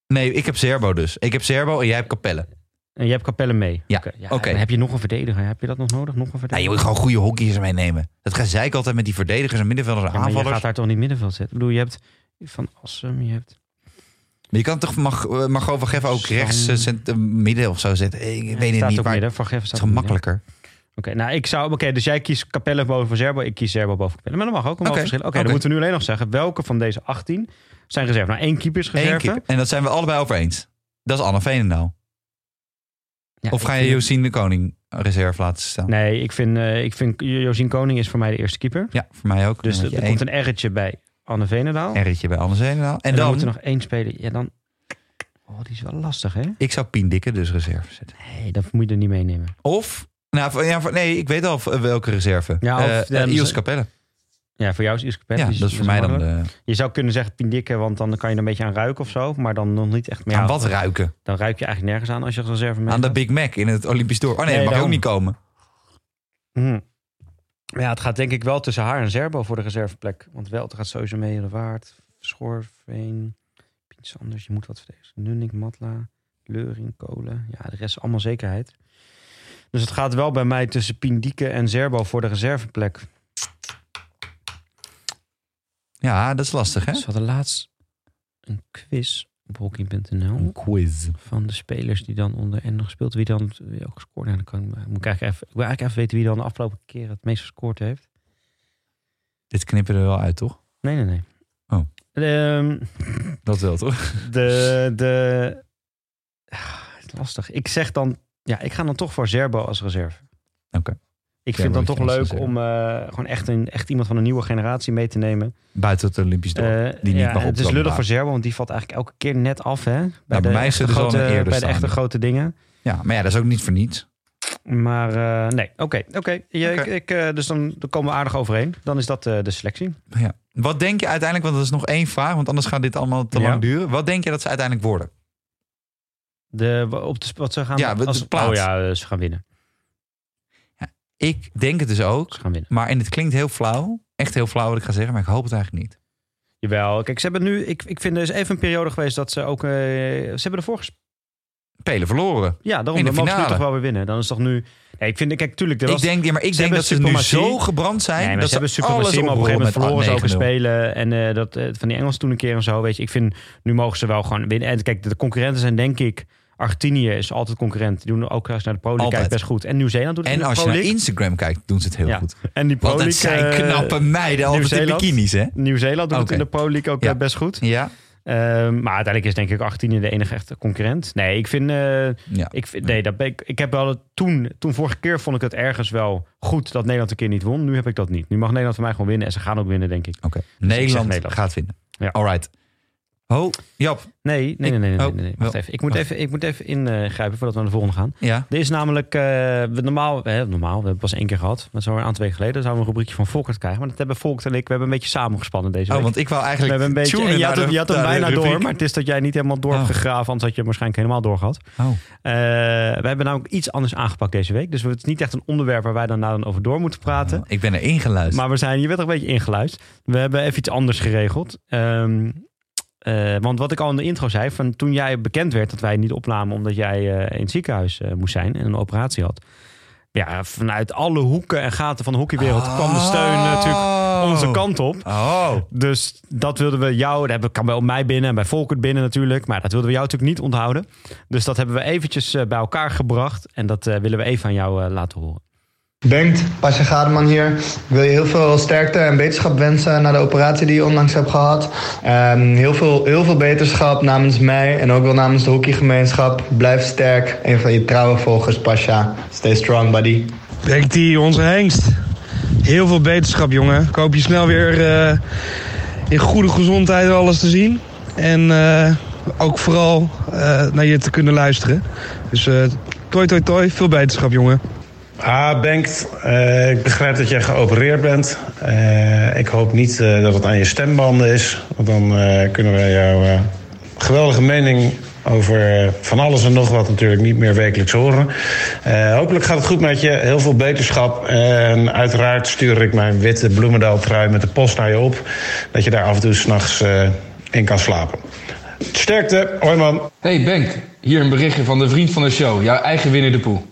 Speaker 2: Nee, ik heb Zerbo dus. Ik heb Zerbo en jij hebt Capelle.
Speaker 1: En je hebt Capelle mee.
Speaker 2: Ja,
Speaker 1: Oké.
Speaker 2: oké.
Speaker 1: en Heb je nog een verdediger? Heb je dat nog nodig? Nog een
Speaker 2: Nou, je
Speaker 1: verdediger?
Speaker 2: moet gewoon goede hockeyers meenemen. Dat gezeik ik altijd met die verdedigers en middenvelders en
Speaker 1: Ja, maar je
Speaker 2: aanvallers.
Speaker 1: gaat daar toch niet middenveld zetten? Ik bedoel, je hebt Van Assem, je hebt...
Speaker 2: Maar je kan toch mag, eh, mag over geven ook
Speaker 1: Stam.
Speaker 2: rechts eh, cent- eh, midden of zo zetten. Ik weet het
Speaker 1: staat
Speaker 2: niet,
Speaker 1: ook
Speaker 2: maar het
Speaker 1: midden. Van Geffen
Speaker 2: is
Speaker 1: staat ook midden.
Speaker 2: gemakkelijker.
Speaker 1: Oké, nou ik zou... Oké, dus jij kiest Capelle boven Zerbo. Ik kies Zerbo boven Capelle. Maar dat mag ook.
Speaker 2: Oké,
Speaker 1: Oké, verschillen. Oké,
Speaker 2: oké.
Speaker 1: dan moeten we nu alleen nog zeggen... welke van deze 18 zijn reserve? Nou, één keeper is reserve.
Speaker 2: Eén keer. En dat zijn we allebei over eens. Dat is Anne Veenendaal.
Speaker 1: Ja,
Speaker 2: of
Speaker 1: ik
Speaker 2: ga je
Speaker 1: vind-
Speaker 2: Josien de Koning reserve laten staan?
Speaker 1: Nee, ik vind, eh, ik vind... Josien Koning is voor mij de eerste keeper.
Speaker 2: Ja, voor mij ook.
Speaker 1: Dus
Speaker 2: Dan
Speaker 1: er,
Speaker 2: heb je
Speaker 1: komt een erretje bij Anne Venendaal.
Speaker 2: één R'tje bij Anne Veenendaal. En,
Speaker 1: En, dan,
Speaker 2: dan,
Speaker 1: moet er nog één spelen. Ja, dan... Oh, die is wel lastig, hè?
Speaker 2: ik zou Pien Dikke dus reserve zetten.
Speaker 1: Nee, dat moet je er niet meenemen.
Speaker 2: Of, nou, van- ja, van- nee, ik weet al van- welke reserve.
Speaker 1: Ja,
Speaker 2: Ja,
Speaker 1: of-
Speaker 2: eh
Speaker 1: ja,
Speaker 2: eh, Ios
Speaker 1: dus-
Speaker 2: Capelle.
Speaker 1: Ja, voor jou is Iskapet.
Speaker 2: Ja, dat is voor mij dan de...
Speaker 1: Je zou kunnen zeggen Pindikke, want dan kan je er een beetje aan ruiken of zo. Maar dan nog niet echt meer.
Speaker 2: Aan wat ruiken?
Speaker 1: Dan ruik je eigenlijk nergens aan als je als reserve mee
Speaker 2: Aan de Big Mac in het Olympisch Door. Oh nee,
Speaker 1: Nee,
Speaker 2: dat mag ook
Speaker 1: daarom.
Speaker 2: niet komen.
Speaker 1: Hmm. Ja, het gaat denk ik wel tussen haar en Zerbo voor de reserveplek. Want Welt gaat sowieso mee. De Waard, Schorveen, Piet Sanders. Je moet wat verdedigen. Nunnik, Matla, Leuring, Kolen. Ja, de rest is allemaal zekerheid. Dus het gaat wel bij mij tussen Pindieke en Zerbo voor de reserveplek.
Speaker 2: Ja, dat is lastig, hè?
Speaker 1: Ze hadden laatst een quiz op hockey.nl
Speaker 2: Een quiz.
Speaker 1: van de spelers die dan onder N gespeeld. Wie dan wie ook gescoord. En dan kan, ik- moet ik, eigenlijk even, ik wil eigenlijk even weten wie dan de afgelopen keer het meest gescoord heeft.
Speaker 2: Dit knippen we er wel uit, toch?
Speaker 1: Nee, nee, nee.
Speaker 2: Oh.
Speaker 1: Ehm,
Speaker 2: Dat wel, toch?
Speaker 1: de, de, Ah, het is lastig. Ik zeg dan, ja, ik ga dan toch voor Zerbo als reserve.
Speaker 2: Oké.
Speaker 1: Ik vind
Speaker 2: Zerbo
Speaker 1: dan
Speaker 2: als
Speaker 1: toch leuk
Speaker 2: reserve.
Speaker 1: om eh, gewoon echt, een, echt iemand van een nieuwe generatie mee te nemen.
Speaker 2: Buiten het Olympisch Door.
Speaker 1: Eh,
Speaker 2: die niet mag
Speaker 1: Het is
Speaker 2: opkomen
Speaker 1: lullig
Speaker 2: daar.
Speaker 1: voor Zerbo, want die valt eigenlijk elke keer net af. Hè? Bij,
Speaker 2: bij mij is
Speaker 1: echte
Speaker 2: het dus al een
Speaker 1: grote,
Speaker 2: eerder
Speaker 1: bij de echte
Speaker 2: staande.
Speaker 1: grote dingen.
Speaker 2: Ja, maar ja, dat is ook niet voor niets.
Speaker 1: Maar eh, nee, oké. oké. Je-
Speaker 2: Oké.
Speaker 1: Ik, ik, eh, dus dan, dan komen we aardig overeen. Dan is dat eh, de selectie.
Speaker 2: Ja. Wat denk je uiteindelijk, want dat is nog één vraag, want anders gaat dit allemaal te
Speaker 1: Ja.
Speaker 2: lang duren. Wat denk je dat ze uiteindelijk worden?
Speaker 1: De, wa- op de, sp- wat ze gaan,
Speaker 2: Ja, de plaats.
Speaker 1: Oh ja, eh, ze gaan winnen.
Speaker 2: Ik denk het dus ook,
Speaker 1: Ze gaan winnen.
Speaker 2: maar en het klinkt heel flauw. Echt heel flauw wat ik ga zeggen, maar ik hoop het eigenlijk niet.
Speaker 1: Jawel. Kijk, ze hebben nu... Ik, ik vind er is even een periode geweest dat ze ook... eh, ze hebben ervoor gespeeld.
Speaker 2: Pelen verloren.
Speaker 1: Ja, daarom.
Speaker 2: In de
Speaker 1: Dan mogen ze nu
Speaker 2: finale.
Speaker 1: toch wel weer winnen. Dan is toch nu... Nee, ik vind... Kijk, tuurlijk, er
Speaker 2: Ik
Speaker 1: was...
Speaker 2: denk, ja, maar ik
Speaker 1: ze
Speaker 2: denk
Speaker 1: hebben
Speaker 2: dat ze nu
Speaker 1: suprematie.
Speaker 2: zo gebrand zijn.
Speaker 1: Nee, maar
Speaker 2: dat
Speaker 1: ze hebben super
Speaker 2: alles Ah,
Speaker 1: Massimo op een gegeven moment verloren ze ook een
Speaker 2: 9-0.
Speaker 1: spelen. En eh, dat, eh, van die Engelsen toen een keer en zo. Weet je, ik vind, nu mogen ze wel gewoon winnen. En kijk, de concurrenten zijn denk ik... Argentinië is altijd concurrent. Die doen ook als je naar de Pro League
Speaker 2: Altijd.
Speaker 1: kijkt best goed. En Nieuw-Zeeland doet het
Speaker 2: En
Speaker 1: in de
Speaker 2: als je
Speaker 1: Pro
Speaker 2: naar
Speaker 1: League.
Speaker 2: Instagram kijkt, doen ze het heel
Speaker 1: Ja.
Speaker 2: goed.
Speaker 1: En die Pro
Speaker 2: Want het
Speaker 1: League,
Speaker 2: zijn
Speaker 1: eh,
Speaker 2: knappe meiden, altijd in
Speaker 1: Nieuw-Zeeland.
Speaker 2: bikinis, hè?
Speaker 1: Nieuw-Zeeland doet
Speaker 2: Oké.
Speaker 1: het in de Pro League ook
Speaker 2: Ja.
Speaker 1: eh, best goed.
Speaker 2: Ja,
Speaker 1: Eh, maar uiteindelijk is denk ik 18 de enige echte concurrent. Nee, ik vind... eh,
Speaker 2: ja.
Speaker 1: ik, vind- nee, dat ben ik, ik heb wel het, toen, toen vorige keer vond ik het ergens wel goed dat Nederland een keer niet won. Nu heb ik dat niet. Nu mag Nederland voor mij gewoon winnen. En ze gaan ook winnen, denk ik.
Speaker 2: oké. Nederland,
Speaker 1: Nederland.
Speaker 2: gaat winnen.
Speaker 1: Ja.
Speaker 2: All right. Ho, Jap.
Speaker 1: Nee, nee, nee, nee. nee,
Speaker 2: oh,
Speaker 1: nee, nee. Wacht
Speaker 2: wel.
Speaker 1: even. Ik moet
Speaker 2: Wacht.
Speaker 1: even, ik moet even ingrijpen voordat we naar de volgende gaan.
Speaker 2: Ja.
Speaker 1: Er is namelijk, eh, we normaal, hè, normaal, we hebben het pas één keer gehad. Maar zo een aantal weken geleden zouden we een rubriekje van Volkert krijgen. Maar dat hebben Volkert en ik, we hebben een beetje samengespannen deze
Speaker 2: Oh,
Speaker 1: week.
Speaker 2: want ik wou
Speaker 1: we
Speaker 2: eigenlijk
Speaker 1: hebben een beetje,
Speaker 2: tunen
Speaker 1: en je
Speaker 2: naar
Speaker 1: had, hem-
Speaker 2: de-
Speaker 1: je had hem
Speaker 2: naar de
Speaker 1: bijna door,
Speaker 2: rubriek.
Speaker 1: maar het is dat jij niet helemaal door
Speaker 2: Oh.
Speaker 1: hebt gegraven. Anders had je hem waarschijnlijk helemaal door gehad.
Speaker 2: Oh.
Speaker 1: Eh, we hebben namelijk iets anders aangepakt deze week. Dus het is niet echt een onderwerp waar wij dan nou dan over door moeten praten.
Speaker 2: Ik ben er ingeluisterd.
Speaker 1: Maar we zijn, je werd er een beetje ingeluisterd. We hebben even iets anders geregeld. Ehm, eh, want wat ik al in de intro zei, van toen jij bekend werd dat wij niet opnamen omdat jij eh, in het ziekenhuis eh, moest zijn en een operatie had. Ja, vanuit alle hoeken en gaten van de hockeywereld kwam de steun eh, natuurlijk onze kant op.
Speaker 2: Oh,
Speaker 1: Dus dat wilden we jou, dat hebben- kan bij mij binnen en bij Volkert binnen natuurlijk. Maar dat wilden we jou natuurlijk niet onthouden. Dus dat hebben we eventjes eh, bij elkaar gebracht. En dat eh, willen we even aan jou eh, laten horen.
Speaker 3: Bengt, Pasja Gademan hier. Ik wil je heel veel sterkte en beterschap wensen na de operatie die je onlangs hebt gehad. Ehm, heel, veel, heel veel beterschap namens mij en ook wel namens de hockeygemeenschap. Blijf sterk. Een van je trouwe volgers, Pasja. Stay strong, buddy.
Speaker 4: Denkt die onze hengst. Heel veel beterschap, jongen. Ik hoop je snel weer eh, in goede gezondheid alles te zien. En eh, ook vooral eh, naar je te kunnen luisteren. Dus eh toi toi toi, veel beterschap, jongen.
Speaker 5: Ah, Bengt, eh, ik begrijp dat jij geopereerd bent. Eh, ik hoop niet eh, dat het aan je stembanden is. Want dan eh, kunnen wij jouw eh, geweldige mening over eh, van alles en nog wat natuurlijk niet meer wekelijks horen. Eh, hopelijk gaat het goed met je. Heel veel beterschap. En uiteraard stuur ik mijn witte bloemendaal trui met de post naar je op. Dat je daar af en toe s'nachts eh in kan slapen. Sterkte, hoi man.
Speaker 6: Hey Bengt, hier een berichtje van de vriend van de show, jouw eigen Winnie de Poel.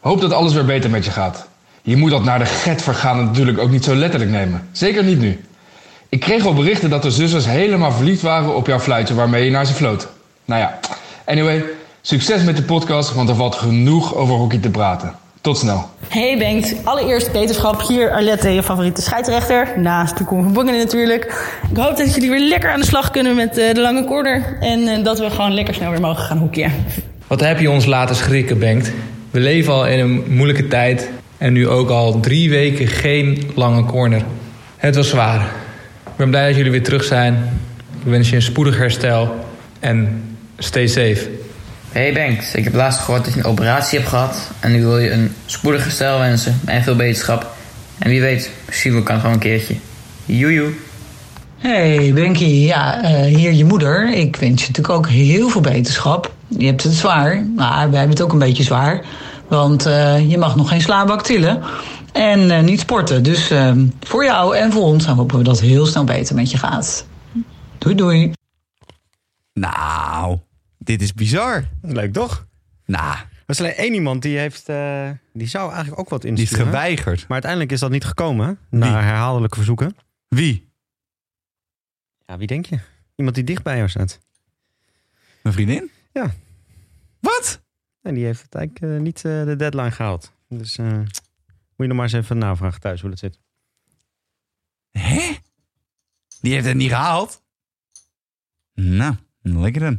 Speaker 6: Hoop dat alles weer beter met je gaat. Je moet dat naar de get vergaan natuurlijk ook niet zo letterlijk nemen. Zeker niet nu. Ik kreeg al berichten dat de zusters helemaal verliefd waren op jouw fluitje waarmee je naar ze floot. Nou ja, anyway, succes met de podcast, want er valt genoeg over hockey te praten. Tot snel.
Speaker 7: Hey Bengt, allereerst beterschap. Hier Arlette, je favoriete scheidsrechter. Naast de Koen van Bongenen natuurlijk. Ik hoop dat jullie weer lekker aan de slag kunnen met eh, de lange corner. En eh, dat we gewoon lekker snel weer mogen gaan hoekje.
Speaker 8: Wat heb je ons laten schrikken, Bengt? We leven al in een moeilijke tijd en nu ook al drie weken geen lange corner. Het was zwaar. Ik ben blij dat jullie weer terug zijn. Ik wens je een spoedig herstel en stay safe.
Speaker 9: Hey Banks, ik heb laatst gehoord dat je een operatie hebt gehad. En nu wil je een spoedig herstel wensen en veel beterschap. En wie weet, misschien kan gewoon een keertje. Joejoe.
Speaker 10: Hey Benkie, ja, eh, hier je moeder. Ik wens je natuurlijk ook heel veel beterschap. Je hebt het zwaar, maar wij hebben het ook een beetje zwaar. Want eh, je mag nog geen slaabak tillen en eh, niet sporten. Dus eh, voor jou en voor ons hopen we dat het heel snel beter met je gaat. Doei doei.
Speaker 2: nou, dit is bizar.
Speaker 1: Leuk toch?
Speaker 2: Nou,
Speaker 1: Er is alleen één iemand die heeft, eh, die zou eigenlijk ook wat
Speaker 2: die is
Speaker 1: insturen.
Speaker 2: geweigerd.
Speaker 1: Maar uiteindelijk is dat niet gekomen, hè? na herhaaldelijke verzoeken.
Speaker 2: Wie?
Speaker 1: Ja, wie denk je? Iemand die dicht bij jou staat.
Speaker 2: Mijn vriendin?
Speaker 1: Ja.
Speaker 2: Wat?
Speaker 1: En die heeft het eigenlijk eh, niet eh, de deadline gehaald. Dus eh, moet je nog maar eens even navragen thuis hoe dat zit.
Speaker 2: Hè? Die heeft het niet gehaald? Nou, lekker dan.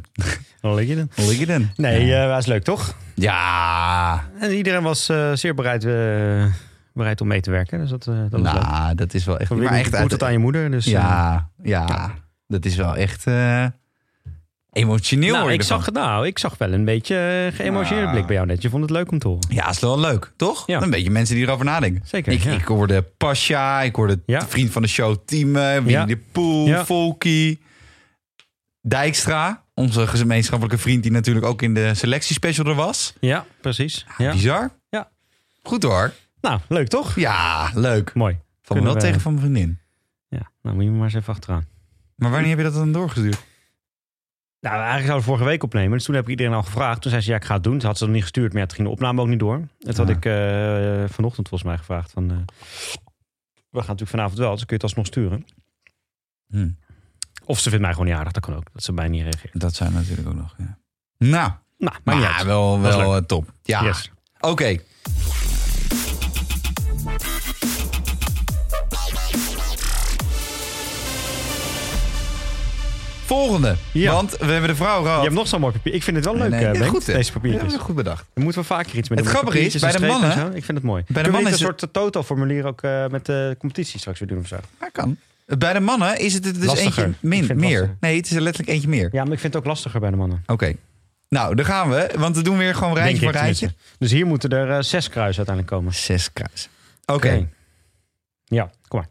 Speaker 1: Dan lig je dan.
Speaker 2: Lekker dan.
Speaker 1: Nee,
Speaker 2: Ja.
Speaker 1: eh was leuk toch?
Speaker 2: ja.
Speaker 1: En iedereen was eh, zeer bereid, eh, bereid om mee te werken. Dus dat, eh, dat was leuk.
Speaker 2: Nou, dat is wel echt...
Speaker 1: Van Willem
Speaker 2: echt
Speaker 1: moet het aan je moeder. Dus, eh,
Speaker 2: Ja, ja. Dat is wel echt eh, emotioneel.
Speaker 1: nou,
Speaker 2: word je
Speaker 1: ik
Speaker 2: ervan.
Speaker 1: zag, nou, ik zag wel een beetje eh, geëmotioneerde
Speaker 2: Ja.
Speaker 1: blik bij jou net. Je vond het leuk om te horen.
Speaker 2: Ja, is wel leuk, toch?
Speaker 1: Ja.
Speaker 2: Een beetje mensen die erover nadenken.
Speaker 1: Zeker,
Speaker 2: Ik,
Speaker 1: ja.
Speaker 2: ik hoorde Pasha, ik hoorde
Speaker 1: Ja.
Speaker 2: de vriend van de show Team, Winnie
Speaker 1: Ja.
Speaker 2: de Poel,
Speaker 1: Ja.
Speaker 2: Volky, Dijkstra, onze gemeenschappelijke vriend die natuurlijk ook in de selectiespecial er was.
Speaker 1: Ja, precies. Ja.
Speaker 2: Bizar.
Speaker 1: Ja.
Speaker 2: Goed hoor.
Speaker 1: Nou, leuk toch?
Speaker 2: Ja, leuk.
Speaker 1: Mooi.
Speaker 2: Van me wel
Speaker 1: we-
Speaker 2: tegen van mijn vriendin.
Speaker 1: Ja, nou moet je me maar eens even achteraan.
Speaker 2: Maar wanneer heb je dat dan doorgestuurd?
Speaker 1: Nou, eigenlijk zouden we vorige week opnemen. Dus toen heb ik iedereen al gevraagd. Toen zei ze, ja, ik ga het doen. Ze had ze nog niet gestuurd, maar ja, het ging de opname ook niet door. Het had
Speaker 2: Ah.
Speaker 1: ik eh, vanochtend volgens mij gevraagd. Van, eh, we gaan natuurlijk vanavond wel, dus kun je het alsnog sturen.
Speaker 2: Hm,
Speaker 1: Of ze vindt mij gewoon niet aardig, dat kan ook. Dat ze bij mij niet reageert.
Speaker 2: dat zijn natuurlijk ook nog. Ja. Nou,
Speaker 1: Nou, maar
Speaker 2: maar,
Speaker 1: niet uit.
Speaker 2: wel,
Speaker 1: Dat is
Speaker 2: wel
Speaker 1: leuk.
Speaker 2: eh, top. Ja.
Speaker 1: Yes.
Speaker 2: Oké. Volgende.
Speaker 1: Ja.
Speaker 2: Want we hebben de vrouw
Speaker 1: Je
Speaker 2: gehad.
Speaker 1: hebt nog zo'n mooi papier. Ik vind het wel leuk,
Speaker 2: Nee, nee,
Speaker 1: eh,
Speaker 2: ja,
Speaker 1: Bengt,
Speaker 2: goed, hè?
Speaker 1: deze
Speaker 2: Ja,
Speaker 1: papiertjes.
Speaker 2: dat is goed bedacht.
Speaker 1: Daar moeten we vaker iets mee
Speaker 2: Het
Speaker 1: doen. met
Speaker 2: grappige is,
Speaker 1: papiertjes en
Speaker 2: bij de
Speaker 1: strepen en
Speaker 2: mannen-
Speaker 1: zo. Ik vind het mooi.
Speaker 2: de
Speaker 1: Kunnen we
Speaker 2: mannen
Speaker 1: niet
Speaker 2: is
Speaker 1: een soort Toto-formulier ook eh, met de competitie straks weer doen of zo?
Speaker 2: Maar kan. Bij de mannen is het er dus
Speaker 1: Lastiger.
Speaker 2: eentje
Speaker 1: Ik vind
Speaker 2: min,
Speaker 1: het
Speaker 2: meer.
Speaker 1: lastiger.
Speaker 2: Nee, het is er letterlijk eentje meer.
Speaker 1: Ja, maar ik vind het ook lastiger bij de mannen.
Speaker 2: Oké. Nou, daar gaan we. Want we doen weer gewoon
Speaker 1: Denk
Speaker 2: rijtje
Speaker 1: ik
Speaker 2: voor rijtje.
Speaker 1: tenminste. Dus hier moeten er eh, zes kruisen uiteindelijk komen.
Speaker 2: Zes kruis. Oké.
Speaker 1: Ja, kom maar.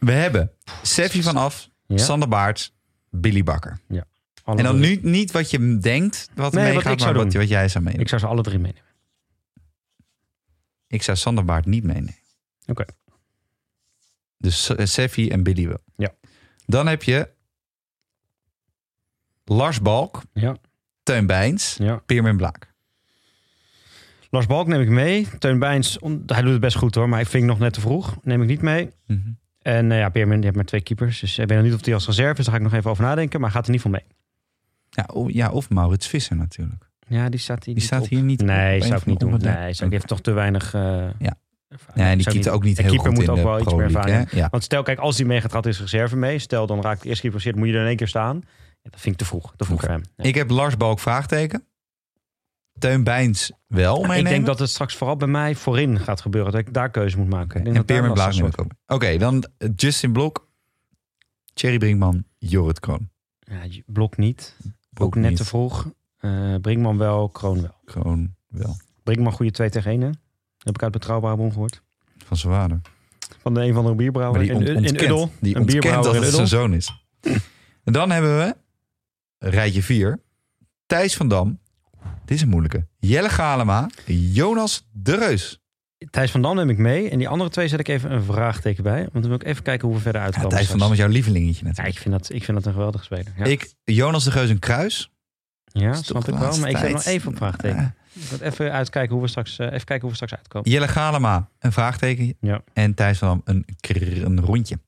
Speaker 2: We hebben Seffi van Af,
Speaker 1: Ja.
Speaker 2: Sander Baert, Billy Bakker.
Speaker 1: Alle
Speaker 2: En dan
Speaker 1: drie.
Speaker 2: nu niet wat je denkt wat er
Speaker 1: Nee,
Speaker 2: meegaat,
Speaker 1: wat ik zou
Speaker 2: maar wat,
Speaker 1: doen.
Speaker 2: wat jij zou meenemen.
Speaker 1: Ik
Speaker 2: Ik,
Speaker 1: zou ze alle drie meenemen.
Speaker 2: zou Sander Baart niet meenemen. eh,
Speaker 1: Oké.
Speaker 2: Dus Se- Seffi en Billy wel.
Speaker 1: Ja.
Speaker 2: Dan heb je Lars Balk,
Speaker 1: Ja.
Speaker 2: Teun Bijns,
Speaker 1: Ja.
Speaker 2: Peermin Blaak.
Speaker 1: Lars Balk neem ik mee. Teun Bijns, on- hij doet het best goed hoor, maar ik vind het nog net te vroeg. Neem ik niet mee.
Speaker 2: Mhm.
Speaker 1: En eh, ja, Peermin, die heeft maar twee keepers. Dus ik weet nog niet of die als reserve is. Daar ga ik nog even over nadenken. Maar gaat er niet van mee.
Speaker 2: Ja, o- ja, of Maurits Visser natuurlijk.
Speaker 1: Ja, die staat hier
Speaker 2: Die
Speaker 1: niet
Speaker 2: staat
Speaker 1: op.
Speaker 2: hier niet op.
Speaker 1: Nee,
Speaker 2: Op een
Speaker 1: zou ik
Speaker 2: van-
Speaker 1: niet
Speaker 2: op
Speaker 1: doen. Nee,
Speaker 2: het-
Speaker 1: zou, ik- die heeft toch te weinig... eh, ervaring.
Speaker 2: Nee, die
Speaker 1: Zou ik
Speaker 2: keept ook niet
Speaker 1: de
Speaker 2: heel
Speaker 1: keeper
Speaker 2: goed
Speaker 1: moet
Speaker 2: in
Speaker 1: ook
Speaker 2: de
Speaker 1: wel iets
Speaker 2: Pro
Speaker 1: meer
Speaker 2: League,
Speaker 1: ervaring
Speaker 2: hè? Ja.
Speaker 1: Want stel, kijk, als die meegaat, gaat is reserve mee. Stel, dan raakt de eerste keeper zit, moet je er in één keer staan. Ja, dat vind ik te vroeg. Te vroeg
Speaker 2: Oké.
Speaker 1: voor hem. Ja.
Speaker 2: Ik heb Lars Balk vraagteken. Teun Bijns wel
Speaker 1: Nou, ik
Speaker 2: meenemen.
Speaker 1: denk dat het straks vooral bij mij voorin gaat gebeuren. Dat ik daar keuze moet maken. Ik
Speaker 2: Oké,
Speaker 1: denk
Speaker 2: En
Speaker 1: dat daar
Speaker 2: Peermin
Speaker 1: wel
Speaker 2: Blaak neem
Speaker 1: straks
Speaker 2: ik ook mee. Oké, dan Justin Blok, Thierry Brinkman, Jorrit Kroon.
Speaker 1: wordt. Ja, je- Blok niet.
Speaker 2: Blok
Speaker 1: ook net
Speaker 2: niet,
Speaker 1: te vroeg. Eh, Brinkman wel, Kroon wel.
Speaker 2: Kroon wel.
Speaker 1: Brinkman goede 2 tegen 1, hè? Heb ik uit Betrouwbare Bron gehoord.
Speaker 2: Van zijn vader.
Speaker 1: Van de een van de
Speaker 2: Maar
Speaker 1: bierbrouwer
Speaker 2: die
Speaker 1: Oh, in,
Speaker 2: ont-
Speaker 1: in
Speaker 2: ontkent,
Speaker 1: Uddel.
Speaker 2: die
Speaker 1: een
Speaker 2: ontkent dat
Speaker 1: bierbrouwer in
Speaker 2: het zijn
Speaker 1: Uddel.
Speaker 2: zoon is. En dan hebben we rijtje 4. Thijs van Dam. Dit is een moeilijke. Jelle Galema. Jonas de Reus.
Speaker 1: Thijs van Dam neem ik mee. En die andere twee zet ik even een vraagteken bij. Want dan wil ik even kijken hoe we verder
Speaker 2: Ja,
Speaker 1: uitkomen.
Speaker 2: Thijs van
Speaker 1: straks.
Speaker 2: Dam is jouw lievelingetje
Speaker 1: Ja,
Speaker 2: natuurlijk.
Speaker 1: ik vind dat, ik vind dat een geweldige speler. Ja,
Speaker 2: Ik, Jonas de Reus een kruis.
Speaker 1: ja
Speaker 2: is toch
Speaker 1: snap
Speaker 2: de
Speaker 1: ik wel.
Speaker 2: laatste
Speaker 1: Maar ik zet
Speaker 2: tijd. Eh,
Speaker 1: nog even op vraagteken. Ik moet even uitkijken hoe we straks, eh, even kijken hoe we straks uitkomen.
Speaker 2: Jelle Galema een vraagteken.
Speaker 1: Ja.
Speaker 2: En Thijs van Dam een, krrr- een rondje.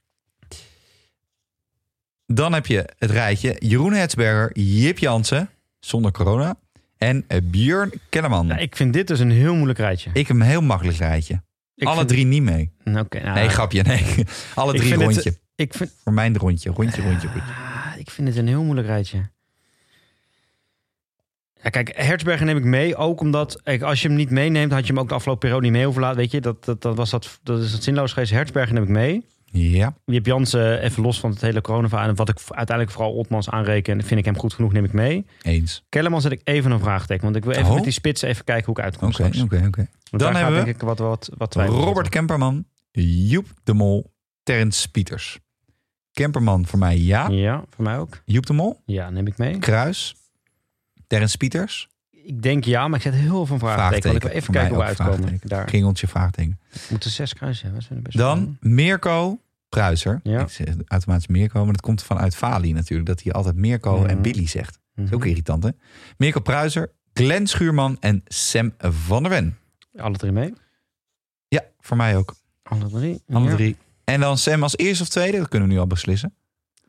Speaker 2: Dan heb je het rijtje Jeroen Hetsberger, Jip Jansen, zonder corona. En eh, Björn Kellerman.
Speaker 1: Nou, ik vind dit dus een heel moeilijk rijtje.
Speaker 2: Ik heb een heel makkelijk rijtje.
Speaker 1: Ik
Speaker 2: Alle
Speaker 1: vind-
Speaker 2: drie niet mee.
Speaker 1: Nou, Oké. nou,
Speaker 2: nee, grapje. Nee. Alle
Speaker 1: ik
Speaker 2: drie
Speaker 1: vind het-
Speaker 2: rondje.
Speaker 1: ik, vind,
Speaker 2: Voor mijn rondje. Rondje, rondje, rondje.
Speaker 1: Ah, ik vind het een heel moeilijk rijtje. Ja, kijk, Herzberger neem ik mee. Ook omdat, kijk, als je hem niet meeneemt, had je hem ook de afgelopen periode niet mee overlaten. Weet je, dat, dat, dat, was dat, dat is dat zinloos geweest. Herzberger neem ik mee.
Speaker 2: Ja.
Speaker 1: Jip Jansen, eh, even los van het hele corona en Wat ik v- uiteindelijk vooral Otmans aanreken, vind ik hem goed genoeg, neem ik mee.
Speaker 2: Eens.
Speaker 1: Kellerman zet ik even een vraagteken. Want ik wil even
Speaker 2: Oh.
Speaker 1: met die spits even kijken hoe ik uitkom
Speaker 2: Oké,
Speaker 1: straks.
Speaker 2: oké, oké.
Speaker 1: Want
Speaker 2: Dan
Speaker 1: daar gaat
Speaker 2: hebben we
Speaker 1: denk ik wat, wat, wat twijfel
Speaker 2: Robert
Speaker 1: over.
Speaker 2: Kemperman, Joep de Mol, Terrence Pieters. Kemperman voor mij ja.
Speaker 1: Ja, voor mij ook.
Speaker 2: Joep de Mol,
Speaker 1: Ja, neem ik mee.
Speaker 2: Kruis. Terrence Pieters,
Speaker 1: Ik denk ja, maar ik zet heel veel vraagteken. Want ik wil
Speaker 2: vraagteken.
Speaker 1: even
Speaker 2: Voor mij
Speaker 1: kijken hoe we
Speaker 2: ook
Speaker 1: uitkomen.
Speaker 2: vraagteken.
Speaker 1: Daar
Speaker 2: Kringeltje, vraagteken.
Speaker 1: moeten zes kruisen hebben. Dat vind ik best wel
Speaker 2: Dan Mirko Pruiser.
Speaker 1: Ja.
Speaker 2: Ik zeg automatisch Mirko, maar dat komt vanuit Fali natuurlijk. Dat hij altijd Mirko
Speaker 1: Mhm.
Speaker 2: en Billy zegt. Dat is ook
Speaker 1: Mhm.
Speaker 2: irritant, hè? Mirko Pruiser, Glenn Schuurman en Sam van der Wen.
Speaker 1: Alle drie mee.
Speaker 2: Ja, voor mij ook.
Speaker 1: Alle drie.
Speaker 2: Alle
Speaker 1: Ja.
Speaker 2: drie. En dan Sam als eerste of tweede, dat kunnen we nu al beslissen.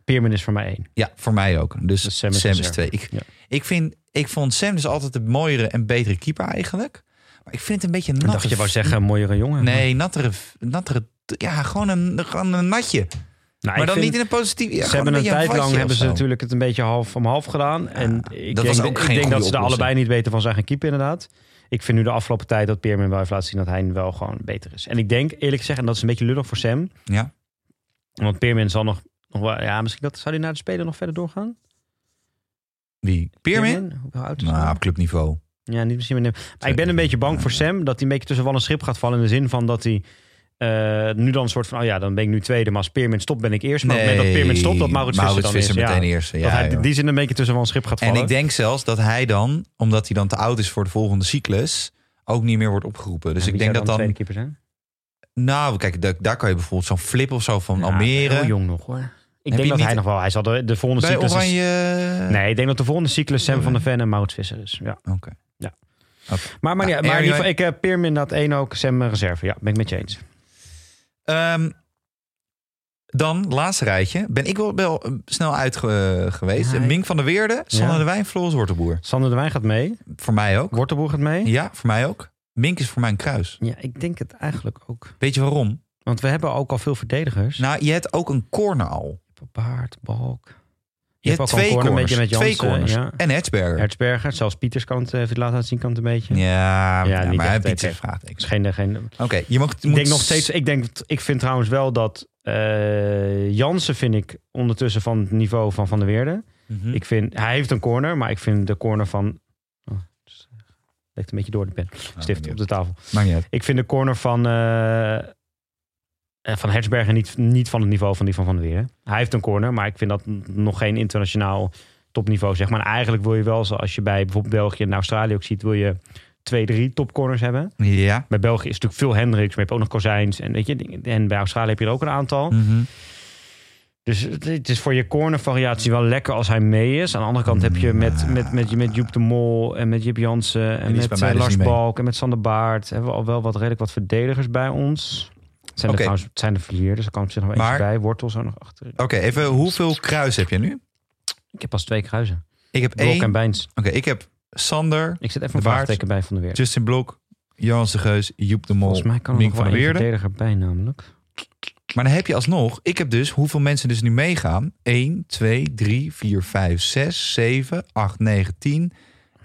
Speaker 1: Peerman is voor mij één.
Speaker 2: Ja, voor mij ook. Dus,
Speaker 1: Dus
Speaker 2: Sam
Speaker 1: Sam
Speaker 2: is,
Speaker 1: is reserve.
Speaker 2: twee. Ik,
Speaker 1: Ja.
Speaker 2: ik, vind, ik vond Sam dus altijd de mooiere en betere keeper eigenlijk. Maar ik vind het een beetje een
Speaker 1: Ik
Speaker 2: natte...
Speaker 1: dacht je wou zeggen, een mooiere jongen.
Speaker 2: Nee, nattere... nattere ja, gewoon een, gewoon een natje.
Speaker 1: Nou,
Speaker 2: maar
Speaker 1: ik
Speaker 2: dan
Speaker 1: vind-
Speaker 2: niet in een positieve... Ja,
Speaker 1: ze
Speaker 2: gewoon
Speaker 1: hebben een
Speaker 2: beetje
Speaker 1: tijd lang
Speaker 2: watje
Speaker 1: hebben
Speaker 2: of
Speaker 1: ze
Speaker 2: zo.
Speaker 1: natuurlijk het een beetje half om half gedaan. en ik
Speaker 2: dat
Speaker 1: denk,
Speaker 2: was ook
Speaker 1: ik denk
Speaker 2: geen goede
Speaker 1: dat ze er
Speaker 2: oplossing.
Speaker 1: allebei niet weten van zijn gaan keeper inderdaad. Ik vind nu de afgelopen tijd dat Peerman wel heeft laten zien dat hij wel gewoon beter is. En ik denk eerlijk gezegd, en dat is een beetje lullig voor Sam.
Speaker 2: Ja.
Speaker 1: Want Peerman zal nog, nog wel, ja, misschien dat, zou hij naar de speler nog verder doorgaan?
Speaker 2: Wie? Peermin?
Speaker 1: Hoe oud is hij?
Speaker 2: Nou, op clubniveau.
Speaker 1: Ja, niet misschien meer. Maar ik ben een beetje bang voor Sam dat hij een beetje tussen wal en schip gaat vallen. In de zin van dat hij eh, nu dan een soort van: oh ja, dan ben ik nu tweede. Maar als Peermin stopt, ben ik eerst. Maar op het moment dat Peermin stopt, dat Maurits, Visser dan is.
Speaker 2: meteen
Speaker 1: ja.
Speaker 2: eerste. Ja,
Speaker 1: dat hij
Speaker 2: joh.
Speaker 1: in die zin een beetje tussen wal en schip gaat
Speaker 2: en
Speaker 1: vallen.
Speaker 2: ik denk zelfs dat hij dan, omdat hij dan te oud is voor de volgende cyclus, ook niet meer wordt opgeroepen. Dus
Speaker 1: Ja,
Speaker 2: ik
Speaker 1: wie
Speaker 2: denk dat
Speaker 1: zou
Speaker 2: dan...
Speaker 1: Tweede keeper zijn?
Speaker 2: Nou, kijk, daar, daar kan je bijvoorbeeld zo'n flip of zo van
Speaker 1: Ja,
Speaker 2: Almere.
Speaker 1: Heel jong nog hoor. Ik
Speaker 2: je
Speaker 1: denk dat
Speaker 2: niet-
Speaker 1: hij nog wel. Hij zal de, de volgende
Speaker 2: bij
Speaker 1: cyclus. is-
Speaker 2: Oranje...
Speaker 1: Nee, ik denk dat de volgende cyclus Sam van der Ven en Maurits Visser is. Ja.
Speaker 2: Oké.
Speaker 1: Ja.
Speaker 2: Oké.
Speaker 1: Maar, maar,
Speaker 2: Nou,
Speaker 1: ja, maar in ieder geval,
Speaker 2: anyway.
Speaker 1: ik heb Peermin dat één ook, Sam eh, reserve. Ja, ben ik met je eens.
Speaker 2: Ehm, dan, laatste rijtje. Ben ik wel, wel eh, snel uit ge- eh, geweest.
Speaker 1: Ja, ik-
Speaker 2: Mink van der Weerde, Sanne
Speaker 1: Ja.
Speaker 2: de Wijn, Floris Wortelboer.
Speaker 1: Sander de Wijn gaat mee.
Speaker 2: Voor mij ook.
Speaker 1: Wortelboer gaat mee.
Speaker 2: Ja, voor mij ook. Mink is voor mij een kruis.
Speaker 1: Ja, ik denk het eigenlijk ook.
Speaker 2: Weet je waarom?
Speaker 1: Want we hebben ook al veel verdedigers.
Speaker 2: Nou, je hebt ook een corner al.
Speaker 1: Baard, Balk. Je,
Speaker 2: Je,
Speaker 1: hebt ook
Speaker 2: hebt
Speaker 1: al
Speaker 2: twee
Speaker 1: een corner, een
Speaker 2: corners.
Speaker 1: beetje met Jansen.
Speaker 2: twee corners.
Speaker 1: Ja.
Speaker 2: En Hetsberger.
Speaker 1: Hertzberger, zelfs Pieters kan het eh, even laten zien, kan het een beetje. Ja,
Speaker 2: ja, ja,
Speaker 1: niet
Speaker 2: maar hij
Speaker 1: echt,
Speaker 2: biedt
Speaker 1: echt.
Speaker 2: zijn
Speaker 1: Het is
Speaker 2: vraagtekens.
Speaker 1: geen, geen,
Speaker 2: Oké, je mag,
Speaker 1: ik denk nog steeds, ik, denk, ik vind trouwens wel dat eh, Jansen vind ik ondertussen van het niveau van Van der Weerde.
Speaker 2: Mhm.
Speaker 1: Ik vind, hij heeft een corner, maar ik vind de corner van... Oh, het lekt een beetje door de pen.
Speaker 2: Ah,
Speaker 1: Stift op de tafel.
Speaker 2: Nou, Maakt niet uit.
Speaker 1: Ik vind de corner van, eh eh, van Hertzberger niet, niet van het niveau van die van Van der Weer. Hij heeft een corner, maar ik vind dat n- nog geen internationaal topniveau. Zeg maar. En eigenlijk wil je wel, zoals je bij bijvoorbeeld België en Australië ook ziet, wil je twee, drie topcorners hebben.
Speaker 2: Ja.
Speaker 1: Bij België is
Speaker 2: Hm.
Speaker 1: natuurlijk veel Hendricks, maar je hebt ook nog Kozijns. En, weet je, en bij Australië heb je er ook een aantal.
Speaker 2: Mhm.
Speaker 1: Dus het- het is voor je cornervariatie wel lekker als hij mee is. Aan de andere kant heb je met, met, met, met Joep de Mol en met Jip Jansen... en
Speaker 2: Mm, die is bij
Speaker 1: met
Speaker 2: mij
Speaker 1: eh,
Speaker 2: dus
Speaker 1: Lars
Speaker 2: niet mee.
Speaker 1: Balk en met Sander Baart... hebben we al wel wat, redelijk wat verdedigers bij ons. Het zijn,
Speaker 2: Oké.
Speaker 1: er, trouwens, het zijn er vier, dus er kan op zich nog eentje
Speaker 2: Maar-
Speaker 1: bij. Wortel zo nog achter.
Speaker 2: Oké, even hoeveel kruis heb je nu?
Speaker 1: Ik heb pas twee kruisen.
Speaker 2: Ik heb
Speaker 1: Blok
Speaker 2: één.
Speaker 1: en
Speaker 2: Oké,
Speaker 1: Bijns.
Speaker 2: ik heb Sander,
Speaker 1: Ik zet even een
Speaker 2: De Waard.
Speaker 1: vraagteken bij Van de Weer.
Speaker 2: Justin Blok, Johan de Geus, Joep de Mol,
Speaker 1: Volgens mij kan er
Speaker 2: Mink
Speaker 1: nog
Speaker 2: van
Speaker 1: wel
Speaker 2: der
Speaker 1: een
Speaker 2: Weerde.
Speaker 1: verdediger bij namelijk.
Speaker 2: Maar dan heb je alsnog, ik heb dus hoeveel mensen dus nu meegaan. 1, 2, 3, 4, 5, 6, 7, 8, 9, 10,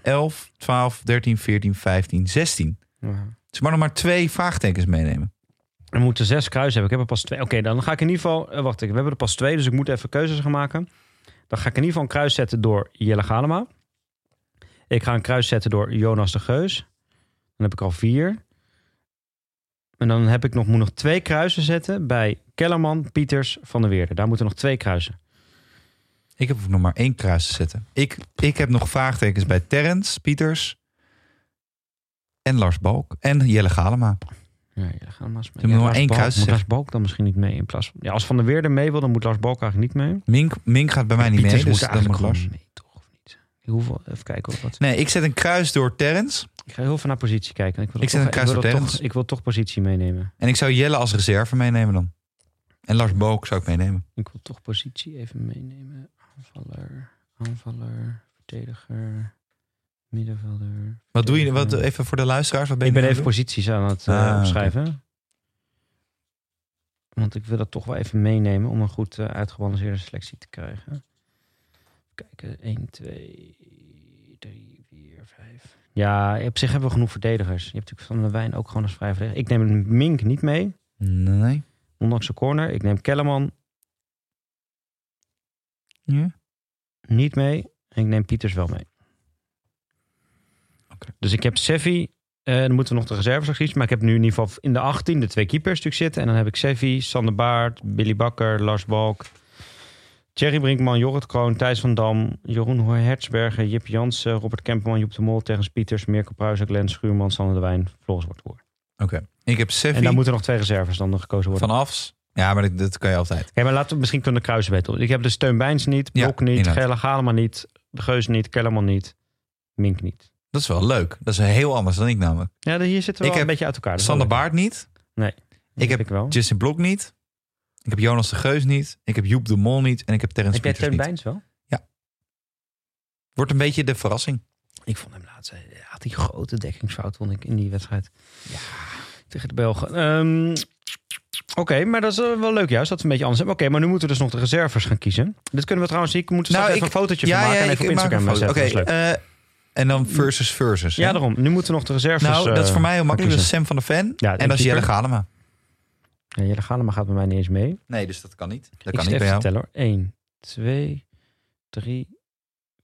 Speaker 2: 11, 12, 13, 14, 15, 16.
Speaker 1: Ja.
Speaker 2: Dus maar nog maar twee vraagtekens meenemen.
Speaker 1: We moeten zes kruisen hebben. Ik heb er pas twee. Oké, dan ga ik in ieder geval... eh, wacht, ik- we hebben er pas twee, dus ik moet even keuzes gaan maken. Dan ga ik in ieder geval een kruis zetten door Jelle Galema. Ik ga een kruis zetten door Jonas de Geus. Dan heb ik al vier. En dan heb ik nog, moet nog twee kruisen zetten bij Kellerman, Pieters, Van der Weerde. Daar moeten nog twee kruisen.
Speaker 2: Ik heb nog maar één kruis te zetten. Ik, ik heb nog vraagtekens bij Terrence, Pieters en Lars Balk en Jelle Galema.
Speaker 1: Ja, Jelle Galema is mee.
Speaker 2: moet
Speaker 1: Ja,
Speaker 2: nog
Speaker 1: Lars
Speaker 2: één
Speaker 1: Balk-
Speaker 2: kruis
Speaker 1: Moet
Speaker 2: zetten.
Speaker 1: Lars Balk dan misschien niet mee in plaats van... Ja, als Van der Weerde mee wil, dan moet Lars Balk eigenlijk niet mee.
Speaker 2: Mink, Mink gaat bij mij niet mee,
Speaker 1: Pieters
Speaker 2: dus
Speaker 1: moet
Speaker 2: dan moet
Speaker 1: eigenlijk
Speaker 2: Lars.
Speaker 1: gewoon mee, toch? Of niet? Hoeveel, even kijken of dat...
Speaker 2: Nee, ik zet een kruis door Terrence.
Speaker 1: Ik ga heel veel naar positie kijken. Ik, wil
Speaker 2: Ik
Speaker 1: toch-
Speaker 2: zet een kruis
Speaker 1: wil
Speaker 2: op
Speaker 1: dat
Speaker 2: Terrence.
Speaker 1: toch, ik wil toch positie meenemen.
Speaker 2: En ik zou Jelle als reserve meenemen dan. En Lars Balk zou ik meenemen.
Speaker 1: Ik wil toch positie even meenemen. Aanvaller, aanvaller, verdediger, middenvelder.
Speaker 2: Wat doe je? Wat,
Speaker 1: verdediger.
Speaker 2: even voor de luisteraars, wat ben je
Speaker 1: ik ben
Speaker 2: nu aan
Speaker 1: even
Speaker 2: het
Speaker 1: posities aan het eh,
Speaker 2: Ah, oké.
Speaker 1: opschrijven. Want ik wil dat toch wel even meenemen om een goed eh, uitgebalanceerde selectie te krijgen. Kijken, 1, 2, 3, 4, 5. Ja, op zich hebben we genoeg verdedigers. Je hebt natuurlijk Van der Wijn ook gewoon als vrij verdediger. Ik neem Mink niet mee.
Speaker 2: doen? Nee.
Speaker 1: Ondanks de corner. Ik neem Kellerman
Speaker 2: Ja.
Speaker 1: niet mee. En ik neem Pieters wel mee.
Speaker 2: Oké.
Speaker 1: Dus ik heb Seffi. eh, dan moeten we nog de reserves nog iets. Maar ik heb nu in ieder geval in de 18 de twee keepers natuurlijk zitten. En dan heb ik Seffi, Sander Baart, Billy Bakker, Lars Balk. Thierry Brinkman, Jorrit Kroon, Thijs van Dam, Jeroen Hertzberger, Jip Jansen, Robert Kemperman, Joep de Mol, Tegens Pieters, Mirko Pruijs, Glenn Schuurman, Sander de Wijn, Floris Wortkoor.
Speaker 2: Oké. Ik
Speaker 1: En
Speaker 2: heb
Speaker 1: daar
Speaker 2: Seffi
Speaker 1: moeten nog twee reserves dan nog gekozen worden.
Speaker 2: van Afs. Ja, maar dat, dat kan je altijd.
Speaker 1: Oké, maar laten we misschien kunnen kruisen weten. Ik heb de Steun Bijns niet,
Speaker 2: Ja,
Speaker 1: Blok niet,
Speaker 2: inderdaad.
Speaker 1: Gelle Galema niet, De Geus niet, Kellerman niet, Mink niet.
Speaker 2: Dat is wel leuk. Dat is heel anders dan ik namelijk.
Speaker 1: Ja, de- hier zitten we
Speaker 2: Ik
Speaker 1: wel
Speaker 2: heb
Speaker 1: een beetje uit elkaar. Dat is wel
Speaker 2: Sander
Speaker 1: leuk.
Speaker 2: Baart niet.
Speaker 1: Dat
Speaker 2: ik heb
Speaker 1: ik wel.
Speaker 2: Justin Blok niet. Ik heb Jonas de Geus niet. Ik heb Joep de Mol niet. En ik heb Terrence
Speaker 1: Heb jij
Speaker 2: Pieters
Speaker 1: Steun
Speaker 2: niet.
Speaker 1: Bijns wel?
Speaker 2: Wordt een beetje de verrassing.
Speaker 1: Ik vond hem laatst, eh, hij had die grote dekkingsfout vond ik in die wedstrijd. Tegen de Belgen. Ehm, Oké, maar dat is eh, wel leuk juist, dat we een beetje anders hebben. Oké, maar nu moeten we dus nog de reserves gaan kiezen. Dit kunnen we trouwens, ik moet er
Speaker 2: Nou,
Speaker 1: straks even een fotootje van maken en even op
Speaker 2: maak
Speaker 1: Instagram
Speaker 2: een foto.
Speaker 1: zetten.
Speaker 2: Oké,
Speaker 1: Dat is leuk.
Speaker 2: eh, en dan versus versus. hè?
Speaker 1: ja, daarom. Nu moeten we nog de reserves
Speaker 2: Nou, dat is
Speaker 1: eh,
Speaker 2: voor mij heel makkelijk. Dat
Speaker 1: gaan
Speaker 2: is Sam van de Fan.
Speaker 1: Ja,
Speaker 2: en dat is
Speaker 1: keeper.
Speaker 2: Jelle Galema.
Speaker 1: kiezen. Ja, Jelle Galema gaat bij mij niet eens mee.
Speaker 2: Nee, dus dat kan niet. Dat
Speaker 1: ik
Speaker 2: kan
Speaker 1: zit
Speaker 2: niet bij jou.
Speaker 1: even te tellen hoor. 1, 2, 3,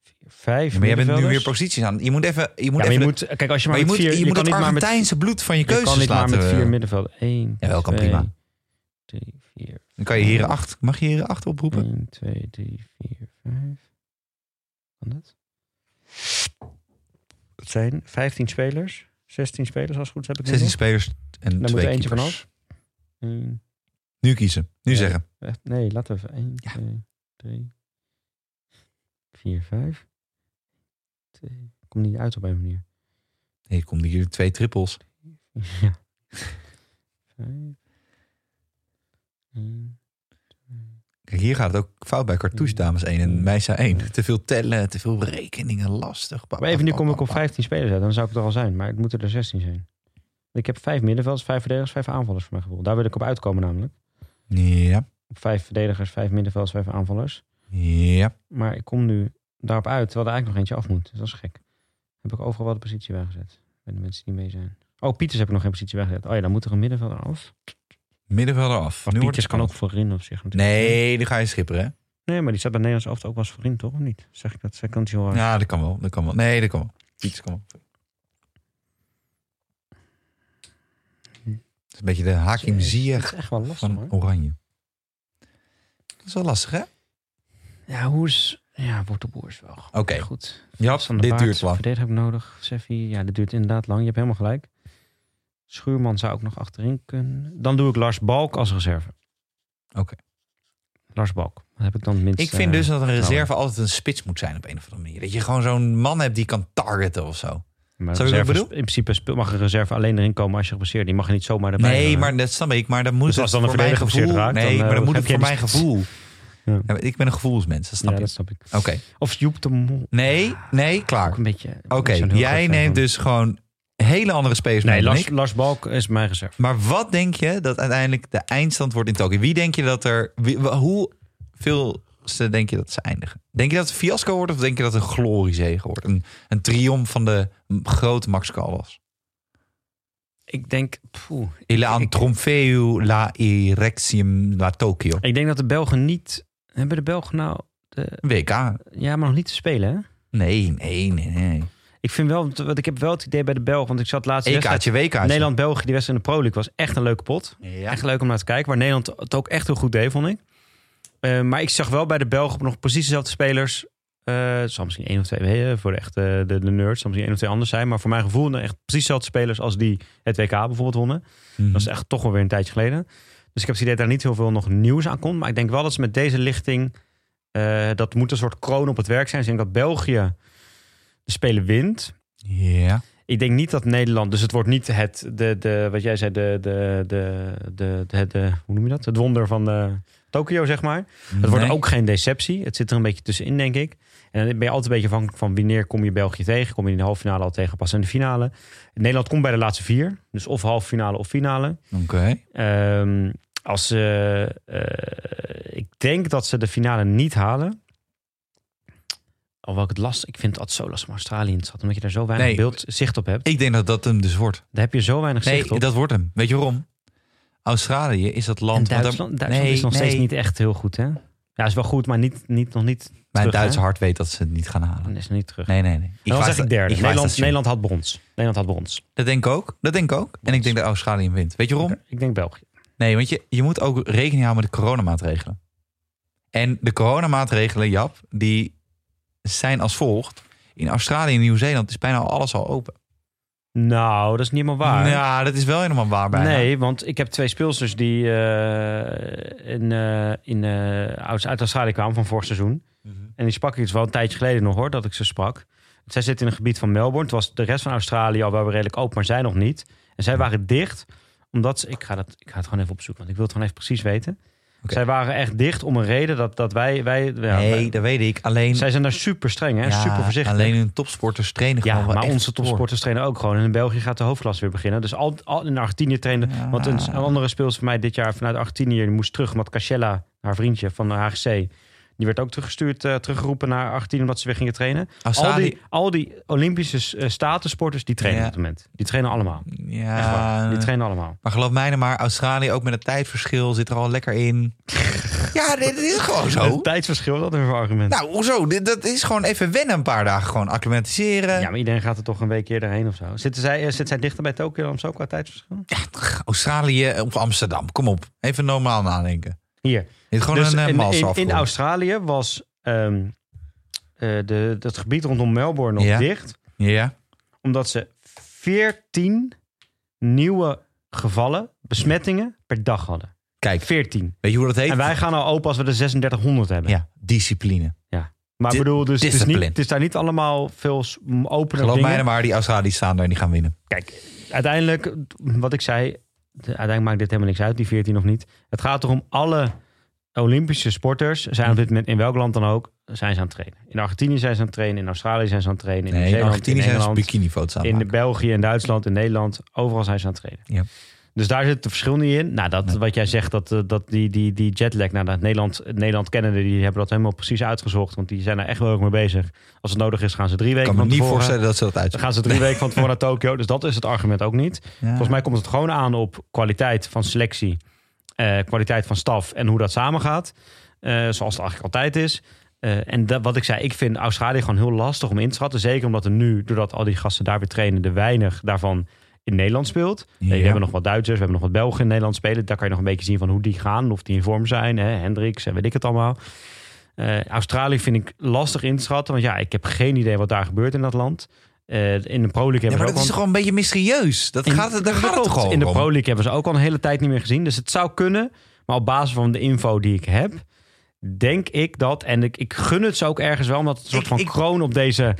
Speaker 1: 4, 5.
Speaker 2: Ja, maar jij bent nu weer posities aan. Je moet even.
Speaker 1: ja,
Speaker 2: Je moet
Speaker 1: maar je
Speaker 2: even
Speaker 1: moet, kijk, als je maar,
Speaker 2: maar je moet,
Speaker 1: met vier,
Speaker 2: je moet
Speaker 1: kan
Speaker 2: het
Speaker 1: niet maar met,
Speaker 2: Argentijnse bloed van je
Speaker 1: je kan
Speaker 2: keuzes
Speaker 1: niet maar
Speaker 2: laten.
Speaker 1: met vier
Speaker 2: eh,
Speaker 1: middenvelden. 1,
Speaker 2: Jawel, kan
Speaker 1: 2,
Speaker 2: prima.
Speaker 1: 3, 4,
Speaker 2: Dan kan je heren acht. Mag je heren acht oproepen?
Speaker 1: 1, 2, 3, 4, 5. Kan dat? Het zijn 15 spelers. 16 spelers als het goed is, heb ik
Speaker 2: 16
Speaker 1: nu
Speaker 2: spelers en
Speaker 1: Dan moet
Speaker 2: twee
Speaker 1: er eentje
Speaker 2: keepers.
Speaker 1: nog. Eén,
Speaker 2: Nu kiezen. Nu
Speaker 1: Ja.
Speaker 2: zeggen.
Speaker 1: echt- Nee, laten we even. 1, 2, 3, 4, 5. 2. Kom niet uit op een manier.
Speaker 2: Nee, komt hier twee trippels.
Speaker 1: Ja. 5. 1.
Speaker 2: Kijk, hier gaat het ook fout bij cartouche,
Speaker 1: Ja.
Speaker 2: dames 1 en meisje 1. Te veel tellen, te veel berekeningen, lastig. Ba,
Speaker 1: Mm. Maar
Speaker 2: ba,
Speaker 1: even nu
Speaker 2: ba,
Speaker 1: kom
Speaker 2: ba,
Speaker 1: ik op
Speaker 2: ba.
Speaker 1: 15 spelers uit. Dan zou ik er al zijn. Maar het moeten er 16 zijn. Ik heb vijf middenvelders, vijf verdedigers, vijf aanvallers voor mijn gevoel. Daar wil ik op uitkomen namelijk.
Speaker 2: Ja,
Speaker 1: Op vijf verdedigers, vijf middenvelders, vijf aanvallers.
Speaker 2: ja.
Speaker 1: Maar ik kom nu daarop uit, terwijl er eigenlijk nog eentje af moet. Dus dat is gek. Heb ik overal wel de positie bijgezet. Bij de mensen die mee zijn. Oh, Pieters heb ik nog geen positie bijgezet. Oh ja, dan moet er een middenvelder af.
Speaker 2: Middenvelder af.
Speaker 1: Maar
Speaker 2: Nu wordt
Speaker 1: Pieters
Speaker 2: het
Speaker 1: kan ook
Speaker 2: spannend.
Speaker 1: voorin op zich natuurlijk.
Speaker 2: Nee, die ga je schipperen, hè?
Speaker 1: Nee, maar die staat bij Nederlands elftal ook wel eens voorin, toch? Of niet? Zeg ik dat? Zeg ik dat heel hard?
Speaker 2: Ja, dat kan wel. Dat kan wel. Oh, Nee, dat kan wel. Pieters kan wel. Het is een beetje de Hakim
Speaker 1: Jezus,
Speaker 2: Ziyech
Speaker 1: Dat is echt wel lastig,
Speaker 2: van
Speaker 1: hoor.
Speaker 2: Oranje. Dat is wel lastig, hè?
Speaker 1: Ja, hoe is... Ja, wordt de boers wel gewoon
Speaker 2: Oké.
Speaker 1: goed.
Speaker 2: Ja,
Speaker 1: Van
Speaker 2: dit duurt lang.
Speaker 1: Verdediger heb ik nodig. Seffi, ja, dit duurt inderdaad lang. Je hebt helemaal gelijk. Schuurman zou ook nog achterin kunnen. Dan doe ik Lars Balk als reserve.
Speaker 2: Oké.
Speaker 1: Lars Balk. Dat heb ik dan minst.
Speaker 2: Ik
Speaker 1: eh,
Speaker 2: vind dus dat een
Speaker 1: vertrouwen.
Speaker 2: reserve altijd een spits moet zijn op een of andere manier. Dat je gewoon zo'n man hebt die kan targeten of zo.
Speaker 1: Maar
Speaker 2: Zou je
Speaker 1: reserve
Speaker 2: wat ik
Speaker 1: is- In principe speel- mag een reserve alleen erin komen als je geblesseerd bent. Die mag je niet zomaar erbij
Speaker 2: Nee,
Speaker 1: doen.
Speaker 2: maar dat snap ik. Maar dan moet
Speaker 1: Dus
Speaker 2: het
Speaker 1: als dan een
Speaker 2: voor mijn
Speaker 1: verdediger
Speaker 2: gevoel.
Speaker 1: geblesseerd raakt, dan,
Speaker 2: nee,
Speaker 1: eh,
Speaker 2: maar dan moet het
Speaker 1: heb
Speaker 2: voor
Speaker 1: je
Speaker 2: mijn
Speaker 1: die-
Speaker 2: gevoel.
Speaker 1: Ja.
Speaker 2: Ja, maar ik ben een gevoelsmens, dat snap
Speaker 1: Ja,
Speaker 2: je.
Speaker 1: dat snap ik.
Speaker 2: Oké.
Speaker 1: Of Joep de Mol.
Speaker 2: Nee, nee, klaar.
Speaker 1: Ook
Speaker 2: Oké,
Speaker 1: een beetje. Oké,
Speaker 2: jij neemt dus gewoon hele andere spelers mee
Speaker 1: Nee,
Speaker 2: dan
Speaker 1: Lars,
Speaker 2: ik.
Speaker 1: Lars Balk is mijn reserve.
Speaker 2: Maar wat denk je dat uiteindelijk de eindstand wordt in Tokio? Wie denk je dat er... Wie, wa- hoe veel ze denk je dat ze eindigen? Denk je dat het een fiasco wordt of denk je dat het een gloriezege wordt? Een, een triomf van de m- grote Max Callas.
Speaker 1: Ik denk. poeh,
Speaker 2: Il a un
Speaker 1: ik-
Speaker 2: trofeo la erectium la Tokio.
Speaker 1: Ik denk dat de Belgen niet. Hebben de Belgen nou. de-
Speaker 2: WK.
Speaker 1: ja, maar nog niet te spelen, hè?
Speaker 2: Nee, nee, nee, nee. E
Speaker 1: Ik vind wel. Want ik heb wel het idee bij de Belgen. Want ik zat laatst.
Speaker 2: EK'tje, WK'tje.
Speaker 1: Nederland-België, die wedstrijd in de Pro League was echt een leuke pot.
Speaker 2: Ja.
Speaker 1: Echt leuk om naar te kijken. Waar Nederland het ook echt heel goed deed, vond ik. Eh, maar ik zag wel bij de Belgen nog precies dezelfde spelers. Eh, het zal misschien één of twee, eh, voor de echte de, de nerds, zal misschien één of twee anders zijn. Maar voor mijn gevoel nou echt precies dezelfde spelers als die het WK bijvoorbeeld wonnen.
Speaker 2: Mhm.
Speaker 1: Dat is echt toch wel weer een tijdje geleden. Dus ik heb het idee dat daar niet heel veel nog nieuws aan komt. Maar ik denk wel dat ze met deze lichting... eh, dat moet een soort kroon op het werk zijn. Dus ik denk dat België de Spelen wint.
Speaker 2: Ja.
Speaker 1: Ik denk niet dat Nederland... Dus het wordt niet het... De, de, wat jij zei, de, de, de, de, de, de- Hoe noem je dat? Het wonder van eh, Tokio, zeg maar. Het wordt ook geen deceptie. Het zit er een beetje tussenin, denk ik. En dan ben je altijd een beetje afhankelijk van wanneer kom je België tegen. Kom je in de halve finale al tegen, pas in de finale. Nederland komt bij de laatste vier. Dus of halve finale of finale.
Speaker 2: Oké.
Speaker 1: Ehm, als ze, eh, ik denk dat ze de finale niet halen. Alhoewel ik het last, ik vind het altijd zo lastig om Australië in te schatten, omdat je daar zo weinig
Speaker 2: Nee.
Speaker 1: beeld zicht op hebt.
Speaker 2: Ik denk dat dat hem dus wordt.
Speaker 1: Daar heb je zo weinig
Speaker 2: Nee,
Speaker 1: zicht op.
Speaker 2: dat wordt hem. Weet je waarom? Australië is dat land...
Speaker 1: en
Speaker 2: want daar-
Speaker 1: Duitsland, Duitsland
Speaker 2: Nee,
Speaker 1: is nog
Speaker 2: nee.
Speaker 1: steeds niet echt heel goed, hè? Ja, is wel goed, maar niet, niet, nog niet.
Speaker 2: Mijn
Speaker 1: terug,
Speaker 2: Duitse
Speaker 1: hè?
Speaker 2: hart weet dat ze het niet gaan halen.
Speaker 1: Dan is het niet terug.
Speaker 2: Nee, nee, nee.
Speaker 1: En dan
Speaker 2: was
Speaker 1: zeg ik derde.
Speaker 2: Ik was
Speaker 1: Nederland,
Speaker 2: dat
Speaker 1: Nederland had brons. Nederland had brons.
Speaker 2: Dat denk ik ook. Dat denk ik ook. En ik denk dat Australië wint. Weet je waarom?
Speaker 1: Ik denk België.
Speaker 2: Nee, want je, je moet ook rekening houden met de coronamaatregelen. En de coronamaatregelen, Jap, die zijn als volgt. In Australië en Nieuw-Zeeland is bijna alles al open.
Speaker 1: Nou, dat is niet helemaal waar.
Speaker 2: Ja, dat is wel helemaal waar bijna.
Speaker 1: Nee, want ik heb twee speelsters die eh, in, eh, in, eh, uit uit Australië kwamen van vorig seizoen.
Speaker 2: Mhm.
Speaker 1: En die sprak ik dus wel een tijdje geleden nog hoor, dat ik ze sprak. Zij zitten in een gebied van Melbourne. Het was de rest van Australië al wel weer redelijk open, maar zij nog niet. En
Speaker 2: Mhm.
Speaker 1: zij waren dicht, omdat ze... Ik ga, dat, ik ga het gewoon even opzoeken, want ik wil het gewoon even precies weten.
Speaker 2: Oké.
Speaker 1: Zij waren echt dicht om een reden dat, dat wij... wij ja,
Speaker 2: nee
Speaker 1: wij-
Speaker 2: dat weet ik. Alleen,
Speaker 1: zij zijn daar super streng, hè?
Speaker 2: ja,
Speaker 1: super voorzichtig.
Speaker 2: alleen hun topsporters trainen
Speaker 1: Ja,
Speaker 2: gewoon wel
Speaker 1: maar
Speaker 2: echt
Speaker 1: onze
Speaker 2: door.
Speaker 1: topsporters trainen ook gewoon. En in België gaat de hoofdklasse weer beginnen. Dus al, al in Argentinië trainen.
Speaker 2: Ja.
Speaker 1: Want een, een andere speelster van mij dit jaar vanuit Argentinië die moest terug. Omdat Cascella, haar vriendje van de HGC, die werd ook teruggestuurd, eh, teruggeroepen naar Argentinië omdat ze weer gingen trainen. Al
Speaker 2: Australië-
Speaker 1: die, al die Olympische eh, statussporters, die trainen
Speaker 2: Ja.
Speaker 1: op het moment. Die trainen allemaal. Echt waar.
Speaker 2: Ja, eh,
Speaker 1: Die trainen allemaal.
Speaker 2: Maar geloof mij nou maar, Australië ook met het tijdverschil zit er al lekker in. ja, dit, dit is gewoon zo.
Speaker 1: Het tijdsverschil, dat is een argument.
Speaker 2: Oh. Nou, hoezo? Dit, dat is gewoon even wennen een paar dagen. Gewoon acclimatiseren.
Speaker 1: ja, maar iedereen gaat er toch een week eerder heen of zo. Zitten zij, eh, zit zij dichter bij Tokio dan zo qua tijdsverschil?
Speaker 2: Australië eh, of Amsterdam, kom op. Even normaal nadenken.
Speaker 1: Hier.
Speaker 2: Dit is gewoon
Speaker 1: Dus
Speaker 2: een eh,
Speaker 1: in-
Speaker 2: mals
Speaker 1: in, in,
Speaker 2: afgerond.
Speaker 1: Australië was ehm, eh, de, dat gebied rondom Melbourne nog
Speaker 2: Ja.
Speaker 1: dicht.
Speaker 2: Ja,
Speaker 1: Omdat ze 14 nieuwe gevallen, besmettingen per dag hadden.
Speaker 2: kijk.
Speaker 1: 14.
Speaker 2: Weet je hoe dat heet?
Speaker 1: En wij gaan al open als we er 3600 hebben.
Speaker 2: Ja, discipline.
Speaker 1: Maar ik
Speaker 2: Di-
Speaker 1: bedoel, dus het is, niet,
Speaker 2: discipline.
Speaker 1: het is daar niet allemaal veel s- m- opener
Speaker 2: Geloof mij
Speaker 1: dingen.
Speaker 2: nou maar, die Australiërs staan daar en die gaan winnen.
Speaker 1: Kijk, uiteindelijk, wat ik zei, de- uiteindelijk maakt dit helemaal niks uit, die 14 of niet. Het gaat erom alle Olympische sporters zijn op dit moment in welk land dan ook, zijn ze aan het trainen. In Argentinië zijn ze aan het trainen, in Australië zijn ze aan het trainen, in
Speaker 2: Nee, in
Speaker 1: Nieuw-Zeeland, in
Speaker 2: Argentinië zijn ze
Speaker 1: Engeland,
Speaker 2: bikinifoto's aan het
Speaker 1: in
Speaker 2: maken.
Speaker 1: België, in Duitsland, in Nederland, overal zijn ze aan het trainen.
Speaker 2: Ja.
Speaker 1: Dus daar zit het verschil niet in. Nou, dat, wat jij zegt, dat, eh, dat die, die, die jetlag, nou, dat Nederland, Nederland kennende, die hebben dat helemaal precies uitgezocht, want die zijn er echt wel erg mee bezig. Als het nodig is, gaan ze drie
Speaker 2: Ik
Speaker 1: weken
Speaker 2: kan
Speaker 1: van
Speaker 2: me niet
Speaker 1: tevoren-
Speaker 2: voorstellen dat ze dat
Speaker 1: dan
Speaker 2: uit.
Speaker 1: gaan ze drie weken van tevoren naar Tokio. Dus dat is het argument ook niet. Volgens mij komt het gewoon aan op kwaliteit van selectie, eh, kwaliteit van staf en hoe dat samengaat. Eh, zoals het eigenlijk altijd is. Eh, en dat, wat ik zei, ik vind Australië gewoon heel lastig om in te schatten. Zeker omdat er nu, doordat al die gasten daar weer trainen, er weinig daarvan in Nederland speelt. Eh,
Speaker 2: Ja.
Speaker 1: We hebben nog wat Duitsers, we hebben nog wat Belgen in Nederland spelen. Daar kan je nog een beetje zien van hoe die gaan, of die in vorm zijn. Hè? Hendricks en weet ik het allemaal. Eh, Australië vind ik lastig in te schatten. Want ja, ik heb geen idee wat daar gebeurt in dat land. Eh, in de Pro League
Speaker 2: Ja,
Speaker 1: hebben
Speaker 2: maar
Speaker 1: ze ook
Speaker 2: dat is
Speaker 1: al-
Speaker 2: toch gewoon een beetje mysterieus. Dat gaat, daar gaat het
Speaker 1: Klopt.
Speaker 2: toch gewoon
Speaker 1: In de
Speaker 2: om?
Speaker 1: Pro League hebben ze ook al een hele tijd niet meer gezien. Dus het zou kunnen. Maar op basis van de info die ik heb, denk ik dat, en ik, ik gun het ze ook ergens wel, omdat het een soort
Speaker 2: Ik-
Speaker 1: van
Speaker 2: ik-
Speaker 1: kroon op deze,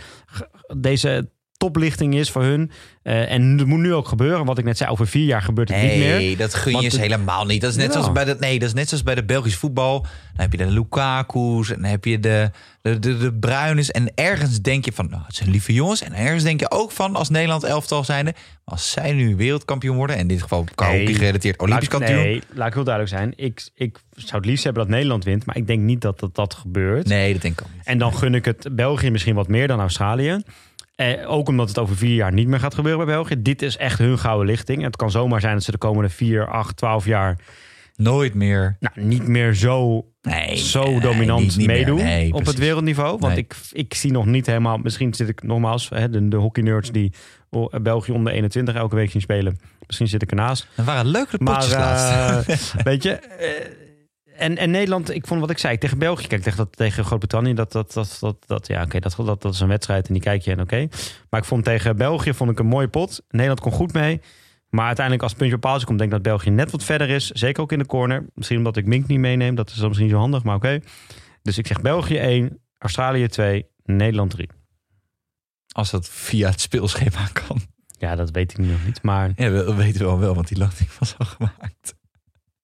Speaker 1: deze toplichting is voor hun. Eh, en het moet nu ook gebeuren. Wat ik net zei, over vier jaar gebeurt het niet meer.
Speaker 2: Nee, dat gun je
Speaker 1: Want
Speaker 2: ze
Speaker 1: het-
Speaker 2: helemaal niet. Dat is net,
Speaker 1: Ja.
Speaker 2: zoals bij de, nee, dat is net zoals bij de Belgisch voetbal. Dan heb je de Lukaku's en dan heb je de, de, de, de Bruines. En ergens denk je van, nou, het zijn lieve jongens. En ergens denk je ook van, als Nederland elftal zijnde... als zij nu wereldkampioen worden... en in dit geval
Speaker 1: Nee.
Speaker 2: karaoke gerelateerd olympisch
Speaker 1: Laat ik-
Speaker 2: kampioen...
Speaker 1: Nee, laat ik heel duidelijk zijn. Ik, ik zou het liefst hebben dat Nederland wint, maar ik denk niet dat dat, dat gebeurt.
Speaker 2: Nee, dat denk ik ook niet.
Speaker 1: En dan gun ik het België misschien wat meer dan Australië. Eh, ook omdat het over vier jaar niet meer gaat gebeuren bij België. Dit is echt hun gouden lichting. Het kan zomaar zijn dat ze de komende vier, acht, twaalf jaar
Speaker 2: Nooit meer.
Speaker 1: nou, niet meer zo,
Speaker 2: Nee,
Speaker 1: zo
Speaker 2: nee,
Speaker 1: dominant
Speaker 2: eh, niet- niet meer.
Speaker 1: meedoen
Speaker 2: Nee,
Speaker 1: op het
Speaker 2: precies.
Speaker 1: wereldniveau. Want
Speaker 2: Nee.
Speaker 1: ik, ik zie nog niet helemaal, misschien zit ik nogmaals, hè, de, de hockeynerds die oh, België onder 21 elke week zien spelen. Misschien zit ik ernaast.
Speaker 2: Dat waren leuke
Speaker 1: Maar
Speaker 2: potjes laatst.
Speaker 1: eh, weet je, eh, en, en Nederland, ik vond wat ik zei tegen België, kijk tegen, dat, tegen Groot-Brittannië, dat, dat, dat, dat, dat, ja, oké, dat, dat, dat is een wedstrijd en die kijk je en oké. Maar ik vond tegen België vond ik een mooie pot. Nederland kon goed mee. Maar uiteindelijk als het puntje op paaltje komt, denk ik dat België net wat verder is. Zeker ook in de corner. Misschien omdat ik Mink niet meeneem, dat is dan misschien zo handig, maar oké. Dus ik zeg België 1, Australië 2, Nederland 3.
Speaker 2: Als dat via het speelschema kan.
Speaker 1: Ja, dat weet ik nu nog niet, maar,
Speaker 2: Ja, we- dat weten we al wel, want die landing was al gemaakt.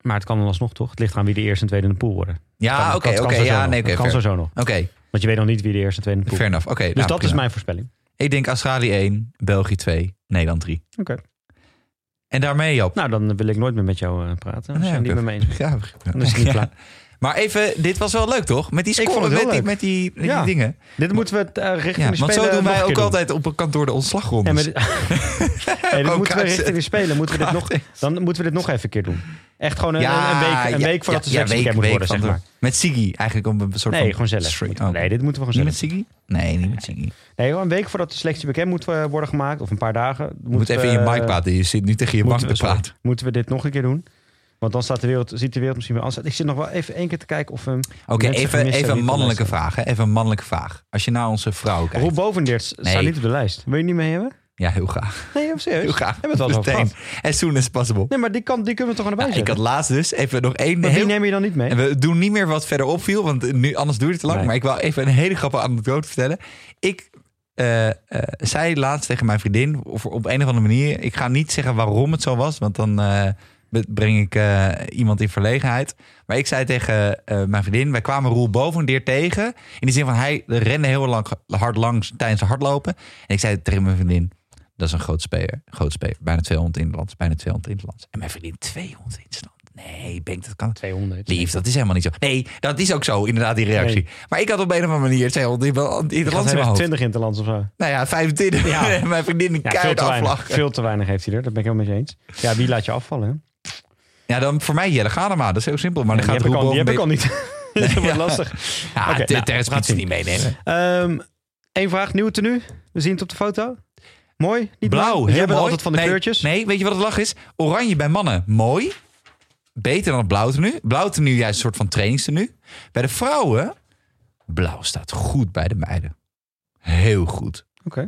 Speaker 1: maar het kan dan alsnog toch? Het ligt aan wie de eerste en tweede in de pool worden. Kan-
Speaker 2: Ja,
Speaker 1: dat
Speaker 2: Ah, oké,
Speaker 1: kan
Speaker 2: oké.
Speaker 1: sowieso
Speaker 2: Ja,
Speaker 1: nog.
Speaker 2: nee,
Speaker 1: Dat
Speaker 2: oké.
Speaker 1: kan
Speaker 2: fair.
Speaker 1: sowieso nog.
Speaker 2: Oké,
Speaker 1: Want je weet nog niet wie de eerste en tweede in de pool
Speaker 2: fair enough. Oké,
Speaker 1: Dus
Speaker 2: nou,
Speaker 1: dat is
Speaker 2: prima.
Speaker 1: mijn voorspelling.
Speaker 2: Ik denk Australië 1, België 2, Nederland 3.
Speaker 1: Oké.
Speaker 2: En daarmee, Joop.
Speaker 1: Nou, dan wil ik nooit meer met jou eh, praten. Als
Speaker 2: Nee,
Speaker 1: jij niet
Speaker 2: oké.
Speaker 1: met me eens bent.
Speaker 2: Ja,
Speaker 1: Nou. Dan is het niet
Speaker 2: ja.
Speaker 1: klaar.
Speaker 2: Maar even, dit was wel leuk, toch? Met die
Speaker 1: Ik vond
Speaker 2: scoren,
Speaker 1: het heel
Speaker 2: met die,
Speaker 1: leuk.
Speaker 2: met die, met die
Speaker 1: Ja.
Speaker 2: dingen.
Speaker 1: Dit moeten we eh, richting
Speaker 2: Ja,
Speaker 1: de
Speaker 2: want
Speaker 1: spelen
Speaker 2: zo doen
Speaker 1: nog een
Speaker 2: wij
Speaker 1: keer
Speaker 2: ook
Speaker 1: doen.
Speaker 2: altijd op een kantoor de
Speaker 1: Ja,
Speaker 2: ontslagrondes.
Speaker 1: maar dit- Nee, dit moeten we
Speaker 2: Ook
Speaker 1: richting
Speaker 2: uitzetten.
Speaker 1: de spelen. Moeten we dit nog,
Speaker 2: Gratis.
Speaker 1: dan moeten we dit nog even een keer doen. Echt gewoon een,
Speaker 2: Ja,
Speaker 1: een week, een
Speaker 2: ja,
Speaker 1: week voordat
Speaker 2: ja,
Speaker 1: de
Speaker 2: ja,
Speaker 1: selectie
Speaker 2: week-
Speaker 1: bekend moet
Speaker 2: week
Speaker 1: worden,
Speaker 2: van
Speaker 1: zeg
Speaker 2: de-
Speaker 1: maar.
Speaker 2: Met Ziggy eigenlijk om een soort van...
Speaker 1: Nee, gewoon zelf.
Speaker 2: Straight-
Speaker 1: Moeten we-
Speaker 2: oh.
Speaker 1: Nee, dit moeten we
Speaker 2: Niet
Speaker 1: gewoon
Speaker 2: met
Speaker 1: zelf.
Speaker 2: Ziggy? Nee, niet met Ziggy.
Speaker 1: Nee, gewoon een week voordat de selectie bekend moet eh, worden gemaakt. Of een paar dagen.
Speaker 2: Je moet even in je mic
Speaker 1: praten.
Speaker 2: praten. Je zit nu tegen je bank
Speaker 1: eh, moeten
Speaker 2: te
Speaker 1: we, sorry,
Speaker 2: praten.
Speaker 1: moeten we dit nog een keer doen? Want dan staat de wereld, ziet de wereld misschien weer anders uit. Ik zit nog wel even één keer te kijken of... ehm, Oké,
Speaker 2: Oké, even, even een mannelijke vraag. Hè? Even een mannelijke vraag. Als je naar onze vrouw kijkt.
Speaker 1: Roel Bovendeerts staat
Speaker 2: Nee.
Speaker 1: niet op de lijst. Wil je niet mee hebben?
Speaker 2: Ja, heel graag.
Speaker 1: Nee, serieus.
Speaker 2: Heel graag.
Speaker 1: Hebben we het al over
Speaker 2: Meteen.
Speaker 1: gehad.
Speaker 2: As soon as possible.
Speaker 1: Nee, maar die, kan, die kunnen we toch aan de
Speaker 2: Ja,
Speaker 1: bij
Speaker 2: ik had
Speaker 1: zetten?
Speaker 2: laatst dus even nog één...
Speaker 1: Maar
Speaker 2: heel-
Speaker 1: Die neem je dan niet mee?
Speaker 2: En we doen niet meer wat verder opviel, want nu, anders duurt het te lang.
Speaker 1: Nee.
Speaker 2: Maar ik wil even een hele grappige anekdote vertellen. Ik eh, eh, zei laatst tegen mijn vriendin, of op een of andere manier... Ik ga niet zeggen waarom het zo was, want dan eh, be- breng ik eh, iemand in verlegenheid. Maar ik zei tegen eh, mijn vriendin, wij kwamen Roel Bovendeer tegen. In de zin van, hij rende heel lang, hard langs tijdens het hardlopen. En ik zei tegen mijn vriendin... Dat is een groot speler. Groot speler. Bijna 200 in het land. Bijna 200 in het land. En mijn vriendin 200 in het land. Nee, Benk, dat kan.
Speaker 1: 200.
Speaker 2: Lief, dat is helemaal niet zo. Nee, dat is ook zo, inderdaad, die reactie. Maar ik had op een of andere manier 200 in in het land in mijn
Speaker 1: heeft
Speaker 2: hoofd.
Speaker 1: 20 in het land of zo.
Speaker 2: Nou ja, 25.
Speaker 1: Ja.
Speaker 2: En Mijn vriendin een
Speaker 1: Ja, veel
Speaker 2: keihard
Speaker 1: te, weinig,
Speaker 2: aflachen.
Speaker 1: veel te weinig heeft hij er. Dat ben ik helemaal met je eens. Ja, wie laat je afvallen? hè?
Speaker 2: Ja, dan voor mij Jelle Gadema. Dat is heel simpel. Maar dan
Speaker 1: die
Speaker 2: gaat
Speaker 1: heb ik
Speaker 2: Roel
Speaker 1: al, die heb ik al
Speaker 2: Bovenbeek-
Speaker 1: niet. dat wordt lastig.
Speaker 2: Ja,
Speaker 1: Oké,
Speaker 2: Ah, de
Speaker 1: nou,
Speaker 2: Terrence
Speaker 1: gaat
Speaker 2: Piet ze
Speaker 1: zien.
Speaker 2: niet meenemen.
Speaker 1: Eén vraag, nieuwe tenue. We zien het op de foto. Mooi, niet
Speaker 2: Blauw,
Speaker 1: Jij
Speaker 2: heel
Speaker 1: bent
Speaker 2: mooi.
Speaker 1: altijd van de
Speaker 2: nee,
Speaker 1: kleurtjes.
Speaker 2: Nee, weet je wat het lach is? Oranje bij mannen, mooi. Beter dan het blauw tenue. Blauw tenue juist een soort van trainingstenue. Bij de vrouwen, blauw staat goed bij de meiden. Heel goed.
Speaker 1: Oké.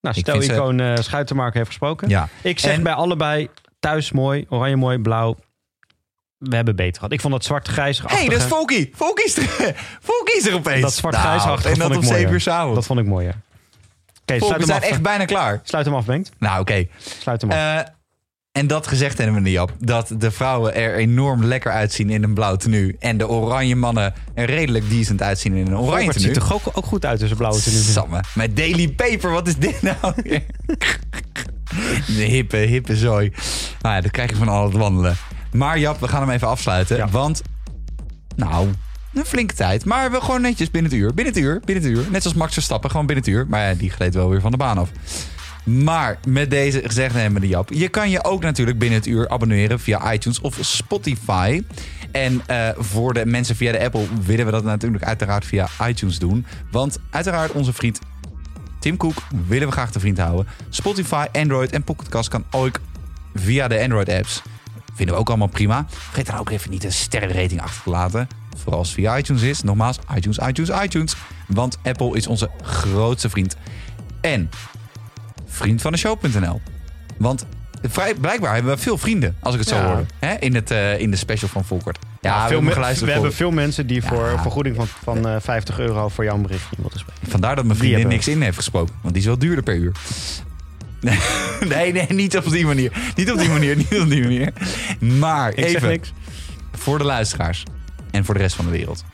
Speaker 1: Nou,
Speaker 2: Ik
Speaker 1: stel
Speaker 2: vind ze-
Speaker 1: icoon eh Schuitenmaker heeft gesproken.
Speaker 2: Ja.
Speaker 1: Ik zeg
Speaker 2: En-
Speaker 1: bij allebei thuis mooi, oranje mooi, blauw. We hebben beter gehad. Ik vond dat zwart-grijs.
Speaker 2: Hé, hey, dat is Volky. Volky is er, Volky is er opeens.
Speaker 1: Dat zwart-grijs
Speaker 2: Nou,
Speaker 1: achter
Speaker 2: En dat
Speaker 1: vond
Speaker 2: op
Speaker 1: ik
Speaker 2: 7
Speaker 1: mooier.
Speaker 2: uur s'avonds.
Speaker 1: Dat vond ik mooi, ja. Oké,
Speaker 2: Volky,
Speaker 1: sluit
Speaker 2: we
Speaker 1: hem
Speaker 2: zijn
Speaker 1: af.
Speaker 2: echt bijna klaar.
Speaker 1: Sluit hem af, Bengt.
Speaker 2: Nou, oké.
Speaker 1: Sluit hem af.
Speaker 2: Eh, en dat gezegd hebben we niet, Jap. Dat de vrouwen er enorm lekker uitzien in een blauw tenue. En de oranje mannen er redelijk decent uitzien in een oranje
Speaker 1: Robert ziet
Speaker 2: tenue.
Speaker 1: er ook, ook goed uit tussen blauwe tenue.
Speaker 2: Samme. Mijn Daily Paper, wat is dit nou? weer? De hippe, hippe zooi. Nou ja, dat krijg je van al het wandelen. Maar Jap, we gaan hem even afsluiten.
Speaker 1: Ja.
Speaker 2: Want, nou, een flinke tijd. Maar we gewoon netjes binnen het uur. Binnen het uur, binnen het uur. Net zoals Max Verstappen, gewoon binnen het uur. Maar ja, die gleed wel weer van de baan af. Maar met deze gezegd hebben de Jap. Je kan je ook natuurlijk binnen het uur abonneren via iTunes of Spotify. En eh, voor de mensen via de Apple willen we dat natuurlijk uiteraard via iTunes doen. Want uiteraard onze vriend Tim Cook willen we graag te vriend houden. Spotify, Android en Pocketcast kan ook via de Android-apps. Vinden we ook allemaal prima. Vergeet dan ook even niet een sterrenrating achter te laten. Vooral als het via iTunes is. Nogmaals, iTunes, iTunes, iTunes. Want Apple is onze grootste vriend. En vriendvandeshow.nl. Want vrij, blijkbaar hebben we veel vrienden, als ik het zo
Speaker 1: Ja.
Speaker 2: hoor. Hè? In, het, eh, in de special van Volkert. Ja, we
Speaker 1: veel
Speaker 2: hebben
Speaker 1: me-
Speaker 2: geluisterd.
Speaker 1: we
Speaker 2: voor-
Speaker 1: hebben veel mensen die voor
Speaker 2: Ja.
Speaker 1: een vergoeding van, van eh, 50 euro voor jouw bericht in wilden spreken.
Speaker 2: Vandaar dat mijn
Speaker 1: Die
Speaker 2: vriendin
Speaker 1: hebben
Speaker 2: niks in heeft gesproken. Want die is wel duurder per uur. Nee, nee, niet op die manier. Niet op die manier, niet op die manier. Maar
Speaker 1: Ik zeg
Speaker 2: even,
Speaker 1: niks.
Speaker 2: voor de luisteraars en voor de rest van de wereld.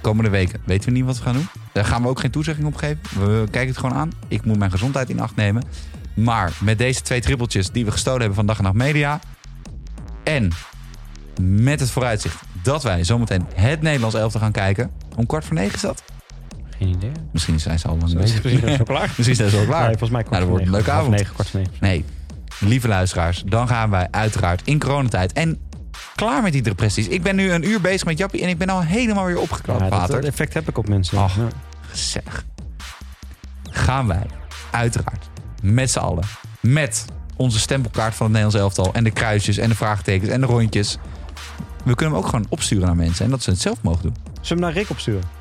Speaker 2: Komende weken weten we niet wat we gaan doen. Daar gaan we ook geen toezegging op geven. We kijken het gewoon aan. Ik moet mijn gezondheid in acht nemen. Maar met deze twee trippeltjes die we gestolen hebben van Dag en Nacht Media... en met het vooruitzicht dat wij zometeen het Nederlands elftal gaan kijken... om kwart voor negen is dat?
Speaker 1: Geen idee.
Speaker 2: Misschien zijn ze al lang
Speaker 1: Precies,
Speaker 2: bezig.
Speaker 1: precies, dat is wel klaar.
Speaker 2: Misschien zijn ze al klaar.
Speaker 1: Nee, volgens mij kwart
Speaker 2: nou, dat
Speaker 1: voor
Speaker 2: wordt
Speaker 1: negen. Half
Speaker 2: een leuke avond.
Speaker 1: negen, kwart voor negen.
Speaker 2: Nee, lieve luisteraars, dan gaan wij uiteraard in coronatijd en klaar met die depressies. Ik ben nu een uur bezig met Jappie en ik ben al helemaal weer opgeklapt,
Speaker 1: Ja, dat,
Speaker 2: Pater.
Speaker 1: dat effect heb ik op mensen.
Speaker 2: Ach.
Speaker 1: Ja.
Speaker 2: Zeg, gaan wij uiteraard met z'n allen, met onze stempelkaart van het Nederlands elftal en de kruisjes en de vraagtekens en de rondjes. We kunnen hem ook gewoon opsturen naar mensen en dat ze het zelf mogen doen.
Speaker 1: Zullen we hem naar Rick opsturen?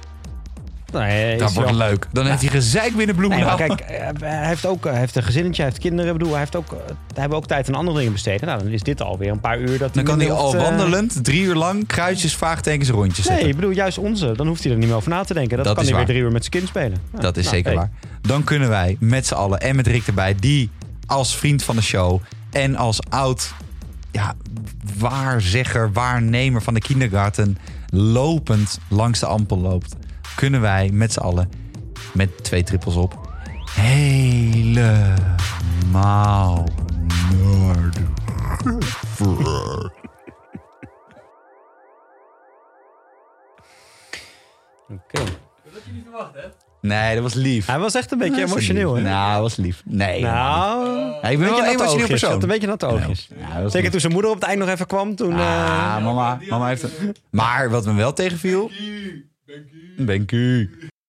Speaker 1: Nee, is
Speaker 2: Dat wordt
Speaker 1: wel-
Speaker 2: leuk. Dan heeft hij gezeik binnen
Speaker 1: Nee, maar
Speaker 2: Bloemendaal.
Speaker 1: kijk, eh, hij heeft ook eh, hij heeft een gezinnetje, hij heeft kinderen. Ik bedoel, hij heeft ook, eh, hij hebben ook tijd aan andere dingen besteden. Nou, dan is dit alweer een paar uur. Dat
Speaker 2: Dan kan hij
Speaker 1: minder
Speaker 2: al
Speaker 1: hoeft, eh,
Speaker 2: wandelend drie uur lang kruisjes, vraagtekens, en rondjes zetten.
Speaker 1: Nee, ik bedoel, juist onze. Dan hoeft hij er niet meer over na te denken. Dat,
Speaker 2: Dat
Speaker 1: kan
Speaker 2: is
Speaker 1: hij
Speaker 2: waar.
Speaker 1: weer drie uur met zijn kind spelen. Ja,
Speaker 2: Dat is
Speaker 1: nou,
Speaker 2: zeker
Speaker 1: hey.
Speaker 2: waar. Dan kunnen wij met z'n allen en met Rick erbij, die als vriend van de show en als oud ja, waarzegger, waarnemer van de kindergarten lopend langs de ampel loopt, kunnen wij met z'n allen met twee trippels op helemaal naar de
Speaker 1: Oké.
Speaker 2: Nee, dat was lief.
Speaker 1: Hij was echt een beetje
Speaker 2: Dat was
Speaker 1: eh, emotioneel, hè?
Speaker 2: lief. Nou, dat was lief. Nee.
Speaker 1: Nou,
Speaker 2: Ja, ik ben wel een
Speaker 1: natte
Speaker 2: emotioneel
Speaker 1: oogjes. Je had
Speaker 2: persoon.
Speaker 1: Een beetje natte oogjes.
Speaker 2: Ja, dat Ah, was
Speaker 1: Zeker
Speaker 2: lief.
Speaker 1: toen zijn moeder op het eind nog even kwam. Toen, eh,
Speaker 2: Ah, mama, mama heeft een... Maar wat me wel tegenviel... Benku.